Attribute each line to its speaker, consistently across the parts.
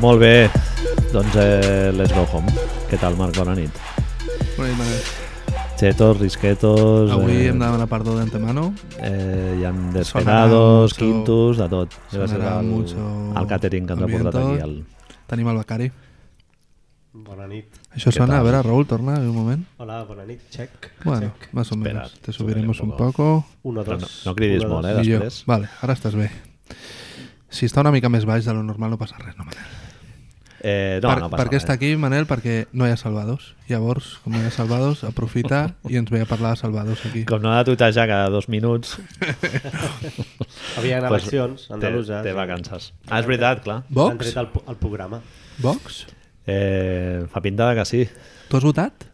Speaker 1: Molt bé, doncs eh, let's go home. Què tal, Marc? Bona nit.
Speaker 2: Bona nit, Manel.
Speaker 1: Chetos, risquetos...
Speaker 2: Avui
Speaker 1: eh,
Speaker 2: hem de demanar perdó d'antemano.
Speaker 1: Eh, hi ha despegados,
Speaker 2: mucho-
Speaker 1: quintos, de tot. Gràcies
Speaker 2: sonarà
Speaker 1: al,
Speaker 2: mucho
Speaker 1: al catering que ens ha portat
Speaker 2: ambiente.
Speaker 1: aquí. El...
Speaker 2: Tenim el Becari.
Speaker 3: Bona nit.
Speaker 2: Això
Speaker 1: Què tal?
Speaker 2: sona, a veure, Raül, torna un moment.
Speaker 3: Hola, bona nit. Check.
Speaker 2: Bueno,
Speaker 3: Check.
Speaker 2: más o
Speaker 1: Espera,
Speaker 2: menos. Te subiremos
Speaker 1: subiré un
Speaker 2: un poco.
Speaker 3: Uno,
Speaker 1: Però
Speaker 3: dos.
Speaker 1: no, no cridis
Speaker 3: Uno,
Speaker 1: molt, eh,
Speaker 3: dos.
Speaker 2: Millor.
Speaker 1: després.
Speaker 2: Vale, ara estàs bé. Si està una mica més baix de lo normal no passa res, no, Manel.
Speaker 1: Eh, no,
Speaker 2: per,
Speaker 1: no passa
Speaker 2: per què
Speaker 1: res.
Speaker 2: està aquí, Manel? Perquè no hi ha salvados. Llavors, com no hi ha salvados, aprofita i ens ve a parlar de salvados aquí.
Speaker 1: Com no ha de tuitejar cada dos minuts,
Speaker 3: Havien
Speaker 1: pues,
Speaker 3: eleccions andaluses.
Speaker 1: té, té vacances. Ah, és veritat, clar.
Speaker 2: Vox?
Speaker 3: Han tret el, po- el programa.
Speaker 2: Vox?
Speaker 1: Eh, fa pinta de que sí.
Speaker 2: Tu has votat?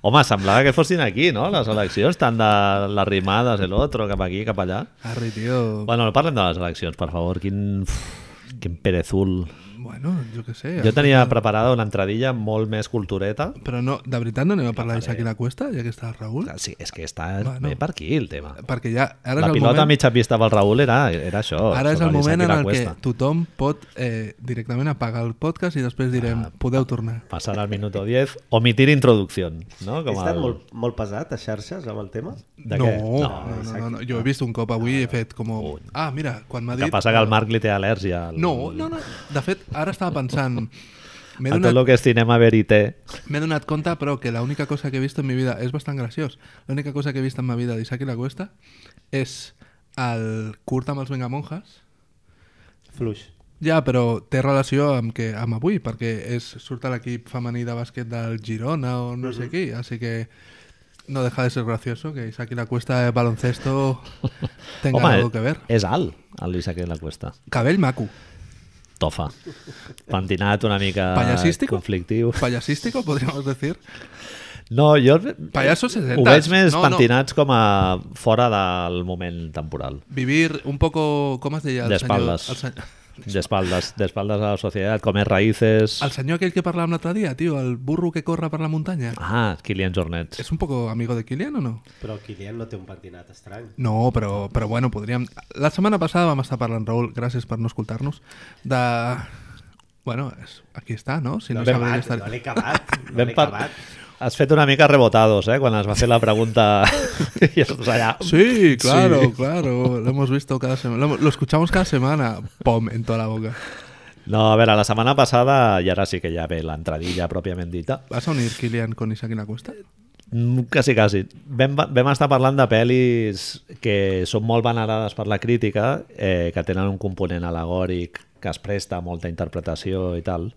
Speaker 1: Home, semblava que fossin aquí, no? Les eleccions, tant de les rimades, de l'altre, cap aquí, cap allà.
Speaker 2: Arri, tio.
Speaker 1: Bueno, parlem de les eleccions, per favor. Quin, quin perezul.
Speaker 2: Bueno, jo què sé.
Speaker 1: Jo tenia preparada una entradilla molt més cultureta.
Speaker 2: Però no, de veritat no anem a parlar d'Isaac i la Cuesta, ja que està el Raül?
Speaker 1: Clar, Ah, Sí, és que està
Speaker 2: Mm. Bueno.
Speaker 1: bé per aquí, el tema.
Speaker 2: Perquè ja, ara
Speaker 1: La
Speaker 2: és el
Speaker 1: pilota
Speaker 2: moment...
Speaker 1: a mitja pista pel Raül era, era això.
Speaker 2: Ara és
Speaker 1: sobre
Speaker 2: el
Speaker 1: l'Isaac
Speaker 2: moment
Speaker 1: i
Speaker 2: en
Speaker 1: la
Speaker 2: el que
Speaker 1: Cuesta.
Speaker 2: tothom pot eh, directament apagar el podcast i després
Speaker 1: Ah,
Speaker 2: direm, podeu tornar.
Speaker 1: Passar al minuto 10, omitir introducció, no?
Speaker 3: He
Speaker 1: Com
Speaker 3: estat
Speaker 1: el...
Speaker 3: molt, molt pesat a xarxes amb el tema?
Speaker 1: De
Speaker 2: no,
Speaker 1: què?
Speaker 2: no,
Speaker 1: no.
Speaker 2: no, no, no, jo he vist un cop avui i he fet com... Ah, mira, quan m'ha dit...
Speaker 1: Que passa que el Marc li té al·lèrgia. Al...
Speaker 2: No, no, no, de fet, ara estava pensant... M'he
Speaker 1: A tot el
Speaker 2: donat,
Speaker 1: que és cinema verité.
Speaker 2: m'he donat compte, però que l'única cosa que he vist en mi vida és bastant graciós. L'única cosa que he vist en ma vida d'Isaac i la Cuesta és el curt amb els Vengamonjas,
Speaker 3: Fluix.
Speaker 2: Ja, però té relació amb, que, amb avui, perquè és, surt a l'equip femení de bàsquet del Girona o no sé qui, així que no deja de ser gracioso que Isaac y la cuesta de baloncesto tenga algo que ver.
Speaker 1: és alt, el Isaac de la Cuesta.
Speaker 2: Cabell maco,
Speaker 1: Tofa. Pentinat una mica
Speaker 2: Payasístico?
Speaker 1: eh, conflictiu.
Speaker 2: payasístico, podríamos decir.
Speaker 1: No, jo
Speaker 2: Payasos
Speaker 1: ho
Speaker 2: 60.
Speaker 1: veig més
Speaker 2: No, no.
Speaker 1: pentinats com a fora del moment temporal.
Speaker 2: Vivir un poco, com es deia? el senyor-
Speaker 1: D'espaldes.
Speaker 2: El, senyor,
Speaker 1: D'espaldes, d'espaldes a la societat, com és raïces...
Speaker 2: el senyor aquell que parlàvem l'altre dia, tio, el burro que corre per la muntanya.
Speaker 1: Ah, Kilian Jornet.
Speaker 2: És un poco amigo de Kilian o no?
Speaker 3: Però el Kilian no té un pentinat estrany.
Speaker 2: No, però, però bueno, podríem... La setmana passada vam estar parlant, Raül, gràcies per no escoltar-nos, de... Bueno, és... aquí està, no? Si no,
Speaker 3: No,
Speaker 2: no sabré
Speaker 3: l'he acabat,
Speaker 2: estar...
Speaker 3: no l'he acabat. No
Speaker 1: Ben
Speaker 3: l'he
Speaker 1: par-
Speaker 3: acabat.
Speaker 1: Has fet una mica rebotados, eh? Quan es va fer la pregunta i estàs allà...
Speaker 2: Sí, claro, claro, lo hemos visto cada semana, lo, lo escuchamos cada semana, pom, en toda la boca.
Speaker 1: No, a veure, la setmana passada, i ara sí que ja ve l'entradilla pròpiament dita,
Speaker 2: ¿Vas a unir Kilian con Isaac en la cuesta?
Speaker 1: Mm, Quasi, quasi. Vam, vam estar parlant de pel·lis que són molt venerades per la crítica, eh, que tenen un component al·legòric que es presta a molta interpretació i tal.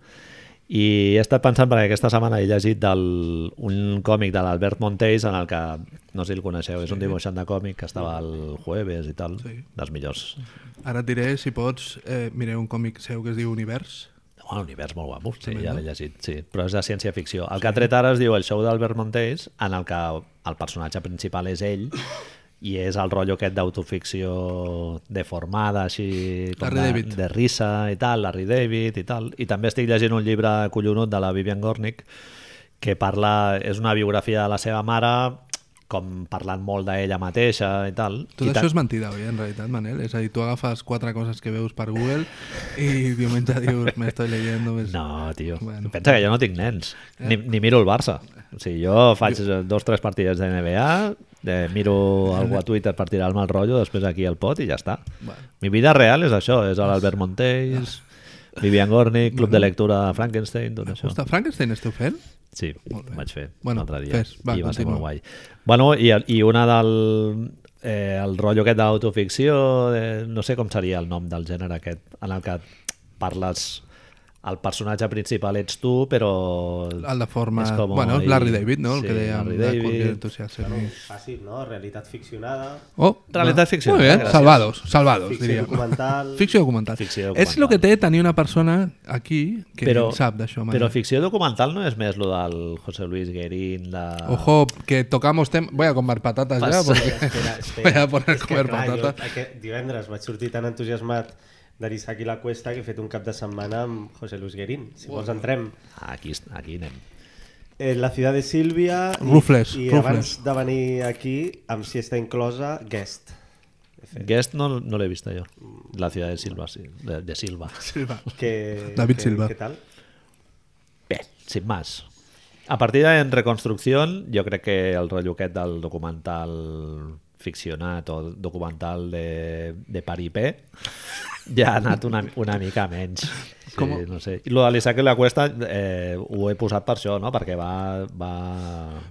Speaker 1: I he estat pensant, perquè aquesta setmana he llegit del, un còmic de l'Albert Montells, en el que, no sé si el coneixeu, és un dibuixant de còmic que estava el jueves i tal,
Speaker 2: Sí.
Speaker 1: dels millors.
Speaker 2: Ara et diré, si pots, eh, mireu un còmic seu que es diu Univers.
Speaker 1: Bueno, un univers molt guapo, sí,
Speaker 2: Tremendo.
Speaker 1: ja l'he llegit, sí. Però és de ciència-ficció. El que ha tret ara es diu El show d'Albert Montells, en el que el personatge principal és ell, i és el rotllo aquest d'autoficció deformada, així...
Speaker 2: Larry
Speaker 1: de,
Speaker 2: David.
Speaker 1: De risa i tal, Larry David i tal. I també estic llegint un llibre collonut de la Vivian Gornick, que parla... És una biografia de la seva mare, com parlant molt d'ella mateixa i tal.
Speaker 2: Tot
Speaker 1: I
Speaker 2: això
Speaker 1: ta-
Speaker 2: és mentida, oi, en realitat, Manel? És a dir, tu agafes quatre coses que veus per Google i diumenge dius, me estoy leyendo... Me...
Speaker 1: No, tio.
Speaker 2: Bueno.
Speaker 1: Bueno. Pensa que jo no tinc nens. Ni, ni miro el Barça. O sigui, jo faig eh, dos o tres partides de NBA, eh, miro algú a Twitter per tirar-me el rotllo, després aquí al pot i ja està.
Speaker 2: Bueno.
Speaker 1: Mi vida real és això, és l'Albert Montells, Vivian Gornick, Club de Lectura Frankenstein, tot això.
Speaker 2: Hosta, Frankenstein esteu fent?
Speaker 1: Sí, vaig fer
Speaker 2: Bueno,
Speaker 1: l'altre dia.
Speaker 2: fes, va,
Speaker 1: I va ser
Speaker 2: continua.
Speaker 1: molt guai. Bueno, i, i una del... Eh, el rotllo aquest d'autoficció, eh, no sé com seria el nom del gènere aquest, en el que parles... El personatge principal ets tu, però...
Speaker 2: El de forma...
Speaker 1: és com
Speaker 2: bueno,
Speaker 1: el-
Speaker 2: Larry David, no? El
Speaker 1: sí,
Speaker 2: que dèiem
Speaker 1: Larry
Speaker 2: de cualquier
Speaker 1: David.
Speaker 2: entusiasme.
Speaker 3: Fàcil, no? Realitat ficcionada.
Speaker 2: Oh,
Speaker 1: Realitat ficció,
Speaker 2: Muy bien,
Speaker 1: gracias.
Speaker 2: salvados, salvados,
Speaker 3: Ficció
Speaker 2: diria.
Speaker 3: documental.
Speaker 2: Ficció documental.
Speaker 1: Ficció
Speaker 2: És el
Speaker 1: documental.
Speaker 2: que té tenir una persona aquí que
Speaker 1: però,
Speaker 2: en sap d'això. Manel.
Speaker 1: Però ficció documental no és més lo del José Luis Guerín, de...
Speaker 2: Ojo, que tocamos temas... Voy a comer patatas ya,
Speaker 1: Passa.
Speaker 2: porque
Speaker 3: Espera, espera.
Speaker 2: voy a poner tota. a
Speaker 3: És que,
Speaker 2: comer
Speaker 3: clar,
Speaker 2: patatas.
Speaker 3: Jo, aquest divendres vaig sortir tan entusiasmat de l'Isaac i la Cuesta que he fet un cap de setmana amb José Luis Guerín. Si vols entrem.
Speaker 1: Ah, Aquí, aquí anem.
Speaker 3: Eh, la ciudad de Sílvia i,
Speaker 2: Rufles,
Speaker 3: i
Speaker 2: Rufles.
Speaker 3: abans de venir aquí, amb siesta inclosa, Guest. parece.
Speaker 1: Guest no, no lo he visto yo. La ciudad de Silva, sí. De, de Silva.
Speaker 2: Silva.
Speaker 3: Que,
Speaker 2: David
Speaker 3: que-
Speaker 2: Silva.
Speaker 3: ¿Qué tal?
Speaker 1: Bé, sin más. A partir de en reconstrucció, jo crec que el rotllo aquest del documental ficcionat o documental de, de Paripé ja ha anat una, una mica menys. Sí,
Speaker 2: Com-
Speaker 1: no sé. I lo de l'Isaac i la Cuesta eh, ho he posat per això, no? Perquè va... va...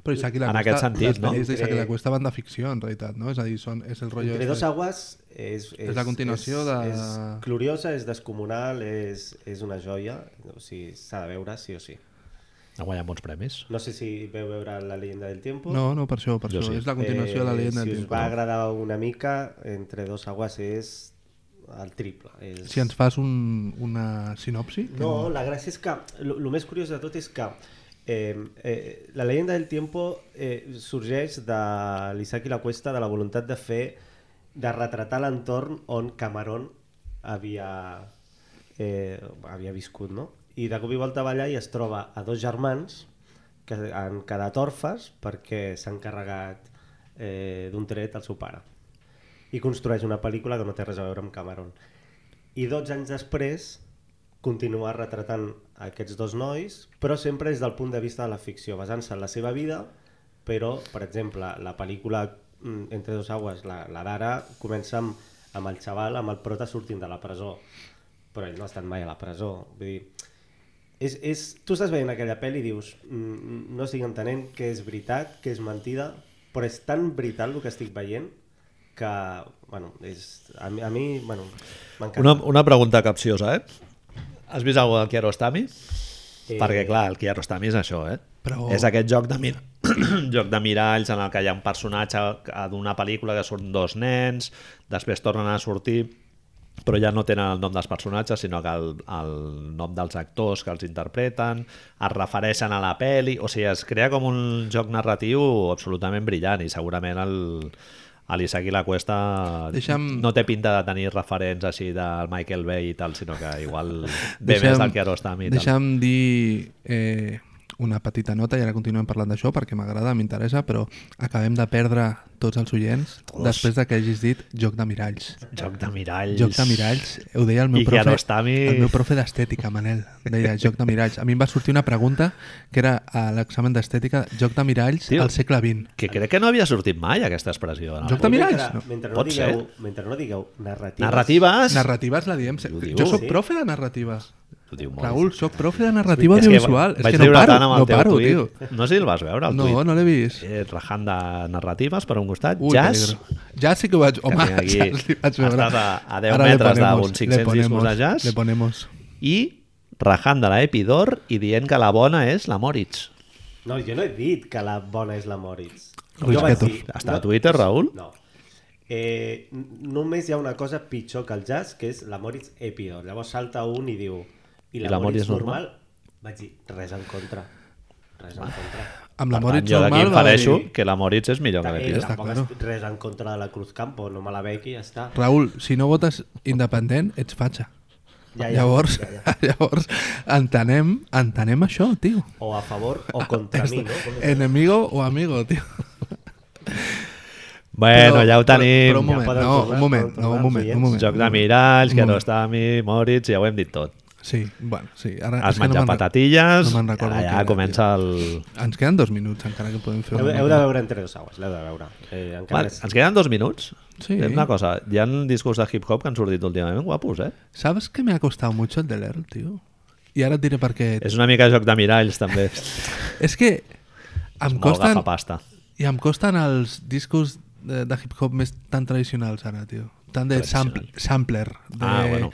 Speaker 2: Però Isaac i la
Speaker 1: en
Speaker 2: Cuesta,
Speaker 1: aquest sentit,
Speaker 2: les
Speaker 1: no?
Speaker 2: pel·lis d'Isaac i la
Speaker 3: Entre-
Speaker 2: Cuesta van de ficció, en realitat, no? És a dir, són, és el rotllo...
Speaker 3: Eh, Entre
Speaker 2: este-
Speaker 3: dos aguas és, és,
Speaker 2: la continuació
Speaker 3: és,
Speaker 2: de-
Speaker 3: És gloriosa, és descomunal, és, és una joia. O sigui, s'ha de veure, sí o sí.
Speaker 1: Ha guanyat molts premis.
Speaker 3: No sé si veu veure La leyenda del tiempo.
Speaker 2: No, no, per això, per
Speaker 1: Jo
Speaker 2: això.
Speaker 1: sí.
Speaker 2: És la continuació de la leyenda
Speaker 3: Eh, si
Speaker 2: del
Speaker 3: us
Speaker 2: tiempo.
Speaker 3: va agradar una mica, Entre dos aguas és el triple. És...
Speaker 2: Si ens fas un, una sinopsi... que
Speaker 3: No, la gràcia és que el més curiós de tot és que eh, eh, la leyenda del tiempo eh, sorgeix de l'Isaac i la Cuesta de la voluntat de fer de retratar l'entorn on Cameron havia, eh, havia viscut, no? I de cop i volta va allà i es troba a dos germans que han quedat orfes perquè s'han carregat eh, d'un tret al seu pare. I construeix una pel·lícula que no té res a veure amb Cameron. I 12 anys després continua retratant aquests dos nois, però sempre des del punt de vista de la ficció, basant-se en la seva vida, però, per exemple, la pel·lícula mm, Entre dos aigües, la, la d'ara, comença amb, amb el xaval, amb el prota sortint de la presó, però ell no ha estat mai a la presó. Vull dir, és, és, tu estàs veient aquella pel·li i dius "Mm, no estic entenent que és veritat, que és mentida, però és tan veritat el que estic veient que, bueno, és, a mi, a mi bueno, m'encanta.
Speaker 1: Una, una pregunta capciosa, eh? Has vist alguna cosa del Kiarostami?
Speaker 3: Eh,
Speaker 1: Perquè, clar, el Kiarostami és això, eh?
Speaker 2: Però-
Speaker 1: És aquest joc de, mir... joc de miralls en el que hi ha un personatge d'una pel·lícula que surten dos nens, després tornen a sortir però ja no tenen el nom dels personatges, sinó que el, el nom dels actors que els interpreten, es refereixen a la peli, o sigui, es crea com un joc narratiu absolutament brillant i segurament el, a l'Isaac i la Cuesta
Speaker 2: Deixa'm-
Speaker 1: no té pinta de tenir referents així del Michael Bay i tal, sinó que igual ve
Speaker 2: Deixa'm-
Speaker 1: més del Kiarostami i tal.
Speaker 2: Deixa'm dir eh, una petita nota i ara continuem parlant d'això perquè m'agrada, m'interessa, però acabem de perdre tots els oients
Speaker 1: Tots.
Speaker 2: després de que hagis dit Joc de Miralls.
Speaker 1: Joc de miralls.
Speaker 2: Joc de Miralls, ho deia el meu
Speaker 1: I
Speaker 2: profe,
Speaker 1: Kiarostami.
Speaker 2: el meu profe d'estètica, Manel, deia Joc de Miralls. A mi em va sortir una pregunta que era a l'examen d'estètica, Joc de Miralls
Speaker 1: Tio.
Speaker 2: al segle XX.
Speaker 1: Que crec que no havia sortit mai aquesta expressió. No?
Speaker 2: Joc de-
Speaker 3: mentre-
Speaker 2: miralls, no?
Speaker 3: Mentre no,
Speaker 1: Pot
Speaker 3: digueu, mentre no digueu narratives...
Speaker 1: Narratives.
Speaker 2: Narratives la diem. se-
Speaker 1: Ho diu.
Speaker 2: Jo sóc
Speaker 3: Sí.
Speaker 2: profe de narrativa.
Speaker 1: Ho diu molt.
Speaker 2: Raül, sóc profe de narrativa audiovisual. És
Speaker 1: vaig
Speaker 2: que no
Speaker 1: riure
Speaker 2: paro,
Speaker 1: tant amb el
Speaker 2: no
Speaker 1: teu
Speaker 2: paro,
Speaker 1: tuit.
Speaker 2: tio.
Speaker 1: No sé si el vas veure, el
Speaker 2: No,
Speaker 1: tuit.
Speaker 2: no l'he vist.
Speaker 1: Eh, rajant de narratives per un costat,
Speaker 2: Ui,
Speaker 1: jazz,
Speaker 2: jazz? Jazz sí que ho vaig...
Speaker 1: Que
Speaker 2: Home,
Speaker 1: tinc aquí-
Speaker 2: jazz li vaig veure.
Speaker 1: Estàs a- a 10
Speaker 2: le
Speaker 1: metres
Speaker 2: ponemos-
Speaker 1: d'uns
Speaker 2: le
Speaker 1: 500 discos
Speaker 2: ponemos-
Speaker 1: de jazz.
Speaker 2: Le ponemos...
Speaker 1: i rajant de la Epidor i dient que la bona és la Moritz.
Speaker 3: No, jo no he dit que la bona és la Moritz.
Speaker 2: Ruiz
Speaker 3: Jo vaig
Speaker 2: Gatos.
Speaker 3: dir-
Speaker 1: Està a Twitter, Raül?
Speaker 3: No. Eh, n- només hi ha una cosa pitjor que el jazz, que és la Moritz Epidor. Llavors salta un i diu... I la, Moritz normal? Vaig dir, res en contra. Res en contra.
Speaker 2: Amb
Speaker 1: Per
Speaker 2: la
Speaker 1: tant,
Speaker 2: Moritz
Speaker 1: jo d'aquí
Speaker 2: normal va
Speaker 1: infereixo
Speaker 2: dir...
Speaker 1: que la Moritz és millor que
Speaker 3: Eh,
Speaker 1: l'Epidor.
Speaker 3: tampoc
Speaker 2: claro.
Speaker 3: estic res en contra de la Cruz Campo, no me la veig i ja està.
Speaker 2: Raül, si no votes independent, ets fatxa.
Speaker 3: Ja, ja,
Speaker 2: llavors,
Speaker 3: ja,
Speaker 2: llavors entenem, entenem això, tio.
Speaker 3: O a favor o contra mi, no? Com és?
Speaker 2: Enemigo o amigo, tio.
Speaker 1: Bueno, ja ho tenim.
Speaker 2: Però, però un moment,
Speaker 3: poden
Speaker 2: no,
Speaker 3: tornar,
Speaker 2: un moment,
Speaker 3: poden
Speaker 2: no,
Speaker 3: tornar
Speaker 2: un
Speaker 3: els
Speaker 2: moment, un
Speaker 3: oients.
Speaker 2: moment.
Speaker 1: Joc de miralls,
Speaker 2: Un
Speaker 1: que no
Speaker 2: moment.
Speaker 1: està a mi, Moritz, ja ho hem dit tot.
Speaker 2: Sí, bueno, sí. Ara,
Speaker 1: Has
Speaker 2: Ah, és que no
Speaker 1: menjat
Speaker 2: me'n re-
Speaker 1: patatilles,
Speaker 2: no me'n recordo
Speaker 1: ara
Speaker 2: què
Speaker 1: ja
Speaker 2: era,
Speaker 1: comença el...
Speaker 2: tio. Ens queden dos minuts encara que podem fer
Speaker 3: Heu,
Speaker 2: una
Speaker 3: heu de
Speaker 2: mica.
Speaker 3: veure entre dos aguas, l'heu de veure. Eh,
Speaker 1: Va,
Speaker 3: encara és...
Speaker 1: ens queden dos minuts.
Speaker 2: Sí.
Speaker 1: Fem una cosa, hi ha discos de hip-hop que han sortit últimament guapos, eh?
Speaker 2: ¿Sabes que me ha costado mucho el de leer, tío? Y ahora diré por qué.
Speaker 1: És una mica joc de miralls, també.
Speaker 2: És que em
Speaker 1: Molt
Speaker 2: costen,
Speaker 1: gafapasta.
Speaker 2: i em costen els discos de, de hip-hop més tan tradicionals ara, tio. Tant de sampl sampler, de
Speaker 1: Ah, bueno.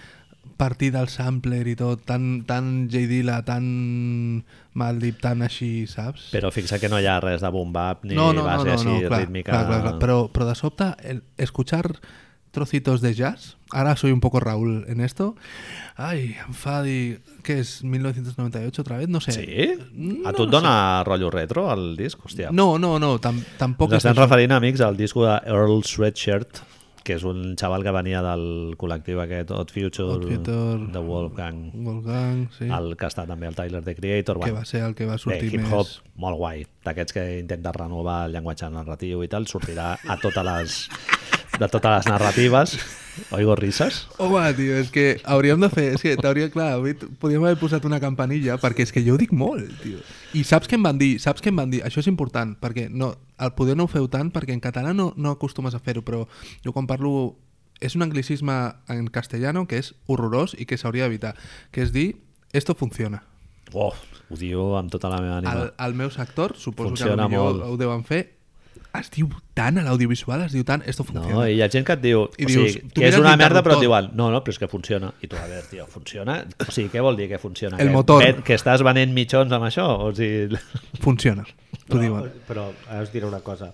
Speaker 2: partir del sampler i tot, tan, tan J. Dilla, tan Maldip, tan així, saps?
Speaker 1: Però fixa que no hi ha res de boom-bap ni base així rítmica.
Speaker 2: Clar, clar, clar. Pero, pero de sobte, el escuchar trocitos de jazz, ahora soy un poco Raúl en esto, ay, Fadi, ¿qué es? ¿1998 otra vez? No sé.
Speaker 1: Sí?
Speaker 2: No,
Speaker 1: a tu et dona rotllo retro el disc? Hòstia.
Speaker 2: No, no, no, tam- tampoc
Speaker 1: Ens
Speaker 2: és
Speaker 1: estem
Speaker 2: això.
Speaker 1: referint, amics, al disco de Earl Sweatshirt, que és un xaval que venia del col·lectiu aquest Odd Future,
Speaker 2: Odd Future.
Speaker 1: de Wolfgang,
Speaker 2: Wolfgang, sí,
Speaker 1: el que està també el Tyler, The Creator.
Speaker 2: que
Speaker 1: bueno,
Speaker 2: va ser el que va
Speaker 1: Bé,
Speaker 2: sortir
Speaker 1: hip-hop
Speaker 2: més...
Speaker 1: molt guai, d'aquests que intenten renovar el llenguatge narratiu i tal, sortirà a totes tota les... de totes les narratives. Oigo risas.
Speaker 2: Home, tio, és que hauríem de fer... És que t'hauria... Clar, avui t- podríem haver posat una campanilla, perquè és que jo ho dic molt, tio. I saps què em van dir? Saps què em van dir? Això és important, perquè no, el poder no ho feu tant, perquè en català no, no acostumes a fer-ho, però jo quan parlo... És un anglicisme en castellano que és horrorós i que s'hauria d'evitar, que és dir, esto funciona.
Speaker 1: Oh, ho diu amb tota la meva ànima.
Speaker 2: al, al meu sector, suposo
Speaker 1: Funciona
Speaker 2: que potser
Speaker 1: molt.
Speaker 2: ho, ho deuen fer, es diu tant a l'audiovisual, es diu tant, esto funciona.
Speaker 1: No, i hi ha gent que et diu,
Speaker 2: I
Speaker 1: o
Speaker 2: dius,
Speaker 1: sigui,
Speaker 2: tu
Speaker 1: que és
Speaker 2: mires
Speaker 1: una merda, però et
Speaker 2: l'interruptor.
Speaker 1: diuen, no, no, però és que funciona. I tu, a veure, tio, funciona? O sigui, què vol dir que funciona?
Speaker 2: El
Speaker 1: que,
Speaker 2: motor.
Speaker 1: ven- que estàs venent mitjons amb això? O sigui...
Speaker 2: Funciona, t'ho
Speaker 3: Però-
Speaker 2: diuen.
Speaker 3: Però ara us diré una cosa.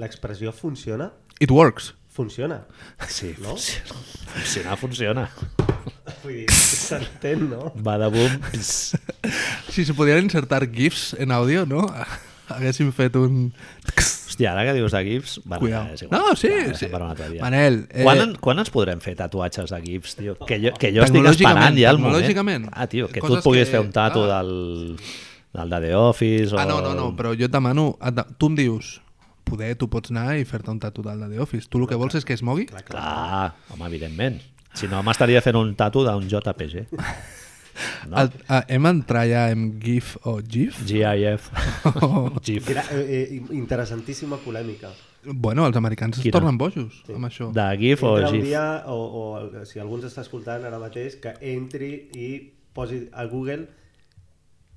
Speaker 3: L'expressió funciona?
Speaker 2: It works.
Speaker 3: Funciona.
Speaker 1: Sí,
Speaker 3: No?
Speaker 1: funciona. Funciona, funciona.
Speaker 3: Vull dir, s'entén, no?
Speaker 1: Badabum. pss.
Speaker 2: Si se podien insertar GIFs en àudio, no? Haguéssim fet un...
Speaker 1: Hòstia, ara que dius de GIFs... Bueno,
Speaker 2: Cuidao.
Speaker 1: és igual.
Speaker 2: No, sí,
Speaker 1: Va,
Speaker 2: sí.
Speaker 1: per un altre dia.
Speaker 2: Manel, eh,
Speaker 1: quan, en- quan ens podrem fer tatuatges de GIFs, tio? Que jo, que jo estic esperant
Speaker 2: Tecnològicament,
Speaker 1: ja el moment.
Speaker 2: tecnològicament.
Speaker 1: Ah, tio, que tu
Speaker 2: Coses
Speaker 1: et puguis
Speaker 2: que-
Speaker 1: fer un tatu
Speaker 2: ah.
Speaker 1: del, del de The Office o...
Speaker 2: Ah, no, no, no, però jo et demano... et de- Tu em dius, poder, tu pots anar i fer-te un tatuatge de The Office. Tu el que vols és que es mogui?
Speaker 1: Clar, home, evidentment. Si no, m'estaria fent un tatu d'un JPG. No.
Speaker 2: El, ah, hem entrat ja en GIF o GIF?
Speaker 1: GIF. GIF.
Speaker 3: Gra eh, eh, interessantíssima polèmica.
Speaker 2: Bueno, els americans es
Speaker 1: Quina?
Speaker 2: tornen bojos amb això.
Speaker 1: De GIF o
Speaker 3: Entra un
Speaker 1: GIF.
Speaker 3: dia, o, o el- si algú ens està escoltant ara mateix, que entri i posi a Google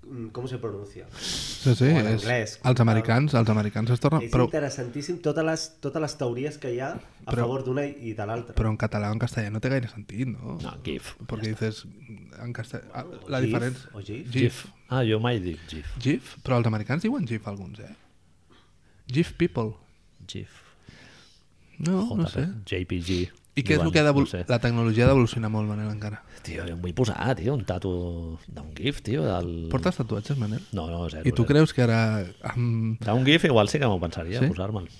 Speaker 3: mm, com se pronuncia.
Speaker 2: Sí, sí,
Speaker 3: O en
Speaker 2: és,
Speaker 3: anglès.
Speaker 2: els americans, els americans es tornen...
Speaker 3: És
Speaker 2: Però,
Speaker 3: interessantíssim totes les, totes les teories que hi ha a
Speaker 2: Però-
Speaker 3: favor d'una i de l'altra.
Speaker 2: però en català o en castellà no té gaire sentit, no?
Speaker 1: No, GIF.
Speaker 2: Perquè dices... En castellà... ah, La
Speaker 3: GIF,
Speaker 2: diferència...
Speaker 3: o GIF.
Speaker 2: GIF.
Speaker 1: Ah, jo mai dic GIF.
Speaker 2: GIF? Però els americans diuen GIF alguns, eh? GIF people.
Speaker 1: GIF.
Speaker 2: No,
Speaker 1: JP,
Speaker 2: no sé.
Speaker 1: JPG.
Speaker 2: I què és el
Speaker 1: diuen,
Speaker 2: que ha
Speaker 1: no
Speaker 2: d'evol...
Speaker 1: sé.
Speaker 2: La tecnologia ha d'evolucionar molt, Manel, encara.
Speaker 1: Tio, jo em vull posar, tio, un tatu d'un GIF, tio, del...
Speaker 2: Portes tatuatges, Manel?
Speaker 1: No, no, zero.
Speaker 2: I tu
Speaker 1: zero.
Speaker 2: creus que ara... Amb...
Speaker 1: D'un GIF igual sí que m'ho pensaria,
Speaker 2: Sí?
Speaker 1: sí? posar-me'l.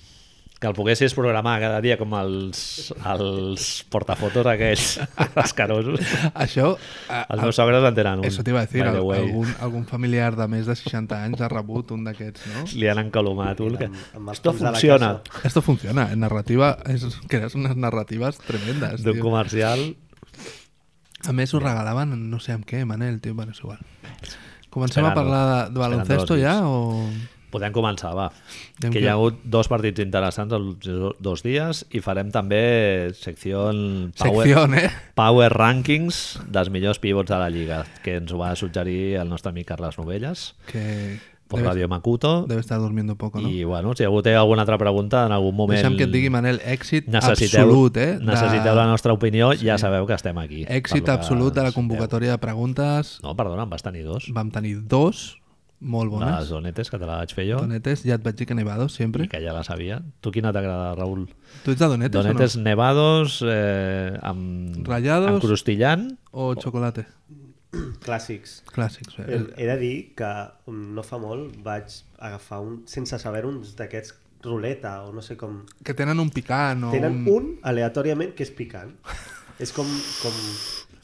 Speaker 1: Que el poguessis programar cada dia com els, els portafotos aquells escarosos.
Speaker 2: Això... A,
Speaker 1: Els meus sogres en tenen un.
Speaker 2: Això t'hi va a dir,
Speaker 1: by the way.
Speaker 2: algun, algun familiar de més de 60 anys ha rebut un d'aquests, no?
Speaker 1: Li han encalomat un. Que...
Speaker 3: Amb- amb els
Speaker 1: Esto
Speaker 3: punts de la
Speaker 1: funciona.
Speaker 3: casa.
Speaker 2: Esto funciona, en narrativa es, crees unes narratives tremendes,
Speaker 1: D'un
Speaker 2: tio.
Speaker 1: comercial.
Speaker 2: A més ho regalaven en no sé amb què, Manel, tio, bueno, és igual. Comencem
Speaker 1: Esperant-ho.
Speaker 2: a parlar de, de baloncesto
Speaker 1: Esperant
Speaker 2: ja o...
Speaker 1: Podem començar, va.
Speaker 2: Anem
Speaker 1: que hi ha
Speaker 2: que-
Speaker 1: hagut dos partits interessants els do- dos dies i farem també secció en Power,
Speaker 2: Secció, eh?
Speaker 1: Power Rankings dels millors pivots de la Lliga, que ens ho va suggerir el nostre amic Carles Novelles,
Speaker 2: Que
Speaker 1: per
Speaker 2: debe,
Speaker 1: Radio Makuto.
Speaker 2: debe estar durmiendo poco, no?
Speaker 1: I, bueno, si algú té alguna altra pregunta, en algun moment...
Speaker 2: Deixa'm que et digui, Manel, èxit
Speaker 1: necessiteu,
Speaker 2: absolut, eh?
Speaker 1: Necessiteu la nostra opinió, sí. ja sabeu que estem aquí. per lo
Speaker 2: Èxit
Speaker 1: que
Speaker 2: absolut de la
Speaker 1: ens
Speaker 2: convocatòria de preguntes.
Speaker 1: deu. No, perdona, en vas tenir dos.
Speaker 2: Vam tenir dos molt
Speaker 1: Bones. Les
Speaker 2: bones.
Speaker 1: donetes, que te la vaig fer jo,
Speaker 2: Donetes, ja et vaig dir que nevados, sempre.
Speaker 1: i que ja la sabia. Tu quina t'agrada, Raül?
Speaker 2: Tu ets de donetes,
Speaker 1: Donetes nevados, eh, amb...
Speaker 2: Ratllados.
Speaker 1: Amb crustillant.
Speaker 2: o no? O xocolate?
Speaker 3: Clàssics.
Speaker 2: Clàssics.
Speaker 3: Eh,
Speaker 2: Eh?
Speaker 3: He de dir que mm, no fa molt vaig agafar un, sense saber uns d'aquests ruleta o no sé com...
Speaker 2: Que tenen un picant o
Speaker 3: Tenen
Speaker 2: un...
Speaker 3: un aleatòriament que és picant. És com, com,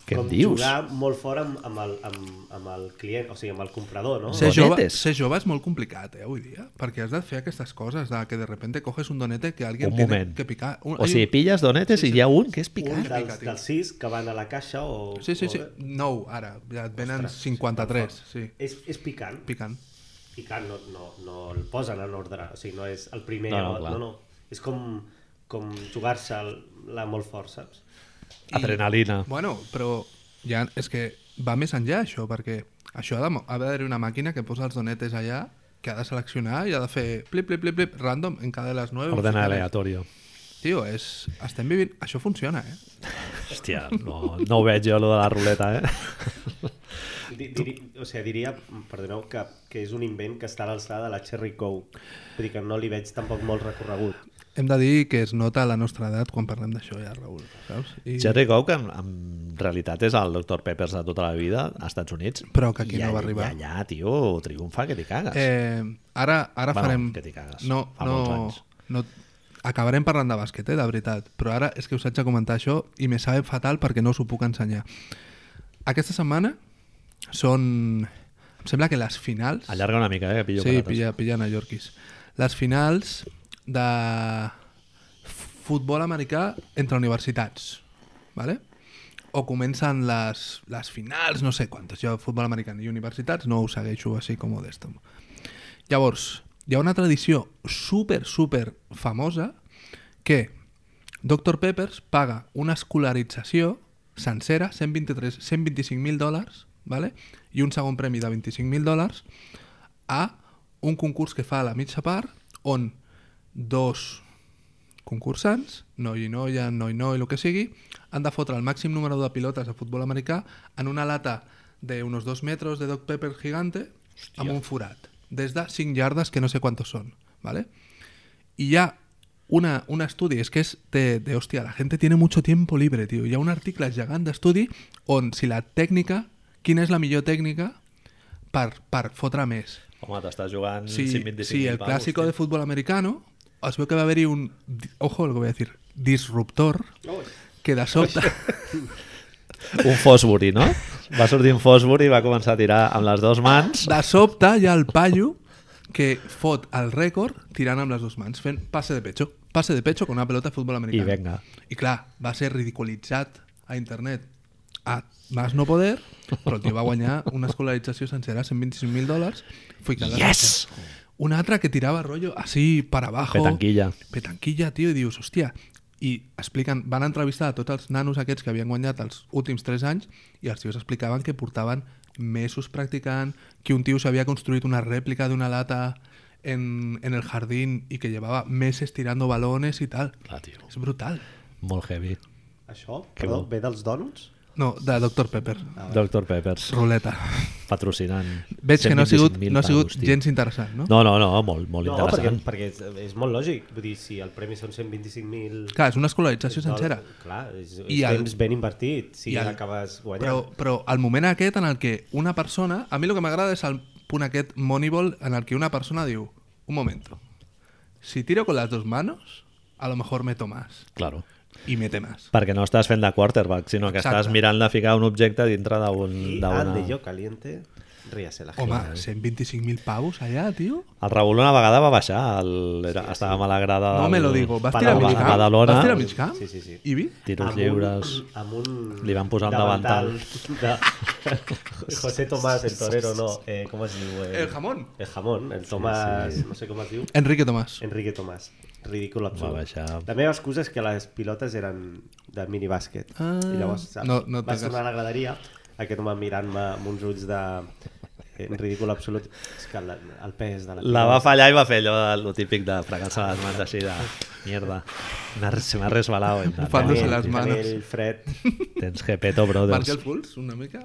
Speaker 1: Què
Speaker 3: com
Speaker 1: em dius?
Speaker 3: jugar molt fort amb, amb, el, amb, amb el client, o sigui, amb el comprador, no?
Speaker 2: Ser jove,
Speaker 1: Donetes.
Speaker 2: ser jove és molt complicat, eh, avui dia, perquè has de fer aquestes coses, de que de repente coges un donete que alguien
Speaker 1: Un
Speaker 2: tiene
Speaker 1: moment.
Speaker 2: que picar. Un,
Speaker 1: O sigui, pilles donetes i hi ha un que és
Speaker 3: Un
Speaker 1: picant.
Speaker 3: dels, dels sis que van a la caixa o...
Speaker 2: Sí, sí, sí.
Speaker 3: o-
Speaker 2: Nou, ara. Ja et venen
Speaker 3: Ostres,
Speaker 2: 53. Sí.
Speaker 3: És, és picant.
Speaker 2: Picant.
Speaker 3: Picant no, no, no el posen en ordre, o sigui, no és el primer...
Speaker 1: No, no,
Speaker 3: o-
Speaker 1: clar.
Speaker 3: no, no. És com, com jugar-se el- la molt fort, saps?
Speaker 1: Adrenalina.
Speaker 2: Bueno, però ja és que va més enllà això, perquè això ha de mo- ha d'haver-hi una màquina que posa els donetes allà, que ha de seleccionar i ha de fer plip, plip, plip, plip, random en cada de les 9.
Speaker 1: Ordena aleatòria.
Speaker 2: Tio, és... estem vivint... Això funciona, eh?
Speaker 1: Hòstia, no, no ho veig jo, lo de la ruleta, eh?
Speaker 3: Di, diri, o sigui, diria, perdoneu, que, que és un invent que està a l'alçada de la Cherry Coke. Vull dir que no li veig tampoc molt recorregut.
Speaker 2: Hem de dir que es nota la nostra edat quan parlem d'això ja, Raül, saps? I...
Speaker 1: Jerry Coke, en, en realitat, és el Dr. Peppers de tota la vida als Estats Units.
Speaker 2: Però que aquí
Speaker 1: I
Speaker 2: no va
Speaker 1: all-
Speaker 2: arribar.
Speaker 1: I allà, tio, triomfa, que t'hi cagues. Eh,
Speaker 2: Eh, ara ara
Speaker 1: Bueno,
Speaker 2: farem...
Speaker 1: que t'hi cagues.
Speaker 2: No,
Speaker 1: Fa
Speaker 2: no,
Speaker 1: molts anys.
Speaker 2: no... Acabarem parlant de bàsquet, eh, de veritat. Però ara és que us haig de comentar això i me sabe fatal perquè no us ho puc ensenyar. Aquesta setmana són... Em sembla que les finals...
Speaker 1: Allarga una mica, eh, que pillo
Speaker 2: sí,
Speaker 1: patates.
Speaker 2: pilla, pillen a Yorkies. Les finals de futbol americà entre universitats, ¿vale? o comencen les, les finals, no sé quantes. Jo, futbol americà i universitats, no ho segueixo així com d'esto. Llavors, hi ha una tradició super, super famosa que Dr. Peppers paga una escolarització sencera, 123 125.000 dòlars, ¿vale? i un segon premi de 25.000 dòlars a un concurs que fa a la mitja part on dos concursants, noi i noia, noi, noi, el que sigui, han de fotre el màxim número de pilotes de futbol americà en una lata de unos dos metros de Doc Pepper gigante Hòstia. amb un forat, des de 5 yardes, que no sé quantos són, ¿vale? Y ya una, un estudi, és que és de, de, hòstia, la gente tiene mucho tiempo libre, tio. Hi ha un article gegant d'estudi on si la tècnica, quina és la millor tècnica per, per fotre més.
Speaker 1: Home, t'estàs jugant
Speaker 2: Sí,
Speaker 1: 125.000
Speaker 2: sí, el
Speaker 1: pavos,
Speaker 2: clásico
Speaker 1: tio.
Speaker 2: de fútbol americano, os veo que va a haber un, di- ojo lo que voy a decir, disruptor, que de sobte,
Speaker 1: Un Fosbury, no? Va sortir un Fosbury i va començar a tirar amb les dues mans.
Speaker 2: de sobte hi ha el paio que fot el rècord tirant amb les dues mans, fent passe de pecho, passe de pecho con una pelota de futbol americà.
Speaker 1: I venga.
Speaker 2: I clar, va ser ridiculitzat a internet a más no poder, però el tio va guanyar una escolarització sencera, 125.000 dòlars, ficant la
Speaker 1: Yes!
Speaker 2: fitxa. Un altre que tirava rollo así para abajo.
Speaker 1: Petanquilla.
Speaker 2: petanquilla, tio, i dius, hòstia, i expliquen, van entrevistar a tots els nanos aquests que havien guanyat els últims 3 anys i els tios explicaven que portaven mesos practicant, que un tio s'havia construït una rèplica d'una lata en, en el jardín i que llevava meses tirando balones i tal.
Speaker 1: Clar, tio.
Speaker 2: És brutal.
Speaker 1: Molt heavy.
Speaker 3: Això,
Speaker 1: Que
Speaker 3: perdó,
Speaker 1: bo.
Speaker 3: ve dels donuts?
Speaker 2: No, de Dr. Pepper.
Speaker 1: Dr. Peppers,
Speaker 2: Ruleta.
Speaker 1: patrocinant.
Speaker 2: Veig que no ha sigut,
Speaker 1: 125.000
Speaker 2: no ha sigut
Speaker 1: pavos, tio.
Speaker 2: gens interessant, no?
Speaker 1: No, no, no, molt, molt
Speaker 3: No, perquè,
Speaker 1: interessant.
Speaker 3: perquè és, és molt lògic. Vull dir, si el premi són 125.000...
Speaker 2: Clar, és una escolarització sencera.
Speaker 3: dòlars, Clar, és, és
Speaker 2: I el-
Speaker 3: temps ben invertit, si
Speaker 2: i el-
Speaker 3: l'acabes guanyant.
Speaker 2: Però, però el moment aquest en el que una persona... A mi el que m'agrada és el punt aquest Moneyball en el que una persona diu un moment, si tiro con las dos manos, a lo mejor meto más.
Speaker 1: Claro.
Speaker 2: I mete más.
Speaker 1: Perquè no estàs fent de quarterback, sinó que
Speaker 2: Exacte.
Speaker 1: estàs mirant de ficar un objecte dintre d'un...
Speaker 3: I
Speaker 1: d'una-
Speaker 3: al de jo caliente, ríase la
Speaker 2: Home,
Speaker 3: gente.
Speaker 2: 125.000 pavos allà, tio.
Speaker 1: El Raül una vegada va baixar, el... era, estàvem a la grada...
Speaker 2: No
Speaker 1: del-
Speaker 2: me lo digo. Vas tirar a
Speaker 1: Palau-
Speaker 2: mig
Speaker 1: a
Speaker 2: camp?
Speaker 1: Badalona,
Speaker 2: Vas tirar a mig camp?
Speaker 3: Sí, sí, sí.
Speaker 2: I vi?
Speaker 1: tiros
Speaker 3: Amb un-
Speaker 1: lliures...
Speaker 3: Amb un...
Speaker 1: Li van posar un
Speaker 3: de... José Tomás, el torero, no. Eh, com es diu?
Speaker 2: El jamón.
Speaker 3: El jamón, el Tomàs... No sé com es diu.
Speaker 2: Enrique Tomàs.
Speaker 3: Enrique Tomàs. Ridícul absurd.
Speaker 1: Va baixar.
Speaker 3: La meva excusa és que les pilotes eren de minibàsquet.
Speaker 2: Ah,
Speaker 3: I llavors, saps?
Speaker 2: no- no et
Speaker 3: vaig
Speaker 2: toques.
Speaker 3: tornar a la graderia, aquest home mirant-me amb uns ulls de... eh, ridícul absolut. És que la, el pes de la...
Speaker 1: La va fallar i va fer allò de, lo típic de fregar-se les mans així de... Mierda, m'ha res- se m'ha resbalat.
Speaker 2: Bufant-se
Speaker 3: Tenir-
Speaker 2: les manos.
Speaker 3: tenir El fred.
Speaker 1: Tens Gepeto Brothers.
Speaker 2: Marca el puls, una mica.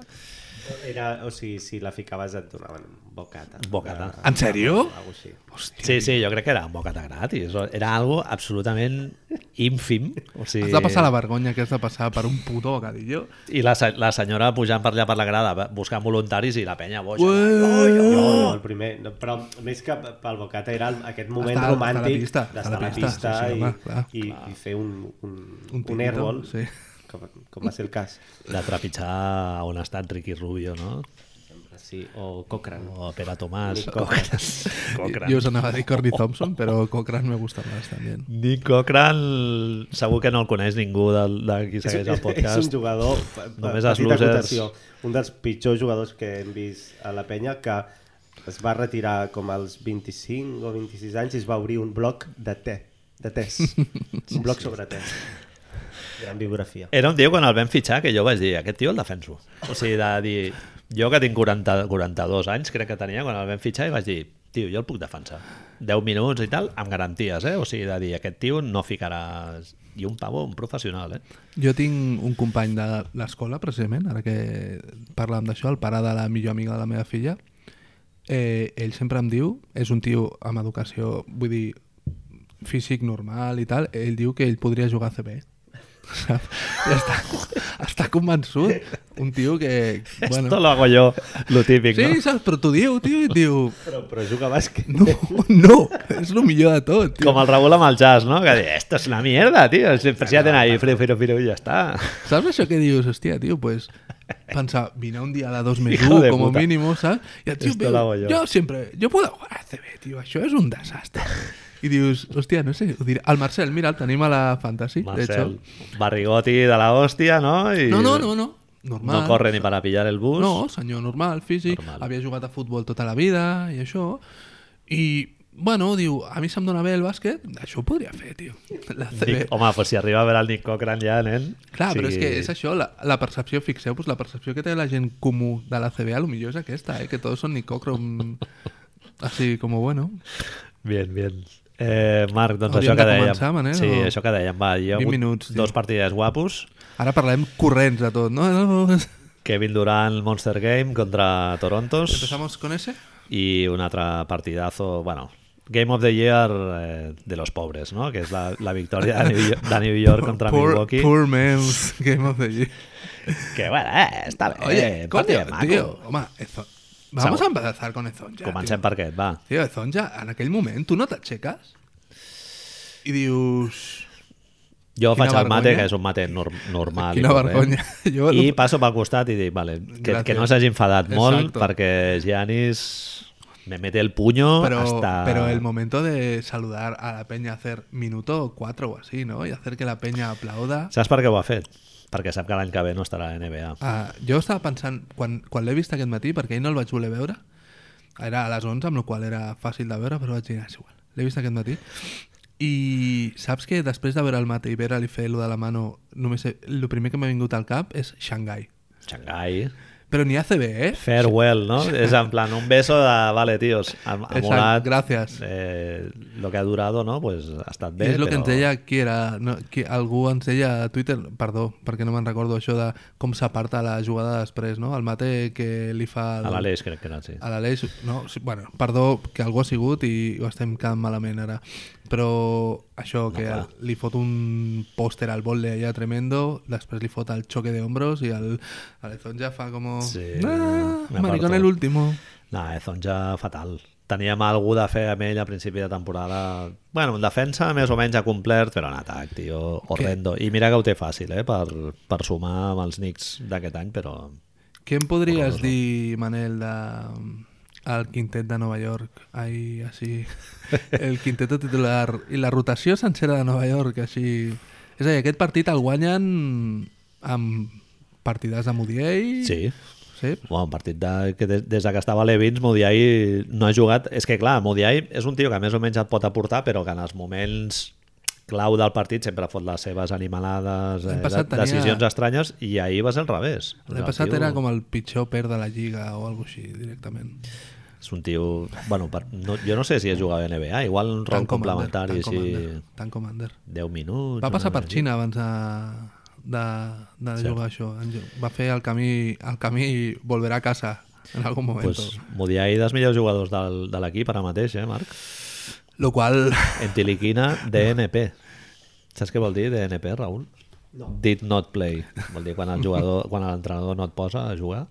Speaker 3: Era, o sigui, si la ficaves et donaven un bocata.
Speaker 1: Bocata.
Speaker 3: Ah,
Speaker 2: En sèrio?
Speaker 3: Algo així.
Speaker 2: Hòstia.
Speaker 1: Sí, sí, jo crec que era un bocata gratis. Era algo absolutament ínfim. O sigui...
Speaker 2: Has de passar la vergonya que has de passar per un puto bocadillo.
Speaker 1: I la, se- la senyora pujant per allà per la grada, va- buscant voluntaris i la penya boja.
Speaker 2: Ué!
Speaker 3: No, no, el primer, no, però més que pel bocata era el, aquest moment
Speaker 2: Estar- estar a la
Speaker 3: romàntic
Speaker 2: pista,
Speaker 3: d'estar a la
Speaker 2: sí,
Speaker 3: pista,
Speaker 2: sí,
Speaker 3: i,
Speaker 2: home, clar.
Speaker 3: i, i fer un, un, un,
Speaker 2: tinto,
Speaker 3: un airball,
Speaker 2: sí.
Speaker 3: com, com va ser el cas.
Speaker 1: De trepitjar on ha estat Ricky Rubio, no?
Speaker 3: Sí, o Cochrane.
Speaker 1: O Pere Tomàs.
Speaker 3: Nick
Speaker 1: Cochran.
Speaker 2: Jo us anava a dir
Speaker 3: Oh.
Speaker 2: Corny Thompson, però Cochran me gusta más también.
Speaker 1: Nick Cochran segur que no el coneix ningú de, de qui segueix el
Speaker 3: és un
Speaker 1: podcast.
Speaker 3: jugador, pe- pe-
Speaker 1: Només els
Speaker 3: petita
Speaker 1: losers.
Speaker 3: acotació, un dels pitjors jugadors que hem vist a la penya, que es va retirar com als 25 o 26 anys i es va obrir un bloc de te, de tes, un bloc sobre te. Gran biografia.
Speaker 1: Era un tio, quan el vam fitxar, que jo vaig dir, aquest tio el defenso. O sigui, de dir, jo que tinc 40, 42 anys, crec que tenia, quan el vam fitxar, i vaig dir, tio, jo el puc defensar. 10 minuts i tal, amb garanties, eh? O sigui, de dir, aquest tio no ficarà... I un pavo, un professional, eh?
Speaker 2: Jo tinc un company de l'escola, precisament, ara que parlàvem d'això, el pare de la millor amiga de la meva filla, eh, ell sempre em diu, és un tio amb educació, vull dir, físic normal i tal, ell diu que ell podria jugar a CB. Saps? I està, està convençut. Un tio que...
Speaker 1: Bueno. Esto lo hago yo, lo típic,
Speaker 2: sí,
Speaker 1: no?
Speaker 2: saps? Però t'ho diu, tio, i et diu...
Speaker 3: Però, però juga a bàsquet.
Speaker 2: No, no, és el millor de tot, tio.
Speaker 1: Com el Raúl amb el jazz, no? Que diu, esto es una mierda, tio. Sempre si ja tenen ahí, firo, firo, firo, i ja està.
Speaker 2: ¿Sabes eso que dius? Hostia, tío, pues pensa, vine un día a la 2 més
Speaker 1: Hijo
Speaker 2: 1
Speaker 1: de
Speaker 2: como
Speaker 1: puta.
Speaker 2: mínimo, ¿sabes? Y el tío,
Speaker 1: Esto lo hago
Speaker 2: yo.
Speaker 1: yo.
Speaker 2: yo siempre, yo puedo jugar a CB, tío, això és un desastre. I dius, hòstia, no sé, ho diré. El Marcel, mira, el tenim a la Fantasy,
Speaker 1: Marcel,
Speaker 2: de hecho.
Speaker 1: barrigoti de la hòstia, no? I
Speaker 2: No, no, no, no. Normal.
Speaker 1: No corre ni para pillar el bus.
Speaker 2: No, senyor normal, físic,
Speaker 1: Normal.
Speaker 2: normal. havia jugat a futbol tota la vida i això, i, bueno, diu, a mi se'm dona bé el bàsquet, això ho podria fer, tio. La CB.
Speaker 1: Dic, home, pues si arriba a veure el Nick Cochran ja, nen...
Speaker 2: Clar,
Speaker 1: o
Speaker 2: però és
Speaker 1: sigui,
Speaker 2: que és això, la, la percepció, fixeu-vos, la percepció que té la gent comú de la CBA, a lo millor és aquesta, eh? que tots són nicòcrom, així com, bueno,
Speaker 1: Bien, bien. Eh, Marc, doncs
Speaker 2: Hauríem
Speaker 1: això que
Speaker 2: de
Speaker 1: dèiem.
Speaker 2: començar, Manel,
Speaker 1: sí,
Speaker 2: eh, o-
Speaker 1: això que dèiem. Va, hi ha
Speaker 2: 20
Speaker 1: hagut
Speaker 2: minuts, tio.
Speaker 1: dos partides guapos.
Speaker 2: ara parlem corrents de tot, no?
Speaker 1: Kevin Durant, Monster Game contra Torontos.
Speaker 2: Empezamos con ese?
Speaker 1: Y un otro partidazo, bueno, Game of the Year eh, de los pobres, ¿no? Que es la, la victoria de New, de New York contra
Speaker 2: poor,
Speaker 1: Milwaukee.
Speaker 2: poor man's Game of the Year.
Speaker 1: Que bueno, eh, està bé.
Speaker 2: Oye,
Speaker 1: eh,
Speaker 2: coño,
Speaker 1: partit maco.
Speaker 2: tío, home, Ezo- Vamos
Speaker 1: Segur.
Speaker 2: a empezar con Ezonja.
Speaker 1: Comencem per aquest, va.
Speaker 2: Tio, Zonja, en aquell moment tu no t'aixeques i dius...
Speaker 1: Jo
Speaker 2: Quina
Speaker 1: faig el mate,
Speaker 2: vergonya.
Speaker 1: que és un mate nor normal.
Speaker 2: Quina
Speaker 1: i corrent.
Speaker 2: vergonya. Jo-
Speaker 1: I passo pel costat i dic, vale, que,
Speaker 2: Gràcies.
Speaker 1: que no s'hagi enfadat molt,
Speaker 2: Exacto.
Speaker 1: perquè Giannis me mete el puño
Speaker 2: Pero,
Speaker 1: hasta...
Speaker 2: pero el momento de saludar a la peña, hacer minuto cuatro o así, ¿no? Y hacer que la peña aplauda.
Speaker 1: Saps per què ho ha fet? Perquè sap que l'any que ve no estarà a la NBA.
Speaker 2: Ah, jo estava pensant, quan, quan l'he vist aquest matí, perquè ahir no el vaig voler veure, era a les 11, amb la qual cosa era fàcil de veure, però vaig dir, "Ah, és igual, l'he vist aquest matí, i saps que després de veure el mate i veure-li fer allò de la mano, només he, el primer que m'ha vingut al cap és Shanghai.
Speaker 1: Xangai...
Speaker 2: Però ni ACB, eh?
Speaker 1: Farewell, ¿no? Es en plan un beso de, vale, tíos, ha, ha
Speaker 2: Exacte,
Speaker 1: molat,
Speaker 2: gràcies.
Speaker 1: eh, lo que ha durado, no? Pues ha estat
Speaker 2: I
Speaker 1: bé,
Speaker 2: és el que
Speaker 1: però-
Speaker 2: ens deia qui era, no, qui, algú ens deia a Twitter, perdó, perquè no me'n recordo això de com s'aparta la jugada després, no? El mate que li fa... El,
Speaker 1: A l'Aleix, crec que era, sí.
Speaker 2: A l'Aleix, no? sí, Bueno, perdó, que algú ha sigut i ho estem quedant malament ara. Però això, que
Speaker 1: clar.
Speaker 2: li fot un pòster al volle allà tremendo, després li fot el xoque de hombros i el Alezón ja fa com...
Speaker 1: Sí,
Speaker 2: ah,
Speaker 1: me
Speaker 2: maricón
Speaker 1: aparto."
Speaker 2: el último.
Speaker 1: No, Ezon ja fatal. Teníem algú de fer amb ell a principi de temporada. Bueno, en defensa més o menys ha complert, però en atac, tio, horrendo. I mira que ho té fàcil, eh, per, per sumar amb els Knicks d'aquest any, però...
Speaker 2: Què em podries dir, Manel, de mm, el quintet de Nova York, ai, així, el quintet titular i la rotació sencera de Nova York, així... És a dir, aquest partit el guanyen amb partides de Mudiei...
Speaker 1: Sí.
Speaker 2: Sí?
Speaker 1: Bueno, un partit de, que des, des de que estava a Levins, Modiai no ha jugat... És que, clar, Modiai és un tio que més o menys et pot aportar, però que en els moments clau del partit sempre fot les seves animalades, eh,
Speaker 2: L'any passat
Speaker 1: de-
Speaker 2: tenia-
Speaker 1: decisions estranyes, i ahir va ser al revés.
Speaker 2: L'any
Speaker 1: El
Speaker 2: passat
Speaker 1: tio
Speaker 2: era com el pitjor per de la Lliga o alguna així, directament.
Speaker 1: És un tio... Bueno, per, no, jo no sé si ha jugat a NBA, igual un rol
Speaker 2: Tank Commander,
Speaker 1: complementari,
Speaker 2: Tank Commander,
Speaker 1: així...
Speaker 2: Tank Commander.
Speaker 1: 10 minuts...
Speaker 2: Va passar
Speaker 1: una
Speaker 2: per
Speaker 1: cosa així.
Speaker 2: Xina abans de, de, de jugar a això. Va fer el camí, el camí i volverà a casa en algun moment.
Speaker 1: Pues, Modiai, dels millors jugadors del, de l'equip ara mateix, eh, Marc?
Speaker 2: Lo qual...
Speaker 1: Entiliquina, DNP. Saps què vol dir DNP, Raül? No. Did not play. Vol dir quan el jugador, quan l'entrenador no et posa a jugar.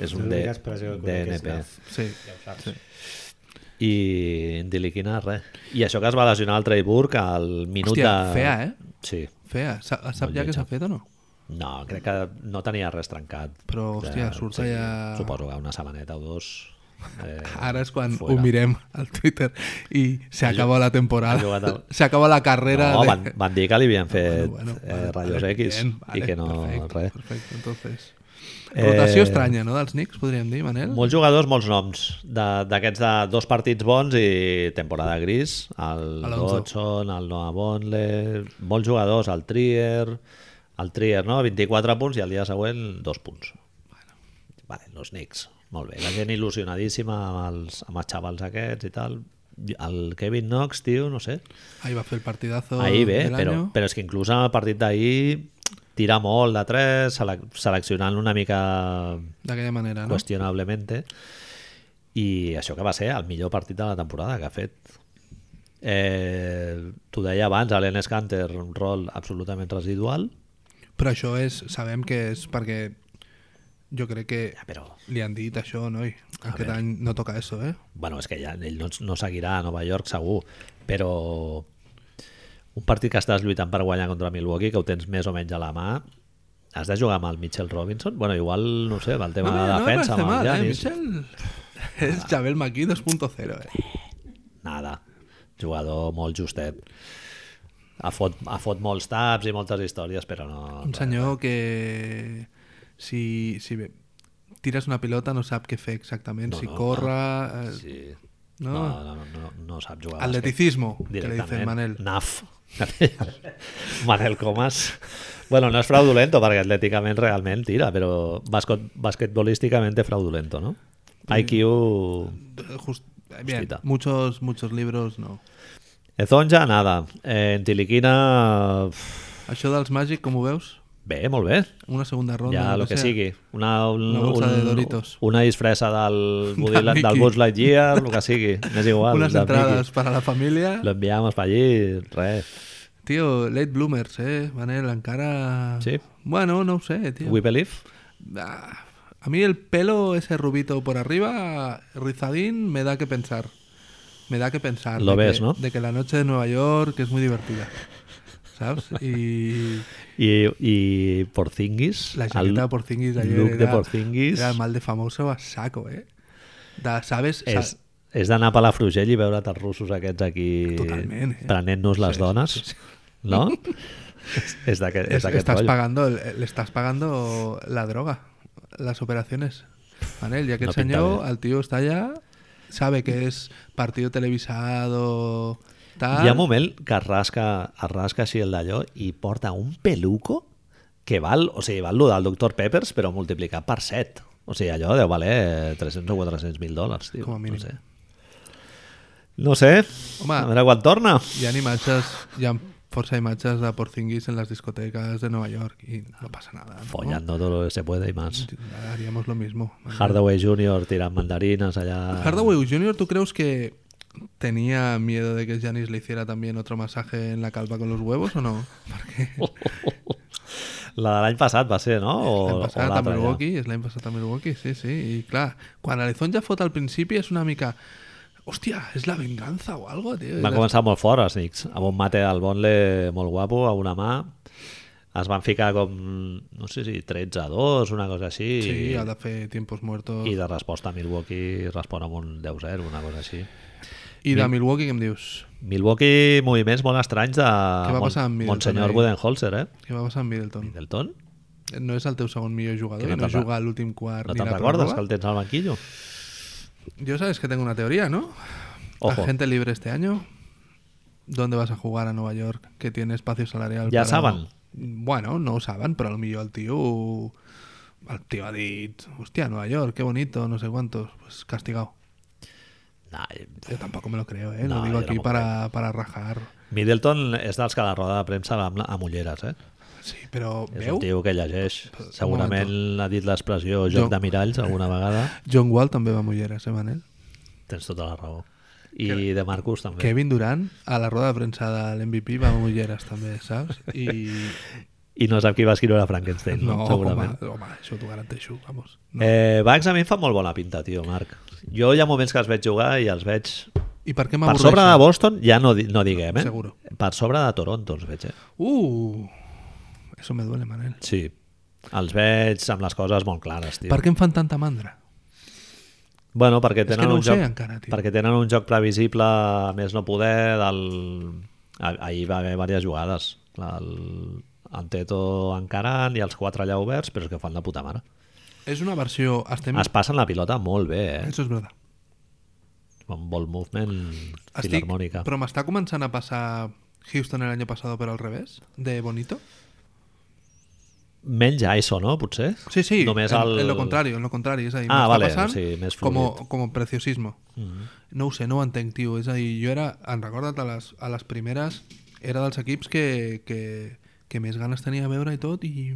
Speaker 1: És un D,
Speaker 3: L'única expressió que conec és
Speaker 1: DNP.
Speaker 3: naf.
Speaker 2: Sí.
Speaker 1: I Entiliquina, res. I això que es va lesionar el Trey Burke al minut
Speaker 2: Hòstia,
Speaker 1: de...
Speaker 2: fea, eh?
Speaker 1: Sí.
Speaker 2: Fea. Sap, sap
Speaker 1: Molt
Speaker 2: ja que
Speaker 1: lletja.
Speaker 2: s'ha fet o no?
Speaker 1: No, crec que no tenia res trencat.
Speaker 2: Però,
Speaker 1: Que-
Speaker 2: hòstia, surt allà-
Speaker 1: Suposo que una setmaneta o dos... Eh,
Speaker 2: Ara és quan
Speaker 1: fuera.
Speaker 2: ho mirem al Twitter i se acaba la temporada.
Speaker 1: ha jugat al-
Speaker 2: Se acaba la carrera.
Speaker 1: No,
Speaker 2: de-
Speaker 1: van, van dir que li havien fet
Speaker 2: Bueno,
Speaker 1: eh,
Speaker 2: vale,
Speaker 1: rayos
Speaker 2: vale,
Speaker 1: X
Speaker 2: bien,
Speaker 1: i
Speaker 2: vale,
Speaker 1: que no...
Speaker 2: Perfecte,
Speaker 1: res.
Speaker 2: perfecte. Entonces,
Speaker 1: Eh,
Speaker 2: rotació estranya, no?, dels Knicks, podríem dir, Manel?
Speaker 1: Molts jugadors, molts noms. De- D'aquests de, dos partits bons i temporada gris. El
Speaker 2: Alonso.
Speaker 1: Dodson, el Noah Bonle... Molts jugadors, el Trier... El Trier, no? 24 punts i el dia següent, dos punts. Vale, los Knicks. Molt bé. La gent il·lusionadíssima amb els, amb els xavals aquests i tal. El Kevin Knox, tio, no sé.
Speaker 2: Ahí va a fer el partidazo
Speaker 1: Ahir bé,
Speaker 2: del
Speaker 1: però,
Speaker 2: año.
Speaker 1: però és que inclús en el partit d'ahir tira molt de 3, selec seleccionant una mica
Speaker 2: D'aquella manera, Ah, no?
Speaker 1: qüestionablement. I això que va ser el millor partit de la temporada que ha fet. Eh, T'ho deia abans, Alen Scanter, un rol absolutament residual,
Speaker 2: Però això és, sabem que és perquè jo crec que
Speaker 1: ja, però
Speaker 2: li han dit això, noi. Aquest any no toca això, eh?
Speaker 1: bueno, és que ja ell no, no seguirà a Nova York segur, però un partit que estàs lluitant per guanyar contra Milwaukee, que ho tens més o menys a la mà, has de jugar amb el Mitchell Robinson? Bueno, igual, no ho sé, amb el tema de
Speaker 2: me- me
Speaker 1: defensa,
Speaker 2: parece
Speaker 1: amb el
Speaker 2: mal, eh,
Speaker 1: Giannis...
Speaker 2: Michel. Es Chabel Maquí 2.0, eh.
Speaker 1: Nada. jugador molt justet. Ha fot, ha fot molts taps i moltes històries, però no...
Speaker 2: Un senyor que si, si bé, tires una pilota no sap què fer exactament,
Speaker 1: No,
Speaker 2: si
Speaker 1: no,
Speaker 2: corre... eh,
Speaker 1: Sí. No,
Speaker 2: No?
Speaker 1: no, no, no, no sap jugar. a bàsquet.
Speaker 2: Atleticismo, que le
Speaker 1: Directament.
Speaker 2: dicen Manel.
Speaker 1: Naf. Manel Comas. Bueno, no és fraudulento, perquè atlèticament realment tira, però bascot, basquetbolísticament és fraudulento, no? IQ...
Speaker 2: Just- bien,
Speaker 1: Hostita.
Speaker 2: muchos, muchos libros no.
Speaker 1: Ezonja, nada. Eh, en Tiliquina...
Speaker 2: Això dels Magic, com ho veus?
Speaker 1: Bé, molt bé.
Speaker 2: Una segunda ronda.
Speaker 1: ja,
Speaker 2: lo
Speaker 1: el que
Speaker 2: sea.
Speaker 1: sigui. Una, un,
Speaker 2: Una bolsa de Doritos.
Speaker 1: Una disfressa del, Woody-
Speaker 2: Mickey.
Speaker 1: del Buzz Lightyear, el que sigui. M'és igual.
Speaker 2: Unas
Speaker 1: del
Speaker 2: entradas
Speaker 1: Mickey.
Speaker 2: para la familia.
Speaker 1: Lo enviamos para allí, res.
Speaker 2: Tío, late bloomers, eh, Manel, encara...
Speaker 1: Sí.
Speaker 2: Bueno, no ho sé, tío.
Speaker 1: We believe.
Speaker 2: Ah, A mí el pelo ese rubito por arriba, rizadín, me da que pensar. Me da que pensar.
Speaker 1: Lo
Speaker 2: de
Speaker 1: ves,
Speaker 2: que-
Speaker 1: ¿no?
Speaker 2: De que la noche de Nueva York es muy divertida. ¿Sabes? Y
Speaker 1: I, i Porzingis
Speaker 2: la chaqueta de Porzingis de ayer
Speaker 1: look
Speaker 2: era,
Speaker 1: de Porzingis
Speaker 2: era el mal de famoso a saco, ¿eh? Da- ¿Sabes? Sa-
Speaker 1: és, és d'anar a Palafrugell i veure't els russos aquests aquí
Speaker 2: Totalment, eh?
Speaker 1: prenent-nos les
Speaker 2: Sí,
Speaker 1: dones no? és, és d'aquest
Speaker 2: es-
Speaker 1: és d'aquest
Speaker 2: estás
Speaker 1: rotllo
Speaker 2: pagando, el- le estás pagando la droga, las operaciones. Manel, ya que
Speaker 1: No
Speaker 2: el
Speaker 1: pinta
Speaker 2: señor,
Speaker 1: bien.
Speaker 2: al tío está ya, sabe que es partido televisado, tal.
Speaker 1: hi ha un moment que es rasca, es rasca així el d'allò i porta un peluco que val, o sigui, val lo del Dr. Peppers però multiplicat per 7 o sigui, allò deu valer 300 o 400 mil dòlars tio.
Speaker 2: Com a mínim.
Speaker 1: no sé no sé,
Speaker 2: Home.
Speaker 1: a veure quan torna
Speaker 2: Hi ha imatges, hi ha força imatges de Porzingis en les discotecas de Nueva York y no pasa nada. ¿no?
Speaker 1: follando todo lo que se puede y más
Speaker 2: Haríamos lo mismo.
Speaker 1: Hardaway Jr. tirant mandarinas allà...
Speaker 2: Hardaway Jr., ¿tú crees que tenía miedo de que Janis le hiciera también otro masaje en la calva con los huevos o no? Porque
Speaker 1: La de l'any passat va ser, no? O,
Speaker 2: l'any
Speaker 1: o
Speaker 2: passat a
Speaker 1: l'altra ja.
Speaker 2: Milwaukee, és l'any passat a Milwaukee, sí, sí. I clar, quan l'Ezon ja fot al principi és una mica... Hòstia, és la venganza o algo, tio.
Speaker 1: Van començar molt fort els Knicks, amb un mate del Bonle molt guapo, a una mà. Es van ficar com, no sé si 13 a 2, una cosa així.
Speaker 2: Sí,
Speaker 1: i,
Speaker 2: ha de fer tiempos muertos.
Speaker 1: I
Speaker 2: I de,
Speaker 1: de resposta Milwaukee respon amb un 10-0, una cosa així.
Speaker 2: I de Milwaukee, què em dius?
Speaker 1: Milwaukee, moviments molt estranys de
Speaker 2: va passar amb Middleton
Speaker 1: Monsenyor
Speaker 2: ahí?
Speaker 1: Budenholzer, eh?
Speaker 2: Què va passar amb Middleton?
Speaker 1: Middleton?
Speaker 2: No és el teu segon millor jugador,
Speaker 1: Que no
Speaker 2: no, no
Speaker 1: te'n re-
Speaker 2: juga a l'últim quart
Speaker 1: No
Speaker 2: ni
Speaker 1: te'n
Speaker 2: la
Speaker 1: recordes que
Speaker 2: pròrroga.
Speaker 1: el tens al banquillo?
Speaker 2: Yo sabes que tengo una teoría, ¿no?
Speaker 1: Ojo.
Speaker 2: Agente libre este año. ¿Dónde vas a jugar a Nueva York que tiene espacio salarial?
Speaker 1: Ja
Speaker 2: para-
Speaker 1: saben.
Speaker 2: Bueno, no usaban, pero a lo mejor el tío... El tío ha dicho, hostia, Nueva York, qué bonito, no sé cuántos. Pues castigado.
Speaker 1: Nah,
Speaker 2: Yo tampoco me lo creo, ¿eh?
Speaker 1: No,
Speaker 2: lo digo
Speaker 1: yo
Speaker 2: aquí
Speaker 1: tampoco
Speaker 2: para, para rajar.
Speaker 1: Middleton és dels que a la roda de premsa va amb, la- amb ulleres, eh?
Speaker 2: Sí, pero
Speaker 1: És
Speaker 2: veu?
Speaker 1: un tio que llegeix. Segurament ha dit l'expressió joc
Speaker 2: Jo-
Speaker 1: de miralls alguna vegada.
Speaker 2: John Wall també va a mulleres, eh, Manel?
Speaker 1: Tens tota la raó. I de Marcus també.
Speaker 2: Kevin Durant, a la roda de premsa de l'MVP, va a mulleres també, saps? I,
Speaker 1: I no sap qui va escriure a Frankenstein, no,
Speaker 2: No, home,
Speaker 1: segurament.
Speaker 2: home, això t'ho garanteixo, vamos.
Speaker 1: No. Eh, Bugs a mi em fa molt bona pinta, tio, Marc. Jo hi ha moments que els veig jugar i els veig...
Speaker 2: I per
Speaker 1: Per
Speaker 2: què m'avorreixo?
Speaker 1: sobre de Boston, ja no, di- no diguem, eh?
Speaker 2: Seguro.
Speaker 1: Per sobre de Toronto els veig, eh?
Speaker 2: Uh, eso me duele, Manel.
Speaker 1: Sí. Els veig amb les coses molt clares, tio.
Speaker 2: Per què em fan tanta mandra?
Speaker 1: Bueno, perquè
Speaker 2: que
Speaker 1: tenen
Speaker 2: no
Speaker 1: un
Speaker 2: ho sé
Speaker 1: joc,
Speaker 2: encara, tio.
Speaker 1: perquè tenen un joc previsible a més no poder del... ah- ahir va haver diverses jugades el... en Teto encarant i els quatre allà oberts però és que ho fan de puta mare
Speaker 2: És una versió... Estem...
Speaker 1: es passen la pilota molt bé eh?
Speaker 2: Això és verdad.
Speaker 1: amb ball movement
Speaker 2: Estic...
Speaker 1: filarmònica
Speaker 2: Però m'està començant a passar Houston el año pasado, però al revés, de bonito.
Speaker 1: menys ISO, no? Potser?
Speaker 2: Sí, sí,
Speaker 1: Només
Speaker 2: en,
Speaker 1: el...
Speaker 2: en lo contrario, en lo contrario. És a dir,
Speaker 1: Ah,
Speaker 2: m'està
Speaker 1: vale,
Speaker 2: passant
Speaker 1: o sigui, més
Speaker 2: com, com preciosismo.
Speaker 1: Mm.
Speaker 2: No ho sé, no ho entenc, tio. És a dir, jo era, en recorda't, a les, a les primeres era dels equips que, que, que més ganes tenia a veure i tot i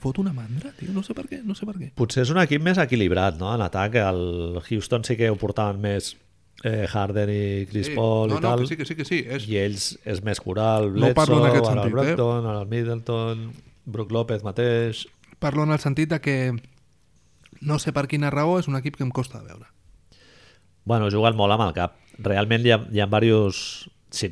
Speaker 2: fot una mandra, tio. No sé per què, no sé per què.
Speaker 1: Potser és un equip més equilibrat, no? En atac, el Houston sí que ho portaven més eh, Harden i Chris
Speaker 2: Sí,
Speaker 1: Paul
Speaker 2: no,
Speaker 1: i
Speaker 2: Eh, no,
Speaker 1: tal
Speaker 2: que sí, que sí, que sí. És,
Speaker 1: I ells és més coral,
Speaker 2: No
Speaker 1: Bledsoe,
Speaker 2: parlo en aquest
Speaker 1: ara el
Speaker 2: sentit, eh?
Speaker 1: Brampton, ara el Middleton, Brook López mateix...
Speaker 2: Parlo en el sentit de que no sé per quina raó és un equip que em costa de veure.
Speaker 1: Bueno, juguen molt amb el cap. Realment hi ha, hi ha diversos... Si,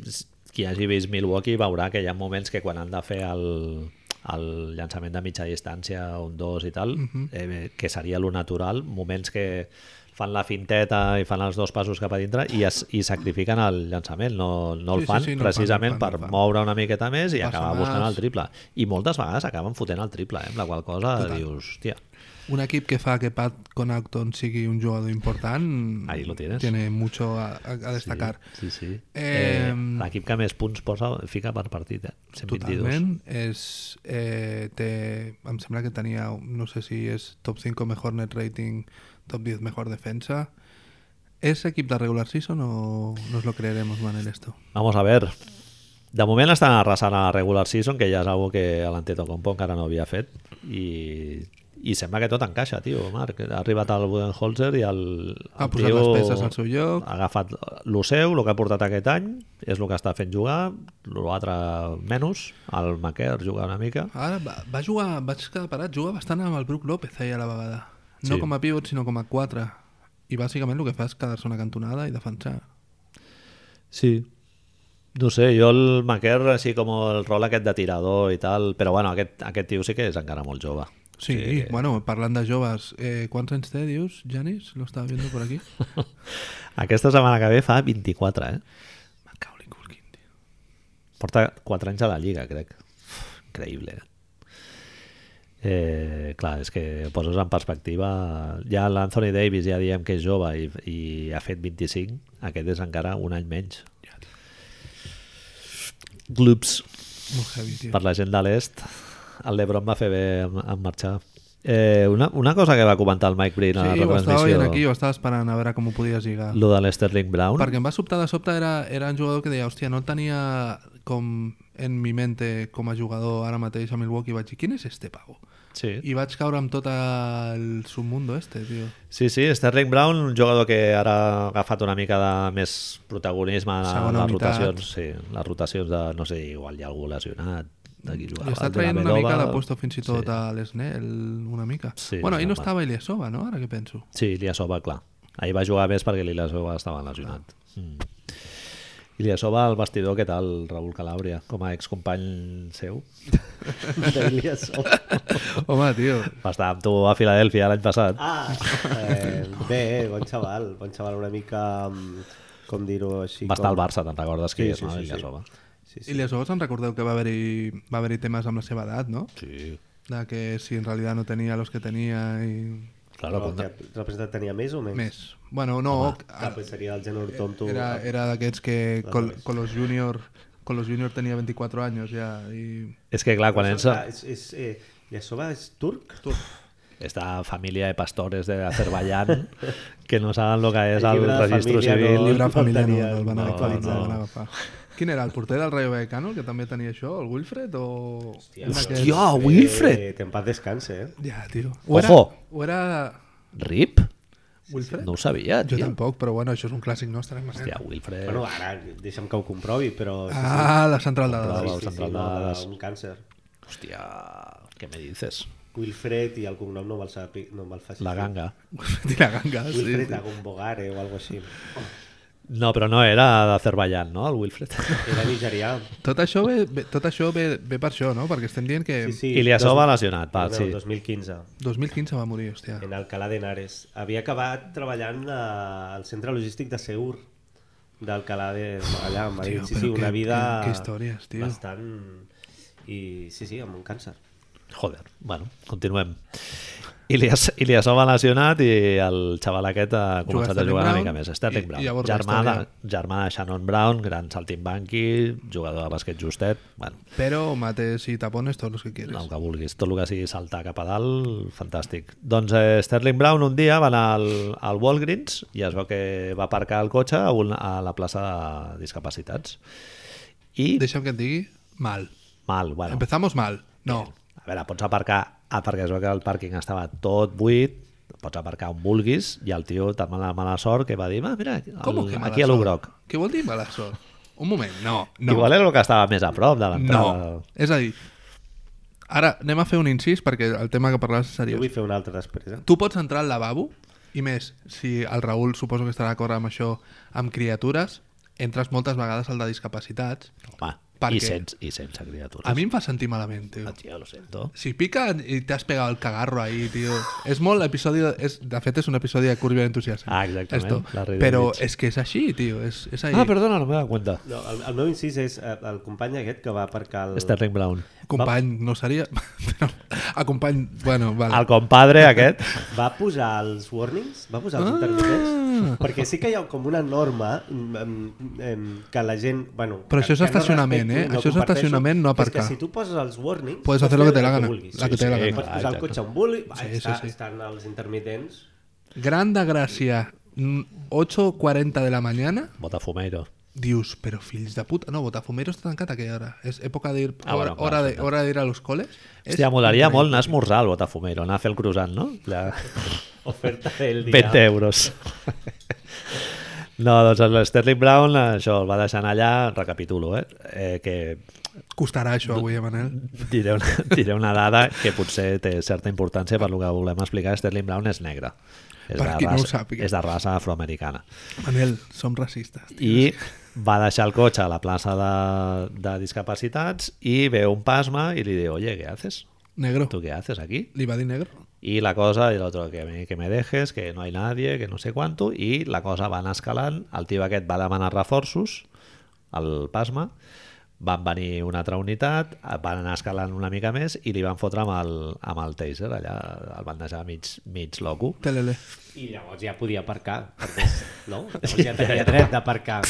Speaker 1: qui hagi vist Milwaukee veurà que hi ha moments que quan han de fer el, el
Speaker 2: Mhm.
Speaker 1: llançament de mitja distància, un dos i tal, eh, que seria lo natural, moments que fan la finteta i fan els dos passos cap a dintre i, es, i sacrifiquen el llançament, no, no el
Speaker 2: Sí, sí,
Speaker 1: fan
Speaker 2: sí, no el fan, no el
Speaker 1: precisament
Speaker 2: fan, no el
Speaker 1: per
Speaker 2: fan.
Speaker 1: moure una miqueta més i
Speaker 2: Passa
Speaker 1: acabar
Speaker 2: més.
Speaker 1: buscant el triple. I moltes vegades acaben fotent el triple, eh? amb la qual cosa
Speaker 2: Total.
Speaker 1: dius, hòstia,
Speaker 2: Un equip que fa que Pat Connaughton sigui un jugador important
Speaker 1: Ahí lo tienes.
Speaker 2: tiene mucho a, a- a destacar.
Speaker 1: Sí, sí. sí. Eh...
Speaker 2: Eh,
Speaker 1: L'equip que més punts posa, fica per partit, eh? 122.
Speaker 2: Totalment. És, eh, té, em sembla que tenia, no sé si és top 5 mejor net rating, top 10 mejor defensa. ¿Es equipo de regular season o nos lo creeremos, Manel, esto?
Speaker 1: Vamos a ver. De moment estan arrasant a la regular season, que ja és algo que l'Antetokounmpo encara no havia fet, i, i sembla que tot encaixa, tio, Marc. Ha arribat al Budenholzer i el,
Speaker 2: Ha
Speaker 1: el
Speaker 2: posat les peces al seu lloc.
Speaker 1: Ha agafat el seu, el que ha portat aquest any, és el que està fent jugar, l'altre menys, el Maquer juga una mica.
Speaker 2: Ara va, va jugar, vaig quedar parat, juga bastant amb el Brook López ahir a la vegada. No
Speaker 1: Sí.
Speaker 2: com a pivot, sinó com a 4. I bàsicament el que fa és quedar-se una cantonada i defensar.
Speaker 1: Sí. No sé, jo el Maquer, així com el rol aquest de tirador i tal, però bueno, aquest, aquest tio sí que és encara molt jove.
Speaker 2: Sí, sí que... bueno, parlant de joves, eh, quants anys té, dius, Janis? Lo estava viendo por aquí.
Speaker 1: Aquesta setmana que ve fa 24, eh?
Speaker 2: Macaulay Culkin, tio.
Speaker 1: Porta 4 anys a la Lliga, crec. Uf, Increïble. Eh, clar, és que poses en perspectiva... Ja l'Anthony Davis ja diem que és jove i, i ha fet 25. Aquest és encara un any menys.
Speaker 2: Ja, tio.
Speaker 1: Gloops.
Speaker 2: Molt heavy, tio.
Speaker 1: Per la gent de l'est, el Lebron va fer bé en, en marxar. Eh, una, una cosa que va comentar el Mike Breen a
Speaker 2: Sí,
Speaker 1: la
Speaker 2: ho estava
Speaker 1: retransmissió,
Speaker 2: veient aquí, ho estava esperant a veure com ho podies lligar.
Speaker 1: Ah, lo de l'Sterling Brown,
Speaker 2: Perquè em va sobtar de sobte, era, era un jugador que deia, hòstia, no el tenia com en mi mente com a jugador ara mateix a Milwaukee. Vaig dir, quin és este pavo?
Speaker 1: sí.
Speaker 2: I vaig caure amb tot el submundo este, tio.
Speaker 1: Sí, sí, Sterling Brown, un jugador que ara ha agafat una mica de més protagonisme a
Speaker 2: Segona
Speaker 1: les
Speaker 2: unitat.
Speaker 1: rotacions, sí, les rotacions de, no sé, igual hi ha algú lesionat, de qui jugava.
Speaker 2: Li està
Speaker 1: el
Speaker 2: traient una
Speaker 1: Delavedova.
Speaker 2: mica de puesto fins i tot sí. a l'Esnel, una mica.
Speaker 1: Sí,
Speaker 2: bueno, ahir no
Speaker 1: normal.
Speaker 2: estava Iliasova, no? Ara que penso.
Speaker 1: Sí, Iliasova, clar. Ahir va jugar més perquè l'Iliasova estava lesionat.
Speaker 2: Ah.
Speaker 1: Mm. Iliasova, al vestidor, què tal, Raül Calàbria, com a excompany seu?
Speaker 2: Home, tio,
Speaker 1: Va estar amb tu a Filadèlfia l'any passat.
Speaker 3: Ah, eh, bé, bon xaval, bon xaval, una mica, mm, com dir-ho així...
Speaker 1: va estar al
Speaker 3: com...
Speaker 1: Barça, te'n recordes qui
Speaker 3: Sí,
Speaker 1: és,
Speaker 3: sí,
Speaker 1: no,
Speaker 3: sí, sí.
Speaker 1: Iliasova?
Speaker 3: Sí, sí.
Speaker 2: Iliasova se'n recordeu que va haver-hi va haver temes amb la seva edat, no?
Speaker 1: Sí.
Speaker 2: De que si en realitat no tenia los que tenia i...
Speaker 1: Claro,
Speaker 3: Però
Speaker 1: com...
Speaker 3: que representat tenia més o menys?
Speaker 2: Més. Bueno, no,
Speaker 3: Ah,
Speaker 2: a-
Speaker 3: pues seria el Genor Tonto.
Speaker 2: era, era d'aquests que Col, Colos Junior Colos Junior tenia 24 anys ja i...
Speaker 1: És que, clar, quan ets...
Speaker 3: És, és, eh, Iliasova és turc?
Speaker 1: esta familia de pastores de Azerbaiyán que no saben lo que es
Speaker 3: El
Speaker 1: al
Speaker 3: llibre de
Speaker 1: registro
Speaker 3: família
Speaker 1: civil.
Speaker 2: El
Speaker 3: no-
Speaker 2: llibre familiar no,
Speaker 3: tenia-
Speaker 2: no el van
Speaker 3: no,
Speaker 2: actualitzar,
Speaker 1: no.
Speaker 2: el van agafar. Quin era, el porter del Rayo Vallecano, el que també tenia això, el Wilfred, o... un d'aquests?
Speaker 1: Hòstia, Ah, Wilfred!
Speaker 3: Eh, que en paz descanse, eh?
Speaker 2: Ja, tio.
Speaker 1: Ojo.
Speaker 2: O era, o era
Speaker 1: Rip?
Speaker 2: Wilfred?
Speaker 1: No ho sabia,
Speaker 2: Jo
Speaker 1: tio.
Speaker 2: tampoc, però bueno, això és un clàssic nostre.
Speaker 1: Hòstia,
Speaker 2: Hòstia,
Speaker 1: Wilfred.
Speaker 3: Bueno, ara, deixa'm que ho comprovi, però... sí, sí.
Speaker 2: ah, la central de
Speaker 1: Bravo,
Speaker 2: dades.
Speaker 1: el central
Speaker 3: no,
Speaker 1: de
Speaker 3: de
Speaker 1: dades.
Speaker 3: un càncer.
Speaker 1: Hòstia, què me dices?
Speaker 3: Wilfred i el cognom no me'l sapi- no me'l facis.
Speaker 1: La ganga.
Speaker 2: Wilfred i la ganga, Ah, sí.
Speaker 3: Wilfred Agombogare o algo així.
Speaker 1: No, però no era d'Azerbaiyán, no, el Wilfred?
Speaker 3: Era nigerià.
Speaker 2: Tot això, ve, ve, tot això ve, ve per això, no? Perquè estem dient que
Speaker 3: Sí, sí.
Speaker 1: I li assoba
Speaker 3: dos-
Speaker 1: lesionat, val,
Speaker 3: no,
Speaker 1: sí.
Speaker 3: 2015,
Speaker 2: 2015 va morir, hòstia.
Speaker 3: en Alcalá de Henares. Havia acabat treballant a, al centre logístic de Seur, d'Alcalá de Magallà. Em va dir,
Speaker 2: Tio,
Speaker 3: sí,
Speaker 2: però
Speaker 3: sí, una
Speaker 2: que-
Speaker 3: vida...
Speaker 2: que- que històries, tio.
Speaker 3: Bastant... I sí, sí, amb un càncer.
Speaker 1: Joder, bueno, continuem. I li, as, i li assoba lesionat i el xaval aquest ha començat a
Speaker 2: Sterling
Speaker 1: jugar una
Speaker 2: Brown
Speaker 1: mica més. Sterling
Speaker 2: i-
Speaker 1: Brown,
Speaker 2: i llavors la
Speaker 1: germà, de,
Speaker 2: història.
Speaker 1: germà de Shannon Brown, gran saltimbanqui, jugador de bàsquet justet. Bueno,
Speaker 2: Però mates i tapones tots els que quieres.
Speaker 1: El que vulguis, tot el que sigui saltar cap a dalt, fantàstic. Doncs eh, Sterling Brown un dia va anar al, al Walgreens i es veu que va aparcar el cotxe a, un, a la plaça de discapacitats. I
Speaker 2: Deixa'm que et digui, mal.
Speaker 1: mal, bueno,
Speaker 2: Empezamos mal. No.
Speaker 1: a veure, pots aparcar, ah, perquè es veu que el pàrquing estava tot buit, pots aparcar on vulguis i el tio tan mala, mala sort que va dir, ah, mira, el,
Speaker 2: Com que mala
Speaker 1: aquí a lo
Speaker 2: sort?
Speaker 1: groc.
Speaker 2: Què vol dir mala sort? Un moment, no.
Speaker 1: No.
Speaker 2: no.
Speaker 1: Igual era el que estava més a prop de l'entrada.
Speaker 2: No. És a dir, ara anem a fer un incís perquè el tema que parlaràs és
Speaker 3: Jo
Speaker 2: seriós.
Speaker 3: vull fer un altre després, eh?
Speaker 2: Tu pots entrar al lavabo i més, si el Raül suposo que estarà d'acord amb això, amb criatures, entres moltes vegades al de discapacitats
Speaker 1: Home, I
Speaker 2: Perquè Ah.
Speaker 1: sense, I sense criatures.
Speaker 2: a mi em fa sentir malament, tio.
Speaker 1: Ah, tio, lo sento.
Speaker 2: Si pica i t'has pegat el cagarro ahí, tio. És molt l'episodi... de- És, de fet, és un episodi de Curvio d'entusiasme.
Speaker 1: Ah, exactament,
Speaker 2: Esto.
Speaker 1: la reina
Speaker 2: Però
Speaker 1: del mig.
Speaker 2: és que és així, tio. És, és ahí.
Speaker 1: Ah, perdona, no me he dado cuenta.
Speaker 3: No, el, el meu incís és eh, el company aquest que va aparcar el...
Speaker 1: Sterling Brown.
Speaker 2: Company, no seria... Però, a company... Bueno, vale.
Speaker 1: El compadre aquest.
Speaker 3: Va posar els warnings? Va posar els
Speaker 2: Ah.
Speaker 3: intermitents? Perquè sí que hi ha com una norma mm, mm, mm, que la gent... Bueno,
Speaker 2: Però
Speaker 3: que-
Speaker 2: això és
Speaker 3: que no
Speaker 2: estacionament,
Speaker 3: respecto
Speaker 2: eh?
Speaker 3: i
Speaker 2: Això és
Speaker 3: comparteixo,
Speaker 2: estacionament, no
Speaker 3: que és
Speaker 2: aparcar.
Speaker 3: Que si tu poses els warnings...
Speaker 2: Puedes hacer lo que
Speaker 3: fer
Speaker 2: te la
Speaker 3: el
Speaker 2: gana,
Speaker 3: vulguis.
Speaker 2: la que te la gana.
Speaker 3: Pots posar
Speaker 1: Exacte.
Speaker 3: el cotxe on vulgui,
Speaker 2: Sí,
Speaker 3: sí,
Speaker 2: sí,
Speaker 3: està,
Speaker 2: sí.
Speaker 3: estan els intermitents.
Speaker 2: Gran de gràcia. Mm, 8.40 de la mañana.
Speaker 1: Botafumeiro.
Speaker 2: Dius, però fills de puta... No, Botafumeiro està tancat a aquella hora. És època d'ir...
Speaker 1: Ah,
Speaker 2: hora,
Speaker 1: bueno, clar,
Speaker 2: hora, de,
Speaker 1: escolta.
Speaker 2: hora d'ir a los coles.
Speaker 1: Hòstia, molaria molt anar a esmorzar al Botafumeiro, anar a fer el croissant, no? La...
Speaker 3: Oferta del dia.
Speaker 1: 20 euros. No, doncs l'Sterling Brown això el va deixant allà, recapitulo, eh? eh que
Speaker 2: Costarà això avui, eh, Manel?
Speaker 1: diré una, diré una dada que potser té certa importància per lo que volem explicar. Sterling Brown és negre. És,
Speaker 2: Per
Speaker 1: de
Speaker 2: qui no ho
Speaker 1: raça,
Speaker 2: sàpiga.
Speaker 1: és de raça afroamericana.
Speaker 2: Manel, som racistes.
Speaker 1: i va deixar el cotxe a la plaça de, de discapacitats i ve un pasma i li diu, oye, ¿qué haces?
Speaker 2: Negro.
Speaker 1: ¿Tú qué haces aquí?
Speaker 2: Li va dir negro?
Speaker 1: Y la cosa, y el otro, que me, que me dejes, que no hay nadie, que no sé cuánto, i la cosa va anar escalant, el tio aquest va demanar reforços, el pasma, van venir una altra unitat, van anar escalant una mica més i li van fotre amb el, amb el taser, allà el van deixar mig, mig loco.
Speaker 2: Telele.
Speaker 3: I llavors ja podia aparcar, perquè, no? Llavors ja tenia dret d'aparcar.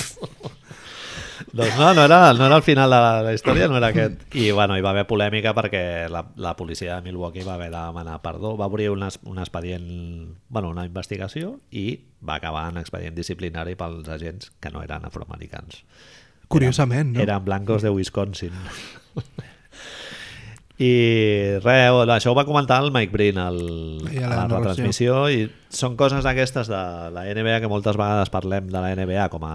Speaker 1: Doncs no, no era, no era el final de la, la història, no era aquest. I bueno, hi va haver polèmica perquè la, la policia de Milwaukee va haver de demanar perdó, va obrir un, es- un expedient, bueno, una investigació i va acabar en expedient disciplinari pels agents que no eren afroamericans.
Speaker 2: Curiosament, no?
Speaker 1: Eren blancos de Wisconsin. I res, això ho va comentar el Mike Brin al,
Speaker 2: I
Speaker 1: a
Speaker 2: a la
Speaker 1: la
Speaker 2: narració.
Speaker 1: retransmissió i són coses d'aquestes de la NBA que moltes vegades parlem de la NBA com a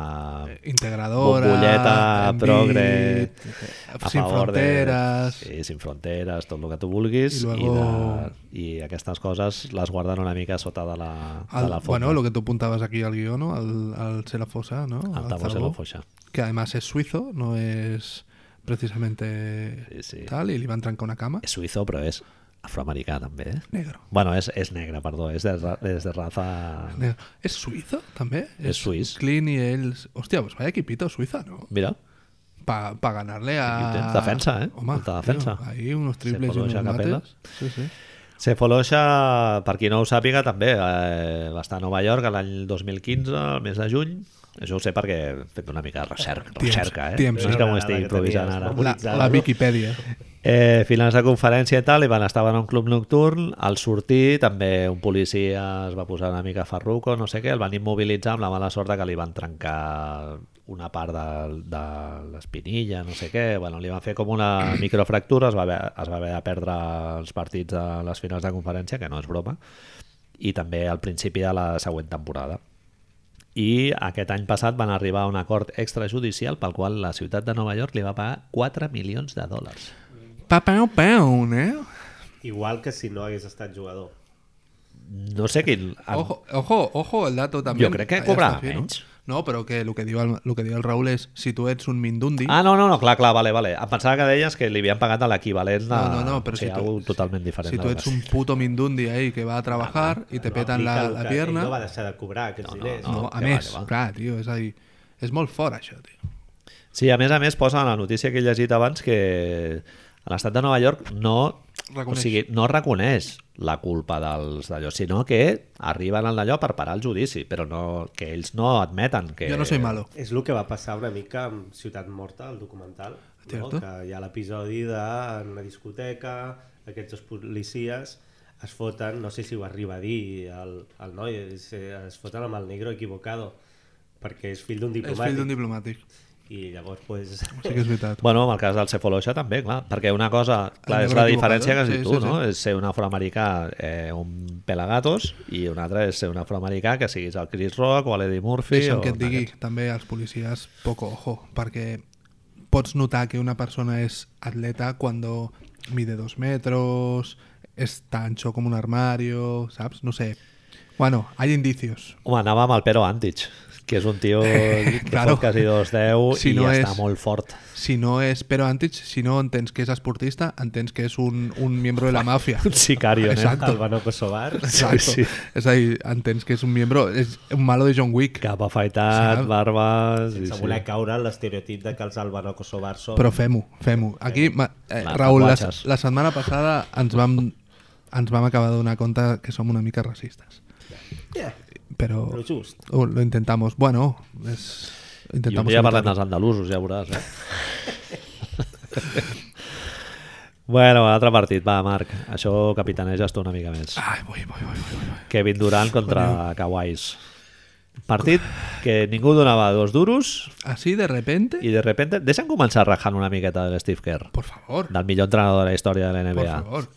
Speaker 2: Integradora,
Speaker 1: Bombolleta,
Speaker 2: Embiid,
Speaker 1: progre,
Speaker 2: a
Speaker 1: a
Speaker 2: sin
Speaker 1: favor de-
Speaker 2: fronteres...
Speaker 1: Sí, sin fronteres, tot el que tu vulguis.
Speaker 2: I
Speaker 1: I,
Speaker 2: luego-
Speaker 1: de, i aquestes coses les guarden una mica sota de la, de
Speaker 2: Al-
Speaker 1: la forma.
Speaker 2: bueno, lo que tú apuntabas aquí al guión, ¿no? Al, al Serafosa, ¿no?
Speaker 1: El
Speaker 2: Al
Speaker 1: Tabo se
Speaker 2: Zarbo,
Speaker 1: lo foixa.
Speaker 2: Que además es suizo, no es precisamente
Speaker 1: Sí, sí.
Speaker 2: tal, y le iban a trancar una cama.
Speaker 1: És suïzo, però és afroamericà, també. Eh?
Speaker 2: Negro.
Speaker 1: Bueno, és, és negre, perdó, és de, ra- és de raza...
Speaker 2: negro. ¿Es suizo también?
Speaker 1: Es suiz.
Speaker 2: Clean y él. Hostia, pues vaya equipito Suiza, ¿no?
Speaker 1: Mira,
Speaker 2: Para ganarle a.
Speaker 1: Y tienes defensa, ¿eh?
Speaker 2: Home,
Speaker 1: Molta
Speaker 2: tio,
Speaker 1: defensa.
Speaker 2: ahí unos triples y
Speaker 1: Seppolo,
Speaker 2: unos
Speaker 1: Jacapella.
Speaker 2: mates. Sí, sí.
Speaker 1: Se Foloixa, per qui no ho sàpiga, també eh, va estar a Nova York l'any 2015, el mes de juny. Això ho sé perquè he fet una mica de recerca,
Speaker 2: Temps,
Speaker 1: recerca eh?
Speaker 2: temps.
Speaker 1: No és que
Speaker 3: Era
Speaker 1: m'ho
Speaker 3: la
Speaker 1: estic
Speaker 3: que
Speaker 1: improvisant
Speaker 3: tenies,
Speaker 1: ara.
Speaker 3: no?
Speaker 2: La,
Speaker 3: Utilitzada,
Speaker 2: la
Speaker 3: no?
Speaker 2: Wikipedia.
Speaker 1: Eh, finals de conferència i tal, i van estar en un club nocturn, al sortir també un policia es va posar una mica farruco, no sé què, el van immobilitzar amb la mala sort de que li van trencar una part de, de l'espinilla, no sé què, bueno, li van fer com una microfractura, es va, haver, es va haver de perdre els partits de les finals de conferència, que no és broma, i també al principi de la següent temporada. I aquest any passat van arribar a un acord extrajudicial pel qual la ciutat de Nova York li va pagar 4 milions de dòlars.
Speaker 2: Papau, pau, ¿eh?
Speaker 3: Igual que si no hagués estat jugador.
Speaker 1: No sé quin... en-
Speaker 2: Ojo, ojo, ojo el dato también.
Speaker 1: crec que
Speaker 2: Allà
Speaker 1: cobrava
Speaker 2: està fi, no?
Speaker 1: menys.
Speaker 2: No, però que el que diu el, el, que diu el Raül és si tu ets un mindundi...
Speaker 1: Ah, no, no, no, clar, clar, vale, vale. Em pensava que deies que li havien pagat a l'equivalent de...
Speaker 2: no, no, no, però
Speaker 1: o sigui,
Speaker 2: si tu-
Speaker 1: algo totalment diferent.
Speaker 2: si tú
Speaker 1: de
Speaker 2: ets un puto mindundi ahí que va a trabajar y te petan
Speaker 3: Aplica
Speaker 2: la,
Speaker 3: el
Speaker 2: la
Speaker 3: que
Speaker 2: pierna...
Speaker 3: ell No va deixar de cobrar aquests diners.
Speaker 2: No, a
Speaker 1: que va,
Speaker 2: més,
Speaker 1: que va.
Speaker 2: clar, tio, és a dir, és molt fort això, tio.
Speaker 1: Sí, a més a més posa en la notícia que he llegit abans que a l'estat de Nova York no
Speaker 2: Reconeix.
Speaker 1: O sigui, no reconeix la culpa dels d'allò, sinó que arriben al d'allò per parar el judici, però no, que ells no admeten que...
Speaker 2: Jo no soy malo.
Speaker 3: És el que va passar una mica amb Ciutat Morta, el documental, no?
Speaker 2: Cierto.
Speaker 3: que hi ha l'episodi de en una discoteca, aquests dos policies es foten, no sé si ho arriba a dir el, el noi, es, es foten amb el negro equivocado, perquè és fill d'un
Speaker 2: És fill
Speaker 3: diplomàtic.
Speaker 2: d'un diplomàtic.
Speaker 3: I llavors, pues,
Speaker 2: Sí que és veritat.
Speaker 1: Bueno, en el cas del Cefaloixa també, clar, perquè una cosa, clar,
Speaker 2: El
Speaker 1: és
Speaker 2: negre
Speaker 1: la
Speaker 2: equivocado,
Speaker 1: diferència que has dit
Speaker 2: sí,
Speaker 1: tu,
Speaker 2: sí,
Speaker 1: no?
Speaker 2: sí.
Speaker 1: És ser un afroamericà, eh, un pelagatos, i un altre és ser un afroamericà que siguis el Chris Rock o l'Eddie Murphy.
Speaker 2: Deixa'm
Speaker 1: o
Speaker 2: que et digui
Speaker 1: d'aquests.
Speaker 2: també als policies poco ojo, perquè pots notar que una persona és atleta quan mide dos metros, és tan ancho com un armario, saps? No sé. Bueno, hay indicios.
Speaker 1: Home, anava amb el Pero Antich. que és un tio que claro. fot quasi 2'10
Speaker 2: Eh, Si
Speaker 1: si no
Speaker 2: no
Speaker 1: i està
Speaker 2: és-
Speaker 1: molt fort.
Speaker 2: Si no és Pero Antich, si no entens que es esportista, entens que es un, un miembro de la mafia.
Speaker 1: Un sicario, nen.
Speaker 2: Exacto.
Speaker 3: Albano Kosovar.
Speaker 2: Exacto.
Speaker 1: sí.
Speaker 2: És a dir, entens que es un miembro... es un malo de John Wick.
Speaker 1: Cap afaitat,
Speaker 2: Saps?
Speaker 1: barba... Sí,
Speaker 3: Sense voler caure en l'estereotip de que els Albano Kosovar són...
Speaker 2: Però fem-ho, fem-ho. Aquí, ma- eh,
Speaker 1: Va,
Speaker 2: Raül, la,
Speaker 1: tatuatges.
Speaker 2: la setmana passada ens vam, ens vam acabar d'adonar compte que som una mica racistes.
Speaker 3: Yeah,
Speaker 2: Però
Speaker 3: lo just.
Speaker 2: ho, lo intentamos. Bueno, és...
Speaker 1: I un
Speaker 2: Intentamos
Speaker 1: dia parlem
Speaker 2: evitar-ho.
Speaker 1: dels andalusos, ja veuràs, eh? bueno, altre partit, va, Marc. Això capitaneges tu una mica més.
Speaker 2: Ai, voy, voy, voy, voy, voy.
Speaker 1: Kevin Durant contra Kawais. Partit que ningú donava dos duros
Speaker 2: Así de repente...
Speaker 1: i de repente deixen començar rajant una miqueta de Steve Kerr,
Speaker 2: Por favor,
Speaker 1: del millor entrenador de la història de la
Speaker 2: por
Speaker 1: NBA.
Speaker 2: favor.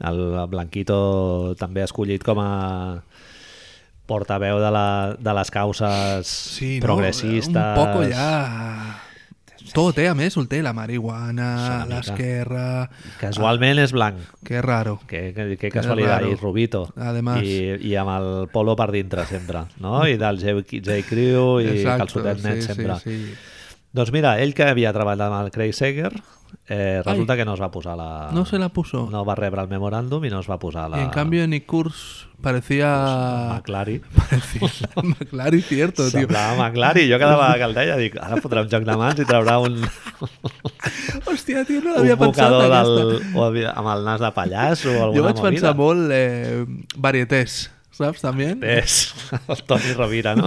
Speaker 1: El Blanquito també ha escollit com a portaveu de, la, de les causes
Speaker 2: Sí, no?
Speaker 1: progressistes.
Speaker 2: Un poco ja... Tot, eh? A més, el té la marihuana,
Speaker 1: Una mica.
Speaker 2: l'esquerra...
Speaker 1: Casualment és blanc.
Speaker 2: Que raro.
Speaker 1: Que, que, que casualitat,
Speaker 2: raro.
Speaker 1: i Rubito.
Speaker 2: Además.
Speaker 1: I, I amb el polo per dintre sempre, no? I del J. J. Crew i
Speaker 2: Exacto,
Speaker 1: calçotet net
Speaker 2: sí,
Speaker 1: sempre.
Speaker 2: Sí, sí.
Speaker 1: Doncs mira, ell que havia treballat amb el Craig Seger, eh, resulta que no es va posar la...
Speaker 2: No se la puso.
Speaker 1: No va rebre el memoràndum i no es va posar la...
Speaker 2: Y en eh, cambio Nick Kurz parecía...
Speaker 1: McLary.
Speaker 2: Parecía McLaren, cierto, tío.
Speaker 1: Semblava McLary. Jo cada vegada que el deia dic, ara fotrà un joc de mans i traurà un,
Speaker 2: Hostia, tío, no lo
Speaker 1: un
Speaker 2: había pensado.
Speaker 1: bocador del,
Speaker 2: aquesta.
Speaker 1: o havia- amb el nas de pallàs o
Speaker 2: Jo
Speaker 1: alguna
Speaker 2: vaig pensar
Speaker 1: movida.
Speaker 2: molt eh, varietés, saps, també?
Speaker 1: És el Toni Rovira, no?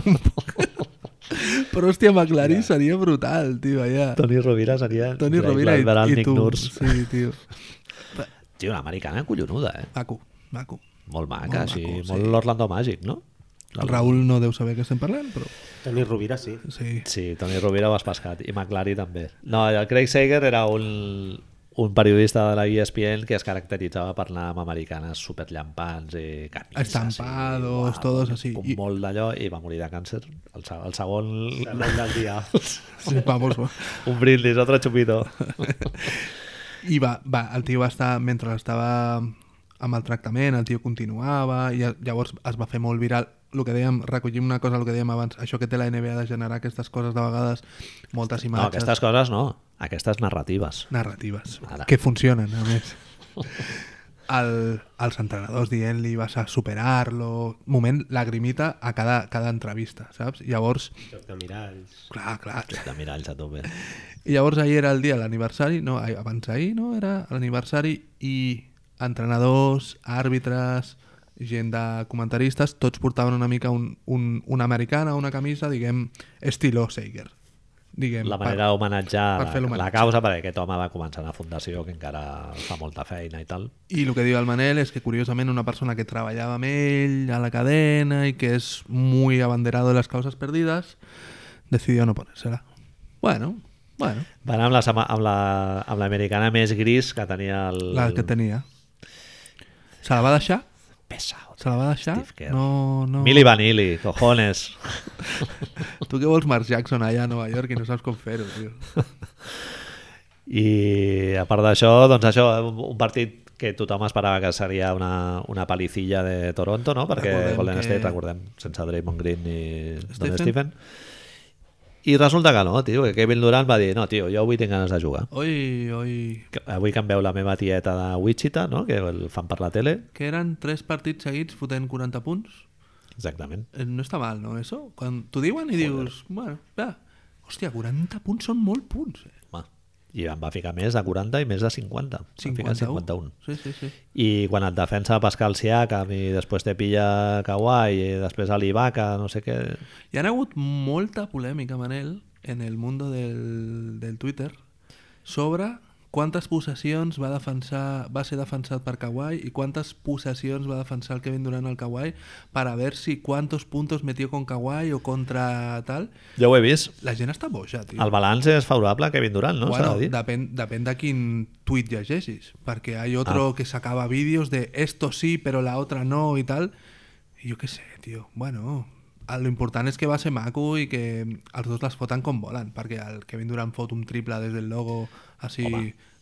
Speaker 2: Però, hòstia, McLaren seria brutal, tio, allà.
Speaker 1: Toni Rovira seria...
Speaker 2: Tony Rovira i,
Speaker 1: i,
Speaker 2: i
Speaker 1: Nick
Speaker 2: tu.
Speaker 1: Nurs.
Speaker 2: Sí, tio.
Speaker 1: Tio, una americana collonuda, eh?
Speaker 2: Maco, maco.
Speaker 1: Molt maca, molt
Speaker 2: Molt
Speaker 1: sí.
Speaker 2: maco, sí.
Speaker 1: Molt l'Orlando Magic, no?
Speaker 2: El Raül no deu saber què estem parlant, però
Speaker 3: Toni Rovira, sí.
Speaker 2: sí.
Speaker 1: Sí, Toni Rovira ho has pescat. I McLary també. No, el Craig Sager era un, un periodista de la E ESPN que es caracteritzava per anar amb americanes superllampants i camises.
Speaker 2: Estampados,
Speaker 1: guapos,
Speaker 2: todos así.
Speaker 1: Com
Speaker 2: I-
Speaker 1: molt d'allò, i va morir de càncer. El, se- el segon...
Speaker 3: Sembla un del dia.
Speaker 2: sí vamos. va.
Speaker 1: Un brindis, otro chupito.
Speaker 2: I va, va, el tio va estar, mentre estava amb el tractament, el tio continuava, i el- llavors es va fer molt viral el que dèiem, recollim una cosa, el que dèiem abans, això que té la NBA de generar aquestes coses de vegades, moltes
Speaker 1: No,
Speaker 2: imatges
Speaker 1: aquestes coses no. Aquestes narratives.
Speaker 2: narratives,
Speaker 1: Ara.
Speaker 2: que funcionen, a més. El, els entrenadors dient-li vas a superar-lo, moment lagrimita a cada, cada entrevista, saps? Llavors,
Speaker 3: Joc de miralls.
Speaker 2: clar, clar,
Speaker 1: De miralls a tope.
Speaker 2: I llavors ahir era el dia de l'aniversari, no, ahir- abans ahir, no? Era l'aniversari i entrenadors, àrbitres, gent de comentaristes, tots portaven una mica un, un, una americana, una camisa, diguem, estiló Seiger. Diguem,
Speaker 1: La manera d'homenatjar
Speaker 2: per fer
Speaker 1: la,
Speaker 2: l'homenatge.
Speaker 1: la causa perquè aquest home va començar una fundació que encara fa molta feina i tal.
Speaker 2: I el que diu el Manel és que, curiosament, una persona que treballava amb ell a la cadena i que és muy abanderado de les causes perdides, decidió no ponérsela. Bueno, bueno,
Speaker 1: Van amb la sama- amb la- amb l'americana la, més gris que tenia el...
Speaker 2: la que tenia. Se la va deixar
Speaker 1: Pesado.
Speaker 2: Se la va deixar?
Speaker 1: Steve Kerr.
Speaker 2: No, no.
Speaker 1: Mili Vanilli, cojones.
Speaker 2: Tu què vols Mark Jackson allà a Nova York i no saps com fer-ho, tio.
Speaker 1: I a part d'això, doncs això, un- un partit que tothom esperava que seria una, una palicilla de Toronto, no? Perquè
Speaker 2: Recordem
Speaker 1: Golden
Speaker 2: que-
Speaker 1: State, recordem, sense Draymond Green ni Stephen.
Speaker 2: Stephen.
Speaker 1: Stephen. I resulta que no, tio, que Kevin Durant va dir no, tio, jo avui tinc ganes de jugar.
Speaker 2: Oi, oi...
Speaker 1: Que- Avui que em veu la meva tieta de Wichita, no? que el fan per la tele,
Speaker 2: Que eren tres partits seguits fotent 40 punts?
Speaker 1: exactament.
Speaker 2: Eh, No està mal, no, eso? Quan t'ho diuen i dius, bueno, va, hòstia, 40 punts són molt punts, eh?
Speaker 1: Home. I em va ficar més de 40 i més de 50. Em va ficar 51.
Speaker 2: Sí, sí, sí.
Speaker 1: I quan et defensa Pascal Siakam i després te pilla Kawhi i després a l'Ibaka, no sé què...
Speaker 2: Hi ha hagut molta polèmica, Manel, en el mundo del, del Twitter, sobre quantes possessions va defensar va ser defensat per Kawhi i quantes possessions va defensar el Kevin Durant al Kawhi para ver si cuántos puntos metió con Kawhi o contra tal.
Speaker 1: Jo ho he vist.
Speaker 2: La gent està boja, tio.
Speaker 1: El balanç és favorable a Kevin Durant, no? S'ha
Speaker 2: bueno,
Speaker 1: de dir.
Speaker 2: depèn, depèn de quin tuit llegeixis, perquè hay otro que sacaba vídeos de esto sí, pero la otra no y tal. I jo què sé, tio. Bueno, a- lo important és que va ser maco i que els dos les foten com volen, perquè el Kevin Durant fot un triple des del logo, així,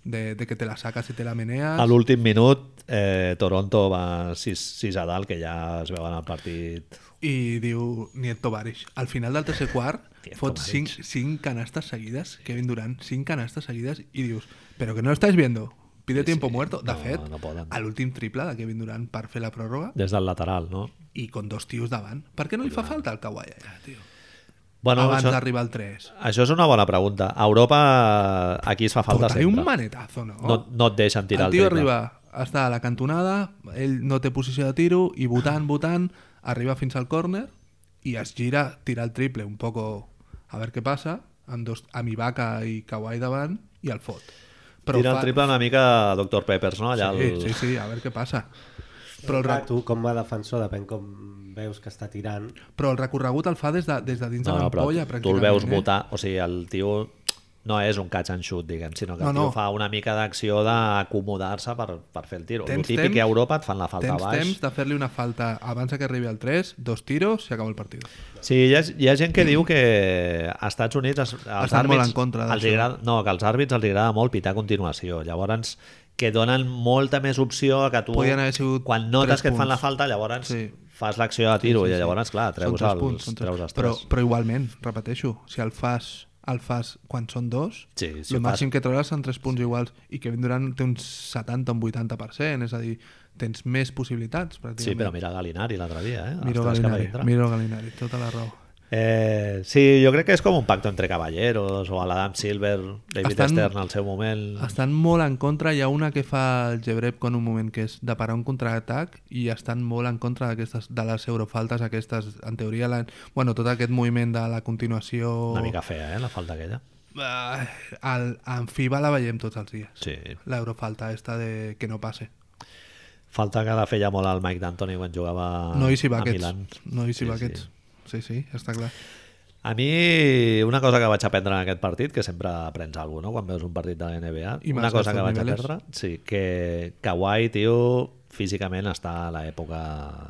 Speaker 2: de, de que te la sacas i te la meneas.
Speaker 1: A l'últim minut eh, Toronto va 6, 6 a dalt, que ja es veuen el partit...
Speaker 2: I diu Nieto Barish. Al final del tercer quart
Speaker 1: Nieto
Speaker 2: fot cinc,
Speaker 1: Barish.
Speaker 2: cinc canastes seguides, Kevin Durant, cinc canastes seguides, i dius, però que no estàs viendo, pide tiempo muerto. De
Speaker 1: No,
Speaker 2: fet,
Speaker 1: no poden.
Speaker 2: a l'últim triple de Kevin Durant per fer la pròrroga
Speaker 1: des del lateral, no?
Speaker 2: i con dos tios davant. Per què no li fa falta el Kawhi allà, tio?
Speaker 1: Bueno,
Speaker 2: Abans
Speaker 1: això,
Speaker 2: d'arribar al 3.
Speaker 1: això és una bona pregunta. A Europa, aquí es fa falta
Speaker 2: Fotré un
Speaker 1: sempre.
Speaker 2: manetazo, no?
Speaker 1: No, no et deixen tirar
Speaker 2: el
Speaker 1: el,
Speaker 2: tio
Speaker 1: triple.
Speaker 2: arriba, està a la cantonada, ell no té posició de tiro, i
Speaker 1: Ah.
Speaker 2: votant, votant, arriba fins al córner i es gira, tira el triple un poco a veure què passa, amb, dos, amb Ibaka i Kawhi davant, i el fot.
Speaker 1: Tira
Speaker 2: fa-
Speaker 1: el triple una mica a Dr. Peppers, no? Allà
Speaker 2: Sí,
Speaker 1: el...
Speaker 2: sí, sí, a veure què passa. Però el,
Speaker 3: Clar,
Speaker 2: rec-
Speaker 3: tu, com a defensor, depèn com veus que està tirant.
Speaker 2: però el recorregut el fa des de, des de dins
Speaker 1: No,
Speaker 2: de
Speaker 1: no, però
Speaker 2: l'ampolla,
Speaker 1: tu el veus
Speaker 2: eh?
Speaker 1: votar, o sigui, el tio no és un catch and shoot, diguem, sinó que
Speaker 2: No,
Speaker 1: el tio
Speaker 2: no.
Speaker 1: fa una mica d'acció d'acomodar-se per, per fer el tiro.
Speaker 2: Tens
Speaker 1: el típic
Speaker 2: temps-
Speaker 1: que a Europa et fan la falta
Speaker 2: Tens
Speaker 1: baix.
Speaker 2: temps de fer-li una falta abans que arribi al 3, dos tiros i acaba el partit.
Speaker 1: Sí, hi ha, hi ha gent que diu que a Estats Units els, els
Speaker 2: Estan molt
Speaker 1: àrbits,
Speaker 2: en contra
Speaker 1: els
Speaker 2: d'això.
Speaker 1: agrada, no, que als àrbits els agrada molt pitar a continuació. Llavors, que donen molta més opció a que tu,
Speaker 2: Podien haver sigut
Speaker 1: quan notes
Speaker 2: tres
Speaker 1: que et fan la
Speaker 2: punts.
Speaker 1: falta, llavors
Speaker 2: Sí.
Speaker 1: fas l'acció de tiro i llavors, clar, treus,
Speaker 2: Són tres
Speaker 1: els,
Speaker 2: punts, són tres.
Speaker 1: treus els
Speaker 2: però,
Speaker 1: tres.
Speaker 2: però igualment, repeteixo, si el fas el fas quan són dos,
Speaker 1: Sí, si
Speaker 2: el
Speaker 1: ho
Speaker 2: màxim que trauràs són tres punts iguals i que Durant té un 70 o un 80%, és a dir, tens més possibilitats,
Speaker 1: Sí, però
Speaker 2: pràcticament.
Speaker 1: mira Galinari l'altre dia, eh? Els
Speaker 2: miro
Speaker 1: tres que va
Speaker 2: Galinari,
Speaker 1: entrar.
Speaker 2: miro Galinari, tota la raó.
Speaker 1: Eh, sí, jo crec que és com un pacte entre caballeros o a l'Adam Silver, David
Speaker 2: Estan-
Speaker 1: Estan... Stern al seu moment.
Speaker 2: Estan molt en contra, hi ha una que fa el Gebrep en un moment que és de parar un contraatac i estan molt en contra d'aquestes de les eurofaltes aquestes, en teoria la, bueno, tot aquest moviment de la continuació
Speaker 1: Una mica fea, eh? La falta aquella.
Speaker 2: Ah, el, en FIBA la veiem tots els dies.
Speaker 1: Sí.
Speaker 2: L'eurofalta esta de que no passe.
Speaker 1: Falta que la feia molt al Mike D'Antoni quan jugava
Speaker 2: No hi si
Speaker 1: Ah, a
Speaker 2: baquets.
Speaker 1: Milan.
Speaker 2: No hi si
Speaker 1: Sí,
Speaker 2: baquets. Sí. sí, està clar.
Speaker 1: A mi, una cosa que vaig aprendre en aquest partit, que sempre aprens alguna cosa, no?, quan veus un partit de la NBA,
Speaker 2: I
Speaker 1: una
Speaker 2: més
Speaker 1: cosa que
Speaker 2: d'estos
Speaker 1: vaig
Speaker 2: niveles.
Speaker 1: aprendre, sí, que Kawhi, tio, físicament està a l'època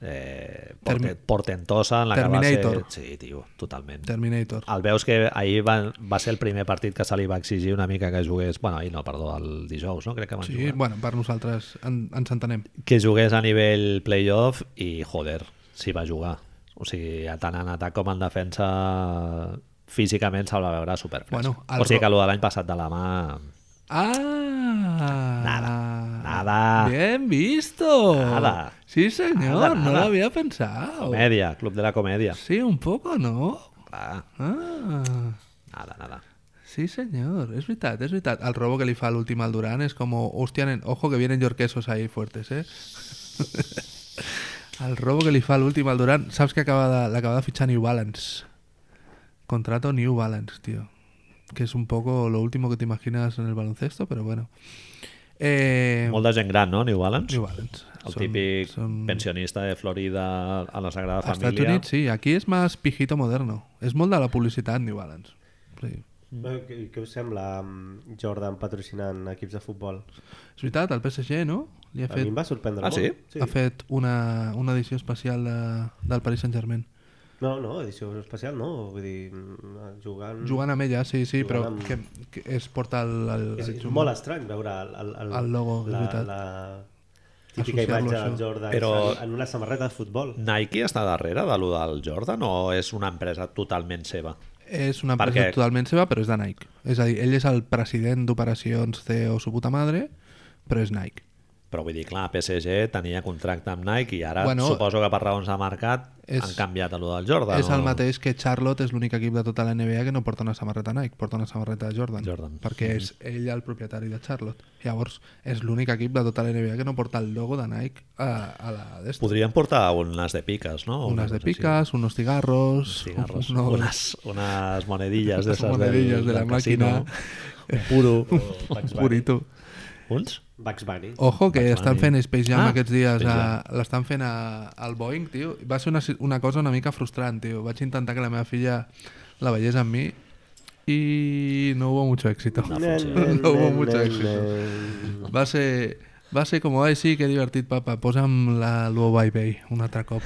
Speaker 1: eh, porte,
Speaker 2: Termi-
Speaker 1: portentosa en la que
Speaker 2: Terminator.
Speaker 1: va ser... Sí, tio, totalment.
Speaker 2: Terminator.
Speaker 1: El veus que ahir va, va ser el primer partit que se li va exigir una mica que jugués... bueno, ahir no, perdó, el dijous, no? Crec que van
Speaker 2: Sí,
Speaker 1: jugar.
Speaker 2: bueno, per nosaltres en, ens entenem.
Speaker 1: Que jugués a nivell playoff i, joder, s'hi va jugar. O sigui, tant en atac com en defensa físicament se'l va veure superfresc.
Speaker 2: Bueno, el
Speaker 1: o sigui
Speaker 2: Ro-
Speaker 1: que el de l'any passat de la mà...
Speaker 2: Ah!
Speaker 1: Nada, nada.
Speaker 2: Bien visto.
Speaker 1: Nada.
Speaker 2: Sí, señor,
Speaker 1: Nada,
Speaker 2: no lo
Speaker 1: nada.
Speaker 2: había pensado.
Speaker 1: Comèdia, Club de la Comèdia.
Speaker 2: Sí, un poco, ¿no?
Speaker 1: Ah,
Speaker 2: Ah.
Speaker 1: nada, nada.
Speaker 2: Sí, señor, es veritat, es veritat. El robo que le fa l'últim al Durán es como, hostia, nen, ojo que vienen yorquesos ahí fuertes, eh? el robo que le fa l'últim al Durán sabes que acaba de, l'acaba de fitxar New Balance. Contrato New Balance, tío. Que es un poco lo último que te imaginas en el baloncesto, pero bueno. Eh,
Speaker 1: Molta gent gran, no, New Balance?
Speaker 2: New Balance.
Speaker 1: El
Speaker 2: Son-
Speaker 1: típic
Speaker 2: son-
Speaker 1: pensionista de Florida a la Sagrada
Speaker 2: Estats
Speaker 1: Família.
Speaker 2: Units, sí, aquí es más pijito moderno. Es molt de la publicidad New Balance. Sí.
Speaker 3: Mm. Què, què us sembla mm, Jordan patrocinant equips de futbol?
Speaker 2: És veritat, el PSG, no? Li ha
Speaker 3: A mi
Speaker 2: fet
Speaker 3: em va sorprendre
Speaker 1: Ah,
Speaker 3: molt.
Speaker 1: sí?
Speaker 2: sí. ha fet una, una edició especial de, del Paris Saint-Germain.
Speaker 3: No, no, edició especial no. Vull dir, mm, jugant...
Speaker 2: Jugant amb ella, sí, sí,
Speaker 3: Jugant
Speaker 2: però
Speaker 3: amb-
Speaker 2: que, que es porta el, el,
Speaker 3: És,
Speaker 2: el
Speaker 3: és
Speaker 2: jum-
Speaker 3: molt estrany veure el, el,
Speaker 2: El logo, és
Speaker 3: la,
Speaker 2: veritat.
Speaker 3: la típica
Speaker 2: Associar-lo
Speaker 3: imatge
Speaker 2: a això. Mm.
Speaker 3: del Jordan
Speaker 1: Però-
Speaker 3: en, en una samarreta de futbol.
Speaker 1: Nike està darrere de lo del Jordan o és una empresa totalment seva?
Speaker 2: És una empresa
Speaker 1: Perquè-
Speaker 2: totalment seva, però és de Nike. És a dir, ell és el president d'operacions CEO su puta madre, però és Nike.
Speaker 1: Però vull dir, clar, PSG tenia contracte amb Nike i ara
Speaker 2: Bueno,
Speaker 1: bueno, suposo que per raons de mercat
Speaker 2: és-
Speaker 1: és, han canviat a lo del Jordan.
Speaker 2: és el
Speaker 1: o-
Speaker 2: mateix que Charlotte és l'únic equip de tota la NBA que no porta una samarreta Nike, porta una samarreta Jordan,
Speaker 1: Jordan.
Speaker 2: perquè és ell el propietari de Charlotte. Llavors, és l'únic equip de tota la NBA que no porta el logo de Nike a, a la d'esta.
Speaker 1: Podrien portar unes de piques, no? Una
Speaker 2: Unes de
Speaker 1: cosa així.
Speaker 2: picas, unos cigarros,
Speaker 1: Cigarros,
Speaker 2: unos-
Speaker 1: unes, unes monedillas de
Speaker 2: unas
Speaker 1: esas
Speaker 2: monedillas
Speaker 1: del,
Speaker 2: de la
Speaker 1: del casino,
Speaker 2: máquina.
Speaker 1: un puro.
Speaker 2: un purito.
Speaker 1: Uns?
Speaker 3: Bugs Bunny.
Speaker 2: Ojo, que
Speaker 1: Bugs
Speaker 2: estan
Speaker 1: Bunny.
Speaker 2: fent Space Jam
Speaker 1: Ah,
Speaker 2: aquests dies,
Speaker 1: Space
Speaker 2: a- l'estan fent a, al Boeing, tio. Va ser una, si- una cosa una mica frustrant, tio. Vaig intentar que la meva filla la veiés amb mi i no hubo mucho éxito. No hubo mucho éxito. Va ser, va ser com, ai sí, que divertit, papa, posa'm la Luau Bye Bye un altre cop.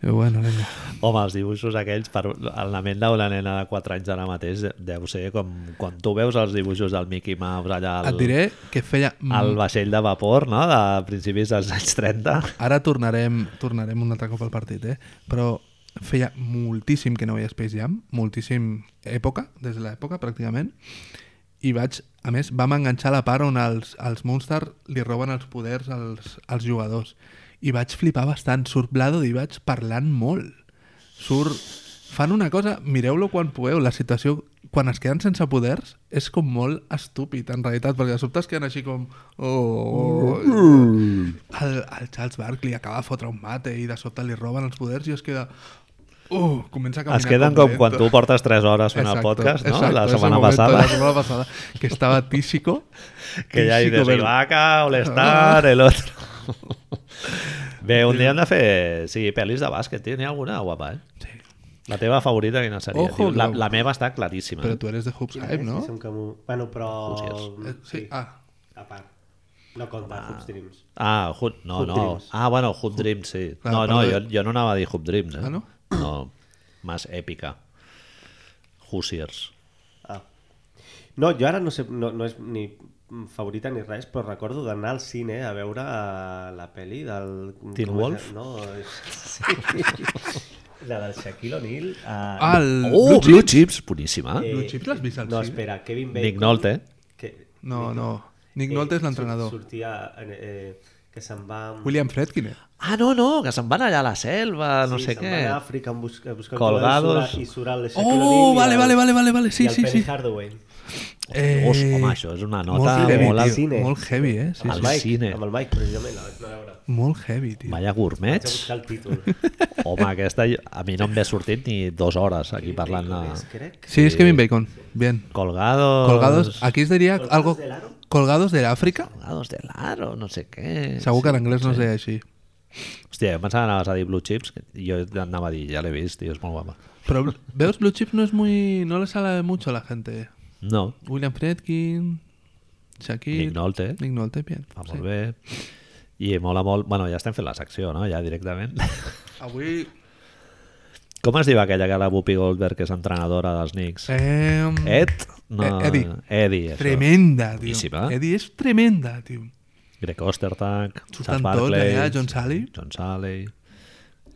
Speaker 2: Diu, bueno, vinga.
Speaker 1: Home, els dibuixos aquells, per a la ment d'una nena de 4 anys ara mateix, deu ser com quan tu veus els dibuixos del Mickey Mouse allà
Speaker 2: Et
Speaker 1: al,
Speaker 2: diré mm. que feia...
Speaker 1: al vaixell de vapor, no?, de principis dels anys 30.
Speaker 2: Ara tornarem, tornarem un altre cop al partit, eh? Però feia moltíssim que no veia Space Jam, moltíssim època, des de l'època pràcticament, i vaig, a més, vam enganxar la part on els, els Monsters li roben els poders als, als jugadors. I vaig flipar bastant, surt Blado i vaig parlant molt. Surt... Fan una cosa, mireu-lo quan pugueu, la situació quan es queden sense poders és com molt estúpid, en realitat, perquè de sobte es queden així com... Oh, oh, el, el Charles Barkley acaba de fotre un mate i de sobte li roben els poders i es queda... Uh, comença a caminar
Speaker 1: Es queden com quan tu portes 3 hores fent el
Speaker 2: Exacto,
Speaker 1: podcast, no?,
Speaker 2: exacto,
Speaker 1: la
Speaker 2: ese
Speaker 1: setmana
Speaker 2: momento de
Speaker 1: passada,
Speaker 2: La semana pasada, que estaba tísico.
Speaker 1: que ja hi
Speaker 2: tísico,
Speaker 1: dius,
Speaker 2: pero-
Speaker 1: Ibaka, All-Star, el otro... Bé, un dia hem de fer... Sí, pel·lis de bàsquet, tio, n'hi ha alguna guapa, eh?
Speaker 2: Sí,
Speaker 1: La teva favorita quina seria?
Speaker 2: Ojo,
Speaker 1: tio? la,
Speaker 2: que-
Speaker 1: la meva està claríssima. eh?
Speaker 2: Pero tú eres de Hoops Hype,
Speaker 3: Sí,
Speaker 2: ¿no?
Speaker 3: som com un- Bueno, però...
Speaker 1: Hoosiers.
Speaker 2: Eh, Sí, ah,
Speaker 3: A part. No compta, ah. Hoops Dreams.
Speaker 1: Ah, Hood, no,
Speaker 3: Hoop
Speaker 1: no.
Speaker 3: Dreams.
Speaker 1: Ah, bueno, Hoop Dreams, sí.
Speaker 2: Clar,
Speaker 1: no, no,
Speaker 2: parla
Speaker 1: jo,
Speaker 2: de-
Speaker 1: jo no anava a dir Hoop Dreams, eh?
Speaker 2: Ah, no?
Speaker 1: No, més èpica. Hoosiers.
Speaker 3: Ah. No, jo ara no sé, no, no és ni favorita ni res, però recordo d'anar al cine a veure eh, la pel·li del...
Speaker 1: Teen
Speaker 3: com es-
Speaker 1: Wolf?
Speaker 3: No, és... sí. la del Shaquille O'Neal. eh,
Speaker 2: Ah, el
Speaker 1: Oh, Blue,
Speaker 2: Blue Chips.
Speaker 1: Chips, boníssima. Eh,
Speaker 2: Blue Chips l'has vist al
Speaker 3: No,
Speaker 2: cine?
Speaker 3: espera, Kevin Bacon.
Speaker 1: Nick Nolte.
Speaker 3: Que,
Speaker 2: No, no. Nick Nolte és l'entrenador.
Speaker 3: surt- Sortia... Eh, eh, que se'n va... amb-
Speaker 2: William Fredkin.
Speaker 1: Ah, no, no, que se'n van allà a la selva, no
Speaker 3: sí,
Speaker 1: sé
Speaker 3: se'n
Speaker 1: què.
Speaker 3: va a Àfrica a buscar, a buscar
Speaker 1: Colgados.
Speaker 3: jugadors i surt al Shaquille O'Neal
Speaker 2: Oh,
Speaker 3: i
Speaker 2: vale,
Speaker 3: al-
Speaker 2: vale, vale, vale, vale.
Speaker 3: i
Speaker 2: Sí,
Speaker 3: al
Speaker 2: sí,
Speaker 3: Penny
Speaker 2: sí.
Speaker 3: Hardaway.
Speaker 2: Eh,
Speaker 1: Ostres, home, això és una nota
Speaker 2: molt heavy,
Speaker 1: molt al-
Speaker 2: tio,
Speaker 3: cine.
Speaker 2: Molt heavy, eh? Sí,
Speaker 3: amb,
Speaker 1: Al
Speaker 3: el
Speaker 2: sí.
Speaker 3: Mike,
Speaker 1: cine.
Speaker 3: amb el Mike, precisament, la vaig anar a veure.
Speaker 2: Molt heavy, tio.
Speaker 1: Vaya
Speaker 3: Vaig a
Speaker 1: gourmets.
Speaker 3: buscar el títol.
Speaker 1: Home, aquesta jo- a mi no em ve sortit ni dues hores aquí parlant
Speaker 3: És,
Speaker 1: de...
Speaker 3: crec.
Speaker 2: Sí, es Kevin Bacon. Bien.
Speaker 1: Colgados...
Speaker 2: Colgados, ah. aquí es diría
Speaker 3: Colgados
Speaker 2: algo...
Speaker 3: del aro.
Speaker 2: Colgados del África.
Speaker 1: Colgados de l'aro, no sé què.
Speaker 2: Segur que en anglès no es deia així.
Speaker 1: Hòstia, jo pensava que anaves a dir Blue Chips, que jo anava a dir, ja l'he vist, tio, és molt guapa.
Speaker 2: Pero veos, Blue Chips no es muy... No le sale mucho a la gente.
Speaker 1: No,
Speaker 2: William Fredkin, Shaquille...
Speaker 1: Nick Nolte.
Speaker 2: Nick Nolte, bien.
Speaker 1: va molt bé. I mola molt... Bueno, ja estem fent la secció, no?, ja directament.
Speaker 2: Avui...
Speaker 1: Com es diu aquella que la Whoopi Goldberg, que és entrenadora dels Knicks?
Speaker 2: Eh,
Speaker 1: Ed? No,
Speaker 2: Eh, Eddie.
Speaker 1: Eddie, això.
Speaker 2: tremenda, tío.
Speaker 1: Buenísima.
Speaker 2: Eddie es tremenda, tío.
Speaker 1: Greg Ostertag,
Speaker 2: Surten
Speaker 1: Charles
Speaker 2: tots
Speaker 1: Barkley,
Speaker 2: allà, John Sally.
Speaker 1: John Sally...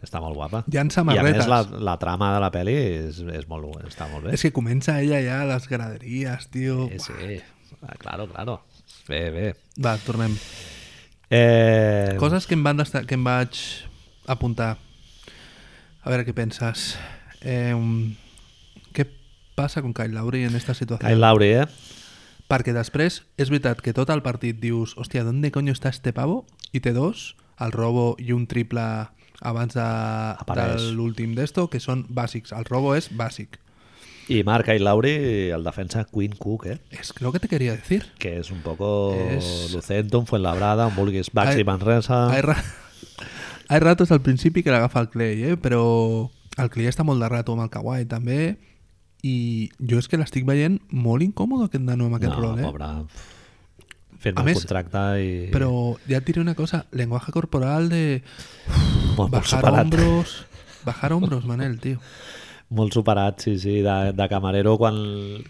Speaker 1: Està molt guapa.
Speaker 2: Hi ha
Speaker 1: I a
Speaker 2: samarretes.
Speaker 1: més la, la trama de la pel·li és, és molt, està molt bé. Eh,
Speaker 2: Es que comienza ella ya las graderías, tío.
Speaker 1: Sí, sí. Ah, claro, claro. Bé, bé.
Speaker 2: Va, tornem.
Speaker 1: Eh,
Speaker 2: Coses que em, van desta- que em vaig apuntar. A veure què penses. Eh, què passa con Kyle Lowry en esta situació?
Speaker 1: Kyle Lowry, eh?
Speaker 2: Perquè després és veritat que tot el partit dius hòstia, d'on de coño està este pavo? I té dos, el robo i un triple abans de,
Speaker 1: Apareix.
Speaker 2: de l'últim d'esto, que són bàsics. El robo és bàsic.
Speaker 1: I Marc Kyle Lowry, el defensa Quinn Cook, eh?
Speaker 2: És lo que te quería decir.
Speaker 1: que es un poco
Speaker 2: Es-
Speaker 1: Lucentum, Fuenlabrada, un vulguis Baxi
Speaker 2: Hay-
Speaker 1: Manresa...
Speaker 2: Hay, ra... Hay ratos al principi que l'agafa el Clay, eh? però el Clay està molt de rato amb el Kawhi també i jo és que l'estic veient molt incòmode aquest nano amb aquest
Speaker 1: no,
Speaker 2: rol, eh?
Speaker 1: pobre. eh. Firma
Speaker 2: A
Speaker 1: el
Speaker 2: més,
Speaker 1: contracte i...
Speaker 2: Però ja et diré una cosa, lenguaje corporal de
Speaker 1: molt, molt
Speaker 2: bajar
Speaker 1: superat.
Speaker 2: hombros, bajar hombros, Manel, tio.
Speaker 1: Molt superat, sí, sí, de, de camarero quan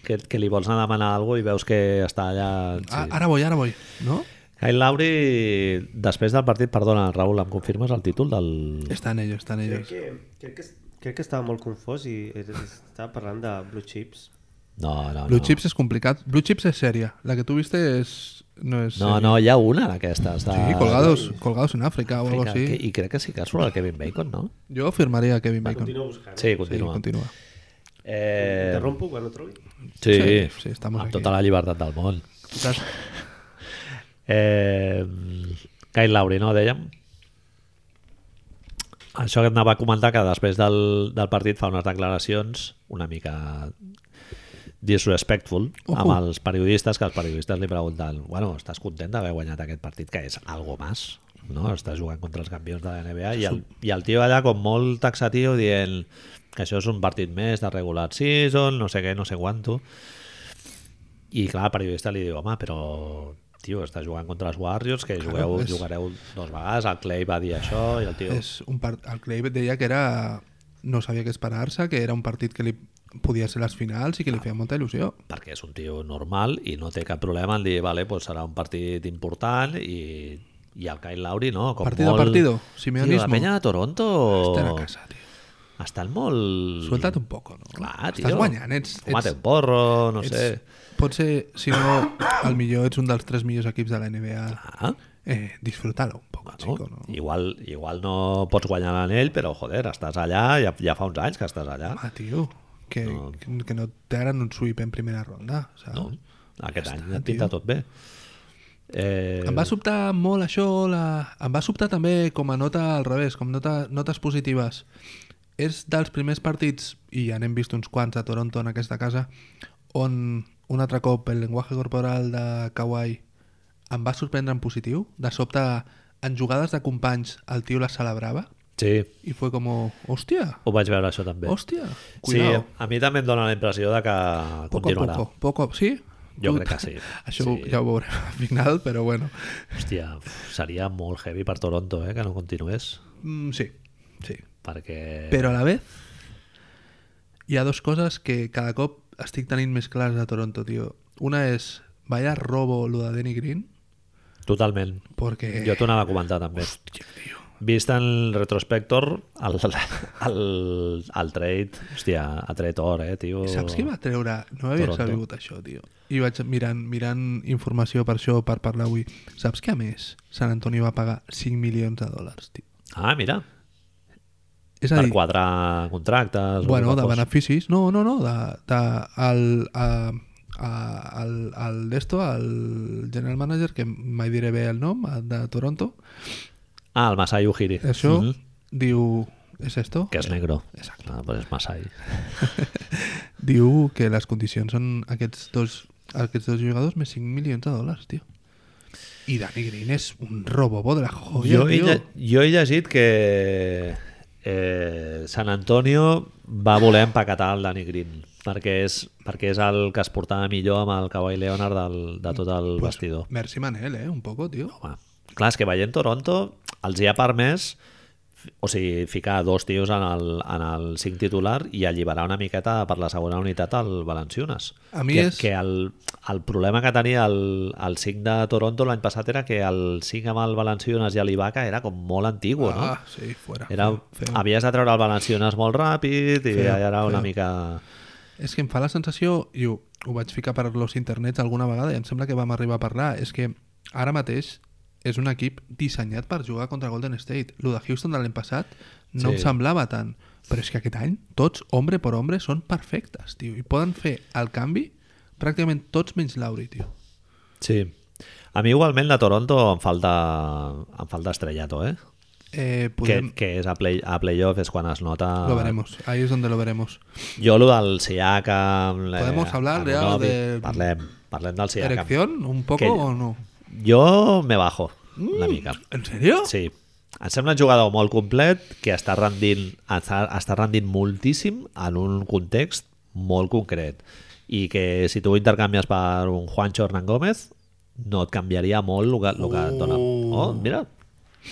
Speaker 1: que, que li vols anar a demanar alguna cosa i veus que està allà... Sí.
Speaker 2: A- Ara voy, ara voy, no?
Speaker 1: Kyle Lowry, després del partit, perdona, Raül, em confirmes el títol del...
Speaker 2: Estan ellos, estan
Speaker 3: Crec
Speaker 2: ellos.
Speaker 3: que, crec, que, crec que estava molt confós i eh, estava parlant de Blue Chips.
Speaker 1: No, no,
Speaker 2: Blue
Speaker 1: no.
Speaker 2: Chips és complicat. Blue Chips és sèria. La que tu viste és... No és
Speaker 1: No,
Speaker 2: sèria.
Speaker 1: no, hi ha una d'aquestes. De...
Speaker 2: Sí, colgados, colgados en Àfrica o algo
Speaker 1: Fica, que,
Speaker 2: així.
Speaker 1: I crec que sí que surt el Kevin Bacon, no?
Speaker 2: Jo firmaria Kevin
Speaker 3: Va,
Speaker 2: Bacon.
Speaker 3: continua buscant.
Speaker 1: Sí,
Speaker 2: Sí,
Speaker 1: continua. Sí,
Speaker 2: continua.
Speaker 1: eh,
Speaker 3: Interrompo quan ho trobi.
Speaker 1: Sí,
Speaker 2: Sí, sí, estamos
Speaker 1: amb
Speaker 2: aquí.
Speaker 1: tota la llibertat del món.
Speaker 2: Estàs-
Speaker 1: Eh, Kyle Lowry, no, dèiem? Això que anava a comentar, que després del, del partit fa unes declaracions una mica disrespectful
Speaker 2: Ojo.
Speaker 1: amb els periodistes, que els periodistes li pregunten bueno, estàs content d'haver guanyat aquest partit que és algo más, no? Estàs jugant contra els campions de la NBA i el, i el tio allà com molt taxatiu dient que això és un partit més de regular season, no sé què, no sé quanto i clar, el periodista li diu, home, però tio, està jugant contra els Warriors, que jugueu,
Speaker 2: és-
Speaker 1: jugareu dos vegades, el Clay va dir això, i el tio...
Speaker 2: És un part... El Clay deia que era... no sabia què esperar-se, que era un partit que li podia ser les finals i que li feia molta il·lusió.
Speaker 1: perquè és un tio normal i no té cap problema en dir, vale, pues serà un partit important i, i el Kyle Lowry no, com
Speaker 2: Partido a
Speaker 1: molt...
Speaker 2: partido,
Speaker 1: Tio, la
Speaker 2: simeonismo.
Speaker 1: penya de Toronto
Speaker 2: Estar a casa, tio.
Speaker 1: estan molt...
Speaker 2: Suelta't un poco, no?
Speaker 1: Mm. Clar, tio.
Speaker 2: Estàs guanyant, ets...
Speaker 1: Fuma't un porro, no
Speaker 2: ets,
Speaker 1: sé.
Speaker 2: Pot ser, si no, al millor ets un dels tres millors equips de la NBA.
Speaker 1: Ah,
Speaker 2: Eh, Disfrutar-ho un poco,
Speaker 1: bueno,
Speaker 2: chico, no?
Speaker 1: Igual, igual no pots guanyar l'anell, però joder, estàs allà, ja, ja fa uns anys que estàs allà.
Speaker 2: Home, tio, que no, que no t'agraden un sweep en primera ronda, saps?
Speaker 1: No? Mm. Aquest
Speaker 2: Ja
Speaker 1: any
Speaker 2: està,
Speaker 1: et pinta tot bé. Eh,
Speaker 2: Em va sobtar molt això, la... em va sobtar també com a nota al revés, com nota, notes positives. És dels primers partits, i ja n'hem vist uns quants a Toronto en aquesta casa, on un altre cop el llenguatge corporal de Kawhi em va sorprendre en positiu. De sobte, en jugades de companys, el tio la celebrava
Speaker 1: Sí,
Speaker 2: i fue com, hòstia,
Speaker 1: ho vaig veure això també.
Speaker 2: hòstia,
Speaker 1: Sí,
Speaker 2: cuidao.
Speaker 1: a mi també em dóna la impressió de que
Speaker 2: poco a
Speaker 1: continuarà.
Speaker 2: poco, poco, a- sí?
Speaker 1: Jo crec que sí.
Speaker 2: Això
Speaker 1: Sí.
Speaker 2: ja ho veurem al final, però bueno.
Speaker 1: Hòstia, uf, seria molt heavy per Toronto, eh, que no continués.
Speaker 2: Mm, sí, sí.
Speaker 1: Perquè...
Speaker 2: Però a la vez hi ha dos coses que cada cop estic tenint més clares a Toronto, tio. Una és, vaya robo lo de Danny Green,
Speaker 1: Totalment.
Speaker 2: perquè...
Speaker 1: Jo t'ho anava a comentar també.
Speaker 2: Hòstia, tio.
Speaker 1: Vist en retrospector, el, el, el trade, hòstia, ha tret or, eh, tio.
Speaker 2: Saps qui va treure? No havia
Speaker 1: Toronto.
Speaker 2: sabut això, tio. I vaig mirant, mirant informació per això, per parlar avui. Saps que, a més, Sant Antoni va pagar 5 milions de dòlars, tio?
Speaker 1: Ah, mira,
Speaker 2: És a
Speaker 1: per
Speaker 2: dir,
Speaker 1: quadrar contractes... o el
Speaker 2: Bueno,
Speaker 1: que
Speaker 2: de
Speaker 1: fos.
Speaker 2: beneficis, no, no, no, de, de, al, a, a, al, al d'esto, al general manager, que mai diré bé el nom, de Toronto,
Speaker 1: Ah, el Masai Ujiri.
Speaker 2: això
Speaker 1: Mhm.
Speaker 2: diu, és esto?
Speaker 1: Que és negro.
Speaker 2: Exacte.
Speaker 1: Ah, pues és Masai.
Speaker 2: Diu que les condicions són aquests dos, aquests dos jugadors més 5 milions de dòlars, tio. I Danny Green és un robobo de la joya,
Speaker 1: Jo he,
Speaker 2: tio.
Speaker 1: lle- jo he llegit que eh, San Antonio va voler empaquetar el Danny Green perquè és, perquè és el que es portava millor amb el Kawhi Leonard del, de tot el pues, vestidor.
Speaker 2: Merci Manel, eh, un poco, tio.
Speaker 1: Home, clar, és que veient Toronto els hi ha permès fi- o sigui, ficar dos tios en el, en el cinc titular i alliberar una miqueta per la segona unitat al Valenciunes.
Speaker 2: A mi
Speaker 1: que,
Speaker 2: és-
Speaker 1: que el, el problema que tenia el, el 5 de Toronto l'any passat era que el 5 amb el Valenciunes i l'Ibaca era com molt antigu, no?
Speaker 2: Ah, sí, fuera.
Speaker 1: Era,
Speaker 2: Feo, feo.
Speaker 1: havies de treure el Valenciunes molt ràpid i
Speaker 2: Feo,
Speaker 1: ja era una
Speaker 2: feo.
Speaker 1: mica...
Speaker 2: És que em fa la sensació, i ho, ho vaig ficar per los internets alguna vegada i em sembla que vam arribar a parlar, és que ara mateix és un equip dissenyat per jugar contra Golden State. Lo de Houston de l'any passat no
Speaker 1: Sí.
Speaker 2: sí. em semblava tant, però és que aquest any tots, hombre per hombre, són perfectes, tio, i poden fer el canvi pràcticament tots menys Lauri, tio.
Speaker 1: Sí. A mi igualment de Toronto em falta, em falta estrellato, eh?
Speaker 2: Eh, podem...
Speaker 1: Que, que és a, play, a playoff és quan es nota...
Speaker 2: Lo veremos, ahí es donde lo veremos.
Speaker 1: Jo, lo del Siakam... eh,
Speaker 2: Podemos hablar de
Speaker 1: Anunoby,
Speaker 2: algo de-
Speaker 1: Parlem, parlem del Siakam.
Speaker 2: ¿Erección? ¿Un poco
Speaker 1: Que-
Speaker 2: o no?
Speaker 1: Jo me bajo,
Speaker 2: Mm.
Speaker 1: una mica.
Speaker 2: ¿En serio?
Speaker 1: Sí. Em sembla un jugador molt complet que està rendint, està, està rendint moltíssim en un context molt concret i que si tu ho intercanvies per un Juancho Hernán Gómez no et canviaria molt el que, el que et dona. Oh, mira,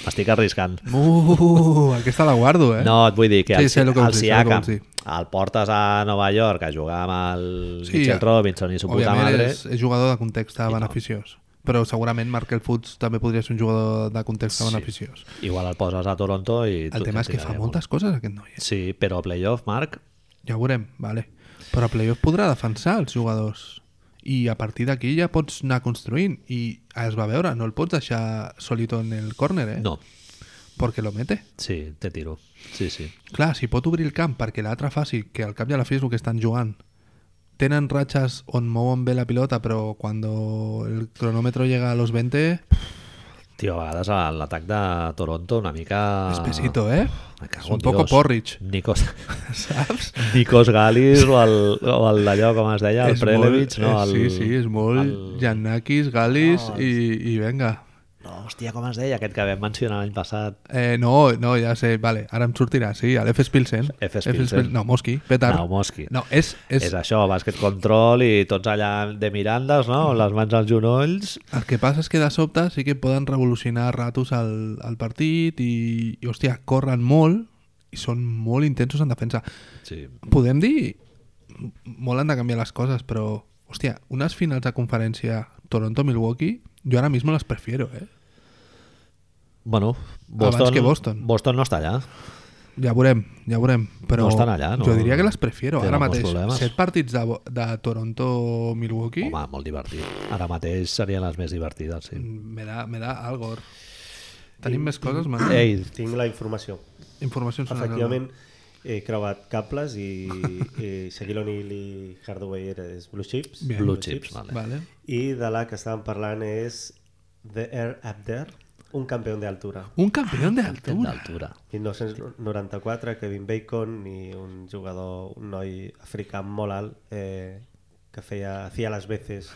Speaker 1: m'estic arriscant.
Speaker 2: Uh, aquesta la guardo, eh?
Speaker 1: No, et vull dir que
Speaker 2: Sí,
Speaker 1: el,
Speaker 2: sé
Speaker 1: sí,
Speaker 2: el que
Speaker 1: el
Speaker 2: vols dir, sé el que
Speaker 1: Siakam
Speaker 2: vols dir.
Speaker 1: el portes a Nova York a jugar amb el
Speaker 2: Sí,
Speaker 1: sí, Mitchell
Speaker 2: eh,
Speaker 1: Robinson i su puta
Speaker 2: Òbviament
Speaker 1: madre.
Speaker 2: és, és jugador de context beneficiós. Però segurament Markel Fultz també podria ser un jugador de context
Speaker 1: Sí.
Speaker 2: beneficiós.
Speaker 1: Igual el poses a Toronto i...
Speaker 2: El tema és que fa moltes coses aquest noi. eh?
Speaker 1: Sí, però a playoff, Marc,
Speaker 2: Ja ho veurem, vale. Però a playoff podrà defensar els jugadors. I a partir d'aquí ja pots anar construint. I es va veure, no el pots deixar solito en el córner, eh?
Speaker 1: no.
Speaker 2: Perquè lo mete.
Speaker 1: Sí, te tiro. Sí, sí.
Speaker 2: Clar, si pot obrir el camp perquè l'altra faci, que al cap i a la fi és el que estan jugant, tenen ratxes on mouen bé la pilota, però quan el cronòmetre llega a los 20,
Speaker 1: Tio, a vegades a l'atac de Toronto una mica...
Speaker 2: Espesito, eh?
Speaker 1: Ah. Me cago
Speaker 2: Es
Speaker 1: en
Speaker 2: un poco
Speaker 1: Dios.
Speaker 2: porridge,
Speaker 1: Nikos,
Speaker 2: saps?
Speaker 1: Nikos Galis o el, o el d'allò, com es deia, el
Speaker 2: És molt-
Speaker 1: Prelevich, no?
Speaker 2: eh,
Speaker 1: El,
Speaker 2: Sí, sí, és molt
Speaker 1: el-
Speaker 2: Giannakis, Galis i, i venga.
Speaker 1: No, hòstia, com es deia aquest que vam mencionar l'any passat?
Speaker 2: Eh, no, no, ja sé, vale, ara em sortirà, sí, a l'FS Pilsen.
Speaker 1: FS
Speaker 2: FS
Speaker 1: Pilsen.
Speaker 2: No, Mosqui, petar.
Speaker 1: No, Mosqui.
Speaker 2: No, és...
Speaker 1: És,
Speaker 2: és,
Speaker 1: és això, bàsquet control i tots allà de mirandes, no?
Speaker 2: Mm.
Speaker 1: Amb les mans als genolls.
Speaker 2: El que passa és que de sobte sí que poden revolucionar a ratos el, el partit i, i, hòstia, corren molt i són molt intensos en defensa.
Speaker 1: Sí.
Speaker 2: Podem dir... m- Molt han de canviar les coses, però, hòstia, unes finals de conferència Toronto-Milwaukee, jo ara mismo les prefiero, eh?
Speaker 1: Bueno, Boston,
Speaker 2: que Boston.
Speaker 1: Boston no està allà.
Speaker 2: Ja veurem, ja veurem. Però
Speaker 1: No estan allà, no-
Speaker 2: Jo diria que les prefiero.
Speaker 1: tenen
Speaker 2: Ara
Speaker 1: molts
Speaker 2: mateix,
Speaker 1: problemes.
Speaker 2: set partits de, Bo- de Toronto-Milwaukee
Speaker 1: Home, molt divertit. Ara mateix serien les més divertides, sí.
Speaker 2: me da, me da algo. Tenim més coses, man.
Speaker 1: Ei,
Speaker 3: Tinc la informació.
Speaker 2: Informacions en el-
Speaker 3: Efectivament, he creuat cables i, i Shaquille O'Neal i Hardaway és Blue Chips.
Speaker 2: Bien.
Speaker 1: Blue Chips, vale.
Speaker 2: Vale.
Speaker 3: I de la que estàvem parlant és The Air Up There, un campió d'altura.
Speaker 2: Un campeón de
Speaker 1: Gent
Speaker 2: altura.
Speaker 1: d'altura.
Speaker 3: 1994, Kevin Bacon i un jugador, un noi africà molt alt eh, que feia, hacía las veces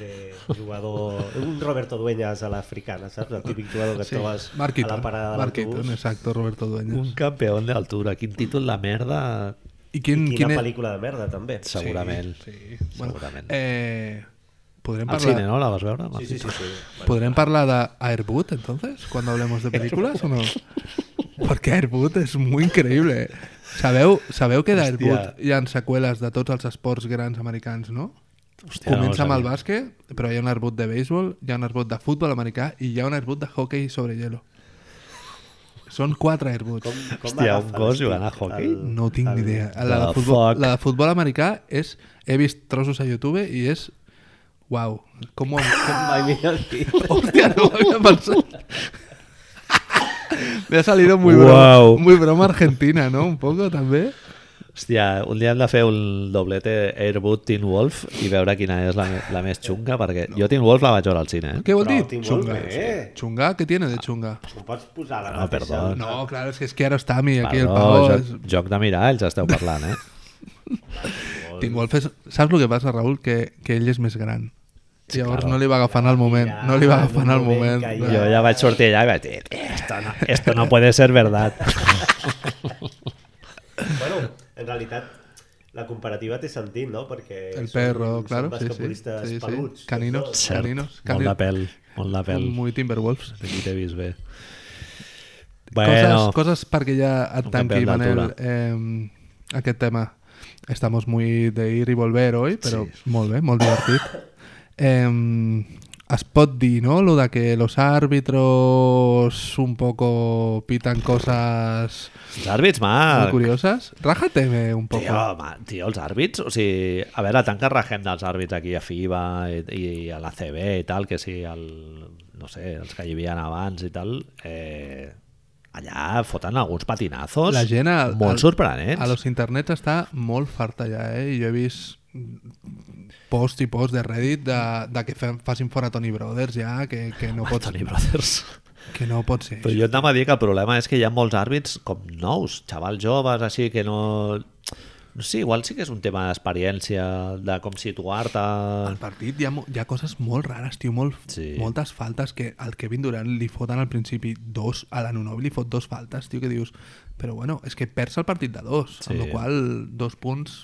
Speaker 3: de jugador... Un Roberto Dueñas a l'africana, saps? El típic jugador que et trobes
Speaker 2: Mark
Speaker 3: a la
Speaker 2: Eaton,
Speaker 3: parada de
Speaker 2: Mark Eaton,
Speaker 3: l'autobús.
Speaker 2: exacto, Roberto Dueñas.
Speaker 1: Un campió d'altura. Quin títol de merda,
Speaker 2: ¿Y
Speaker 3: I
Speaker 2: quién,
Speaker 3: quina
Speaker 2: quién es-
Speaker 3: pel·lícula de merda, també.
Speaker 1: segurament.
Speaker 2: Sí, bueno,
Speaker 1: Segurament.
Speaker 2: eh, podrem
Speaker 1: Al
Speaker 2: parlar,
Speaker 1: cine, no? La vas veure?
Speaker 3: Sí, sí, sí. sí.
Speaker 2: ¿podrem parlar de Airboot, entonces, cuando hablemos de películas o no? Porque Airboot es muy increíble. Sabeu, sabeu que d'Airboot hi ha seqüeles de tots els esports grans americans, no?
Speaker 1: Hòstia, no
Speaker 2: Comença
Speaker 1: ho
Speaker 2: amb el
Speaker 1: sabia.
Speaker 2: bàsquet, però hi ha un Airboot de béisbol, hi ha un Airboot de futbol americà i hi ha un Airboot de hockey sobre hielo. Són quatre Airboots.
Speaker 3: Com, com
Speaker 1: Hòstia,
Speaker 3: agafa
Speaker 1: un gos
Speaker 3: l'estic
Speaker 1: jugant a hockey?
Speaker 3: el-
Speaker 2: No tinc
Speaker 3: el-
Speaker 2: ni idea. La
Speaker 1: The
Speaker 2: de, futbol,
Speaker 1: fuck?
Speaker 2: la de futbol americà és... He vist trossos a YouTube i és... Uau, com ho... Com...
Speaker 3: Ai, mira el tio.
Speaker 2: Hòstia, no ho havia pensat. Me ha salido muy broma,
Speaker 1: Uau.
Speaker 2: muy broma argentina, ¿no? Un poco, també.
Speaker 1: Hòstia, un dia hem de fer un doblete Airboot Teen Wolf i veure quina és la, me- la més xunga, perquè jo Teen Wolf la vaig veure al cine, eh?
Speaker 2: Què vol
Speaker 3: Però
Speaker 2: dir?
Speaker 3: Tim
Speaker 2: Chunga.
Speaker 3: Wolfe, eh?
Speaker 2: Chunga, què tiene de chunga?
Speaker 3: Em pots posar la
Speaker 1: No,
Speaker 2: Ah,
Speaker 3: mateixa?
Speaker 1: Ah, perdó.
Speaker 2: No, claro, es que es que ara està a mi, aquí el
Speaker 1: Perdó,
Speaker 2: Pau...
Speaker 1: joc,
Speaker 2: és-
Speaker 1: joc de miralls esteu parlant, eh?
Speaker 2: Tim Wolf és... Saps el que passa, Raül? Que, que ell és més gran. Llavors
Speaker 1: claro.
Speaker 2: no li va agafant el moment. No li va
Speaker 3: en un
Speaker 2: agafant el
Speaker 3: moment
Speaker 2: moment.
Speaker 3: que
Speaker 1: Jo ja vaig sortir allà i vaig dir, esto no, esto no puede ser verdad.
Speaker 3: Bueno, en realitat, la comparativa té sentit, no? Perquè
Speaker 2: El perro,
Speaker 3: són,
Speaker 2: claro,
Speaker 3: són
Speaker 2: sí, sí.
Speaker 3: basquetbolistes
Speaker 2: sí,
Speaker 3: peluts.
Speaker 2: sí. Caninos,
Speaker 1: Cert,
Speaker 2: caninos,
Speaker 1: molt de
Speaker 2: caninos.
Speaker 1: pèl, molt de pèl.
Speaker 2: Muy Timberwolves.
Speaker 1: Aquí t'he vist bé.
Speaker 2: Bueno,
Speaker 1: Bueno,
Speaker 2: coses, coses perquè ja et
Speaker 1: Un
Speaker 2: tanqui,
Speaker 1: campeón
Speaker 2: Manel,
Speaker 1: d'altura.
Speaker 2: eh, aquest tema. Estamos muy de ir y volver hoy, però
Speaker 1: Sí.
Speaker 2: sí. molt bé, molt divertit. Eh, es pot dir, no?, lo de que los árbitros un poco pitan cosas
Speaker 1: els àrbits,
Speaker 2: muy
Speaker 1: Marc.
Speaker 2: curiosas. Rájateme un poco.
Speaker 1: Tio, home, tio, els àrbits, o sigui, a veure, tant que rajem dels àrbits aquí a FIBA i, i a la CB i tal, que si el, no sé, els que hi havia abans i tal, eh, allà foten alguns patinazos
Speaker 2: La gent al,
Speaker 1: molt
Speaker 2: al-
Speaker 1: sorprenents.
Speaker 2: A los internets està molt farta ja, eh? I jo he vist post i post de Reddit de, de que fe- facin fora Tony Brothers ja, que, que, no, pot,
Speaker 1: Tony Brothers.
Speaker 2: que no pot ser.
Speaker 1: Però jo et anava a dir que el problema és que hi ha molts àrbits com nous, xavals joves, així que no... No sé, igual sí que és un tema d'experiència, de com situar-te...
Speaker 2: Al partit hi ha, mo- hi ha coses molt rares, tio, molt,
Speaker 1: Sí.
Speaker 2: moltes faltes que al Kevin Durant li foten al principi dos, a la Nunobi li fot dos faltes, tio, que dius, però bueno, és que perds el partit de dos,
Speaker 1: Sí.
Speaker 2: amb la qual cosa dos punts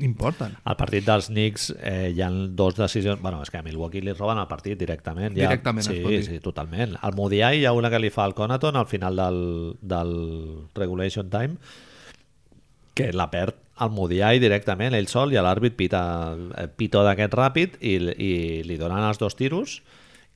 Speaker 2: importen.
Speaker 1: Al partit dels Knicks eh, hi ha dos decisions... bueno, és que a Milwaukee li roben el partit directament. Ja.
Speaker 2: Directament,
Speaker 1: sí,
Speaker 2: es pot dir.
Speaker 1: Sí, totalment. Al Modiai hi ha una que li fa al Conaton al final del, del Regulation Time que la perd al Modiai directament, ell sol, i a l'àrbit pita eh, pitó d'aquest ràpid i, i li donen els dos tiros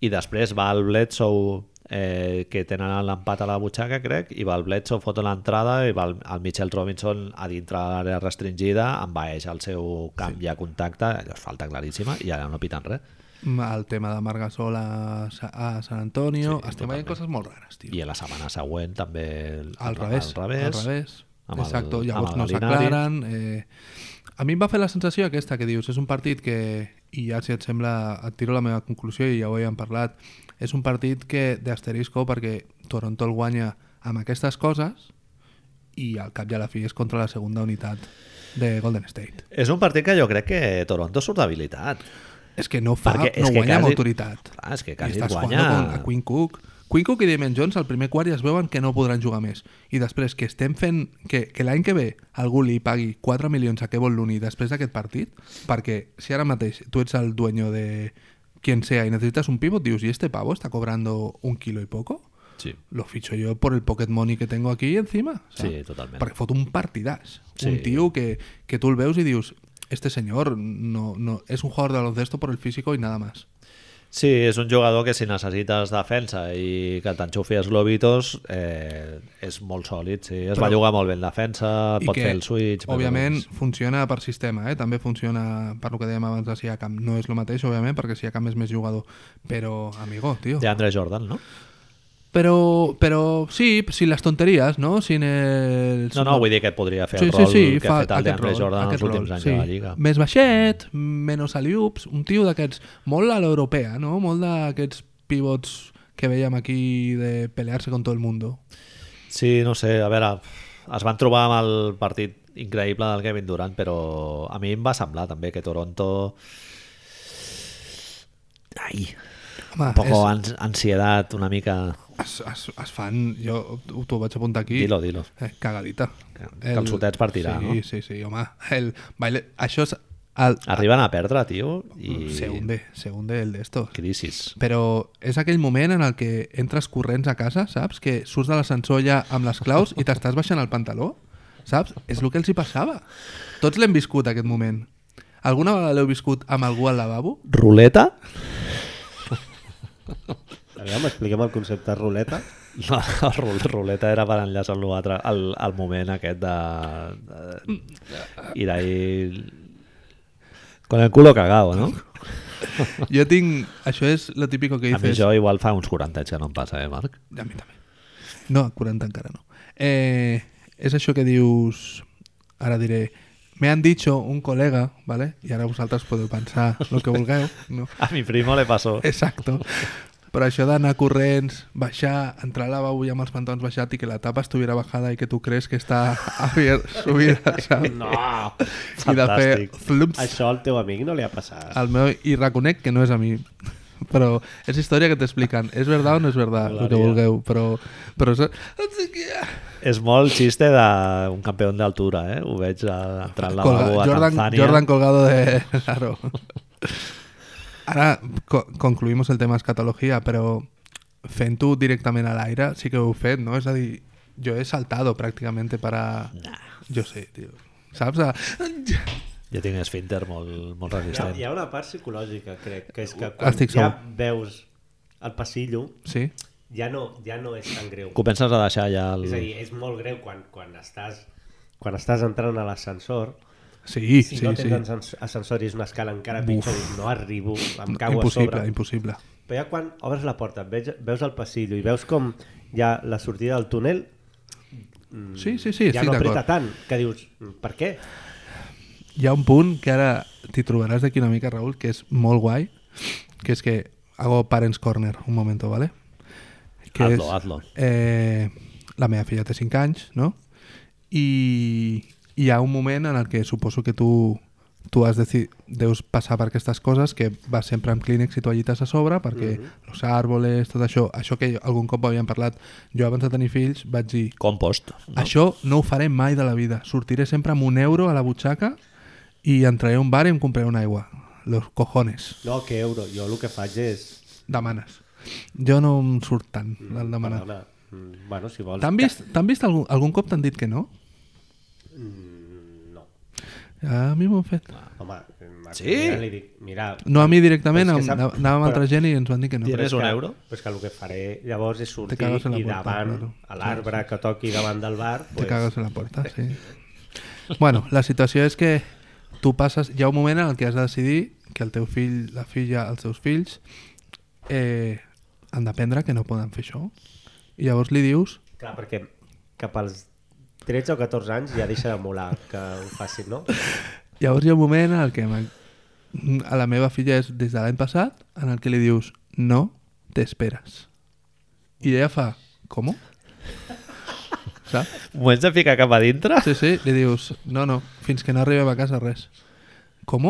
Speaker 1: i després va el Bledsoe eh, que tenen l'empat a la butxaca, crec, i va el Bledsoe, fot l'entrada i va el, el Mitchell Robinson a dintre de l'àrea restringida, envaeix el seu camp sí. de contacte, allò és falta claríssima, i ara no piten res.
Speaker 2: El tema de Marc Gasol a, Sa- a San Antonio, sí, estem veient coses molt rares, tio.
Speaker 1: I a la setmana següent també... el-
Speaker 2: al revés,
Speaker 1: Al revés.
Speaker 2: Al revés.
Speaker 1: Amb el-
Speaker 2: Exacto,
Speaker 1: amb
Speaker 2: llavors
Speaker 1: el
Speaker 2: no
Speaker 1: Galinari.
Speaker 2: s'aclaren. Eh, a mi em va fer la sensació aquesta que dius, és un partit que, i ja si et sembla et tiro la meva conclusió i ja ho havíem parlat, és un partit que d'asterisco perquè Toronto el guanya amb aquestes coses i al cap i a la fi és contra la segunda unitat de Golden State.
Speaker 1: És un partit que jo crec que Toronto surt habilitat.
Speaker 2: És que no fa,
Speaker 1: Perquè és
Speaker 2: no
Speaker 1: que
Speaker 2: guanya amb
Speaker 1: quasi-
Speaker 2: autoritat.
Speaker 1: clar, és que
Speaker 2: I
Speaker 1: quasi
Speaker 2: estàs
Speaker 1: guanya-
Speaker 2: jugant amb Quinn Cook. Quinn Cook i Damien Jones al primer quart ja es veuen que no podran jugar més. I després que estem fent... Que, que l'any que ve algú li pagui 4 milions a Kevin Looney després d'aquest partit, perquè si ara mateix tu ets el dueño de quien sea y necesitas un pivot, dius, ¿y este pavo está cobrando un kilo y poco?
Speaker 1: Sí.
Speaker 2: Lo ficho yo por el pocket money que tengo aquí encima. O sea,
Speaker 1: Sí, totalment.
Speaker 2: Perquè fot un partidàs.
Speaker 1: Sí.
Speaker 2: Un tio que, que tú el veus y dius, este señor no, no, es un jugador de baloncesto por el físico y nada más.
Speaker 1: Sí, és un jugador que si necessites defensa i que t'enxufi els globitos eh, és molt sòlid, sí. Es Però... va jugar molt bé en defensa, pot fer el switch... però
Speaker 2: òbviament,
Speaker 1: doncs,
Speaker 2: funciona per sistema, eh? també funciona per lo que dèiem abans de Siakam. No és el mateix, òbviament, perquè Siakam és més jugador. Però, amigo, tio...
Speaker 1: De Andre Jordan, no?
Speaker 2: Però, però sí, sin les tonteries, no? Sin el...
Speaker 1: No, no, vull dir que podria fer el rol que ha fet el
Speaker 2: aquest
Speaker 1: DeAndre
Speaker 2: rol,
Speaker 1: Jordan els
Speaker 2: aquest
Speaker 1: últims
Speaker 2: rol,
Speaker 1: anys de la Lliga.
Speaker 2: Més baixet, menys aliups, un tio d'aquests, molt a l'europea, no? Molt d'aquests pivots que veiem aquí de pelear-se con todo el mundo.
Speaker 1: Sí, no sé, a veure, es van trobar amb el partit increïble del Kevin Durant, però a mi em va semblar també que Toronto... Ai,
Speaker 2: Home,
Speaker 1: un poco ans ansiedat, una mica...
Speaker 2: es, es, es fan, jo ho- t'ho vaig apuntar aquí,
Speaker 1: Dilo, dilo.
Speaker 2: eh, cagadita.
Speaker 1: Ca- calçotets per tirar,
Speaker 2: sí,
Speaker 1: no?
Speaker 2: Sí, sí, home. El baile, això és... El,
Speaker 1: Arriben a perdre, tio, i...
Speaker 2: Se hunde, se hunde el de esto.
Speaker 1: Crisis.
Speaker 2: Però és aquell moment en el que entres corrents a casa, saps? Que surts de l'ascensor ja amb les claus i t'estàs baixant el pantaló, saps? És el que els hi passava. Tots l'hem viscut, aquest moment. Alguna vegada l'heu viscut amb algú al lavabo?
Speaker 1: Ruleta?
Speaker 3: Aviam, expliquem el concepte ruleta.
Speaker 1: No, ru- ruleta era per enllaçar amb l'altre, el, el moment aquest de... de ir ahí... Con el culo cagado, no?
Speaker 2: Jo tinc... Això és lo típico que
Speaker 1: A mi
Speaker 2: dices...
Speaker 1: això igual fa uns 40 anys que no em passa, eh, Marc?
Speaker 2: A mi també. No, 40 encara no. Eh, és això que dius... Ara diré... Me han dicho un colega, ¿vale? I ara vosaltres podeu pensar el que vulgueu, no?
Speaker 1: A mi primo le pasó.
Speaker 2: Eh. Exacto. Però això d'anar corrents, baixar, entrar al lavabo i amb els pantalons baixat i que la tapa estuviera bajada i que tu creus que està abier- subida, saps?
Speaker 3: No!
Speaker 2: I de fer
Speaker 1: fantàstic.
Speaker 2: flumps
Speaker 3: Això al teu amic no li ha passat.
Speaker 2: al meu... I reconec que no és a mi. Però és història que t'expliquen. És verdad o no és verdad, el que
Speaker 1: Molaria.
Speaker 2: vulgueu. Però, però és...
Speaker 1: És molt xiste d'un campió d'altura, eh? Ho veig a, entrar al lavabo a
Speaker 2: Jordan,
Speaker 1: Tanzània.
Speaker 2: Jordan colgado de... Claro. Ahora co- concluimos el tema escatología, pero fent tú directamente al aire sí que ho heu fet, no? És a dir, jo he saltado prácticamente para... Yo sé, tío. ¿Sabes?
Speaker 1: Jo tinc esfínter molt, molt
Speaker 3: Hi ha,
Speaker 1: resistent.
Speaker 3: hi ha una part psicològica, crec, que és que quan
Speaker 2: Estic
Speaker 3: ja
Speaker 2: segur.
Speaker 3: veus el passillo,
Speaker 2: Sí.
Speaker 3: ja no, ja no és tan greu.
Speaker 1: Que ho penses a deixar ja el...
Speaker 3: És a dir, és molt greu quan, quan estàs quan estàs entrant a l'ascensor
Speaker 2: Sí,
Speaker 3: si
Speaker 2: sí,
Speaker 3: no
Speaker 2: sí.
Speaker 3: tens ascens- ascensor i és una escala encara pitjor dius, no arribo, em cago
Speaker 2: impossible,
Speaker 3: a sobre
Speaker 2: impossible.
Speaker 3: però ja quan obres la porta veus, veus el passillo i veus com hi ha la sortida del túnel mm,
Speaker 2: Sí, sí, sí,
Speaker 3: ja
Speaker 2: estic
Speaker 3: no apreta
Speaker 2: d'acord.
Speaker 3: tant que dius, "Mm, per què?
Speaker 2: hi ha un punt que ara t'hi trobaràs d'aquí una mica, Raül, que és molt guai, que és que hago Parents Corner, un momento, ¿vale?
Speaker 1: Hazlo, hazlo.
Speaker 2: Eh, la meva filla té 5 anys, no? I hi ha un moment en el que suposo que tu tu has deci- deus passar per aquestes coses que vas sempre amb clínex i toallites a sobre perquè
Speaker 1: Mhm.
Speaker 2: els árboles, tot això això que algun cop havíem parlat jo abans de tenir fills vaig dir
Speaker 1: Compost.
Speaker 2: no. Això no ho faré mai de la vida. Sortiré sempre amb un euro a la butxaca i entraré a un bar i em compraré una aigua. Los cojones.
Speaker 3: no, que euro, jo el que faig és
Speaker 2: Demanes. Jo no em surt tant del demanar.
Speaker 3: perdona, mm, bueno, si vols
Speaker 2: T'han vist, t'han vist algun, algun cop t'han dit que no?
Speaker 3: Mm, no, Ah.
Speaker 2: A mi m'ho han fet.
Speaker 3: home mm,
Speaker 1: Sí?
Speaker 3: mira, li dic, mira,
Speaker 2: No a mi directament,
Speaker 3: Però és
Speaker 2: amb,
Speaker 3: que sap-
Speaker 2: anàvem amb altra
Speaker 3: però-
Speaker 2: gent i ens van dir que no.
Speaker 1: Tienes
Speaker 3: Però és
Speaker 1: un
Speaker 3: que-
Speaker 1: euro?
Speaker 3: Però és que el que faré llavors és sortir
Speaker 2: cagues en la
Speaker 3: i
Speaker 2: puerta,
Speaker 3: davant,
Speaker 2: claro.
Speaker 3: a l'arbre que toqui davant del bar,
Speaker 2: Te
Speaker 3: pues,
Speaker 2: cagues en la puerta, sí. Bueno, la situació és que tu passes... Hi ha un moment en el que has de decidir que el teu fill, la filla, els seus fills eh, han d'aprendre que no poden fer això. I llavors li dius...
Speaker 3: clar, perquè cap als 13 o 14 anys ja deixa de molar que ho facin, no?
Speaker 2: Llavors hi ha un moment en el que m'ha- a la meva filla és des de l'any passat en el que li dius no t'esperes. I ella fa... Com? Saps?
Speaker 1: M'ho haig de ficar cap a dintre?
Speaker 2: Sí, sí, li dius, no, no, fins que no arribem a casa res. Com?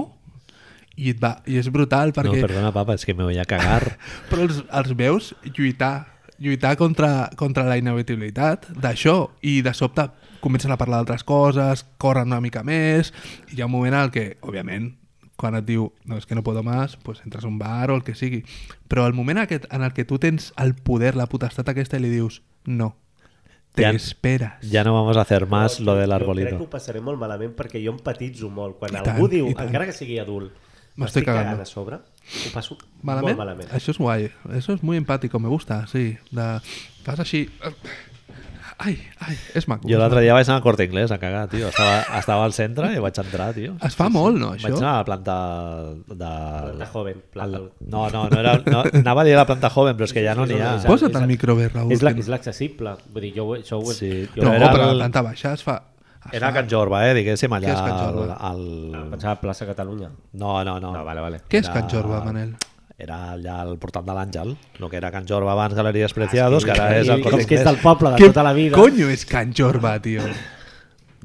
Speaker 2: I, et va, i és brutal perquè...
Speaker 1: No, perdona, papa, és que me voy a cagar.
Speaker 2: Però els, els veus lluitar lluitar contra, contra la inevitabilitat d'això i de sobte comencen a parlar d'altres coses, corren una mica més i hi ha un moment en què, òbviament, quan et diu no, és que no puedo más, pues entres a un bar o el que sigui. Però el moment aquest, en el que tu tens el poder, la potestat aquesta i li dius no, te
Speaker 1: Ja-
Speaker 2: esperes.
Speaker 1: Ya no vamos a hacer más
Speaker 3: Però
Speaker 1: lo del
Speaker 3: jo Crec que
Speaker 1: arbolito.
Speaker 3: ho passaré molt malament perquè jo empatitzo molt. Quan
Speaker 2: I
Speaker 3: algú
Speaker 2: tant,
Speaker 3: diu,
Speaker 2: i tant.
Speaker 3: encara que sigui adult,
Speaker 2: M'estic
Speaker 3: m'estic cagant
Speaker 2: cagando.
Speaker 3: a sobre, ho passo
Speaker 2: ¿Malamente?
Speaker 3: molt malament.
Speaker 2: Eso es guay. Eso es muy empático, me gusta, sí. La... Vas així... Ai, ai, és maco.
Speaker 1: Jo
Speaker 2: és
Speaker 1: l'altre dia vaig anar al Corte Inglés a cagar, tio. Estava, estava al centre i vaig entrar, tio.
Speaker 2: Es fa molt, no,
Speaker 1: Vaig
Speaker 2: això?
Speaker 1: anar a la planta de...
Speaker 3: Planta joven, planta-
Speaker 1: al- No, no, no era... No, anava a dir la planta joven, però és que ja no n'hi ha.
Speaker 2: maco. Posa't el micro bé, Raül.
Speaker 3: És la-
Speaker 2: que
Speaker 3: és l'accessible. Vull dir, jo ho- això ho...
Speaker 1: Sí,
Speaker 3: jo
Speaker 2: No,
Speaker 1: Però era
Speaker 2: però
Speaker 1: el-
Speaker 2: la planta baixa es fa... Es
Speaker 1: Era a
Speaker 2: fa...
Speaker 1: Can Jorba, eh, diguéssim,
Speaker 2: ah. Què
Speaker 1: allà
Speaker 2: és Can
Speaker 1: al...
Speaker 2: Jorba?
Speaker 1: al...
Speaker 3: Pensava plaça Catalunya.
Speaker 1: No, no, no.
Speaker 3: No, vale, vale.
Speaker 2: Què és
Speaker 1: Era-
Speaker 2: Can Jorba, Manel?
Speaker 1: Era allà al portal de l'Àngel, el que era Can Jorba abans,
Speaker 3: Ah,
Speaker 1: Galeries Preciados, que ara és
Speaker 3: I-
Speaker 1: el Corte
Speaker 3: és que és
Speaker 1: Inglés.
Speaker 3: del poble de
Speaker 2: Què
Speaker 3: tota la vida.
Speaker 2: Coño és Can Jorba, tio?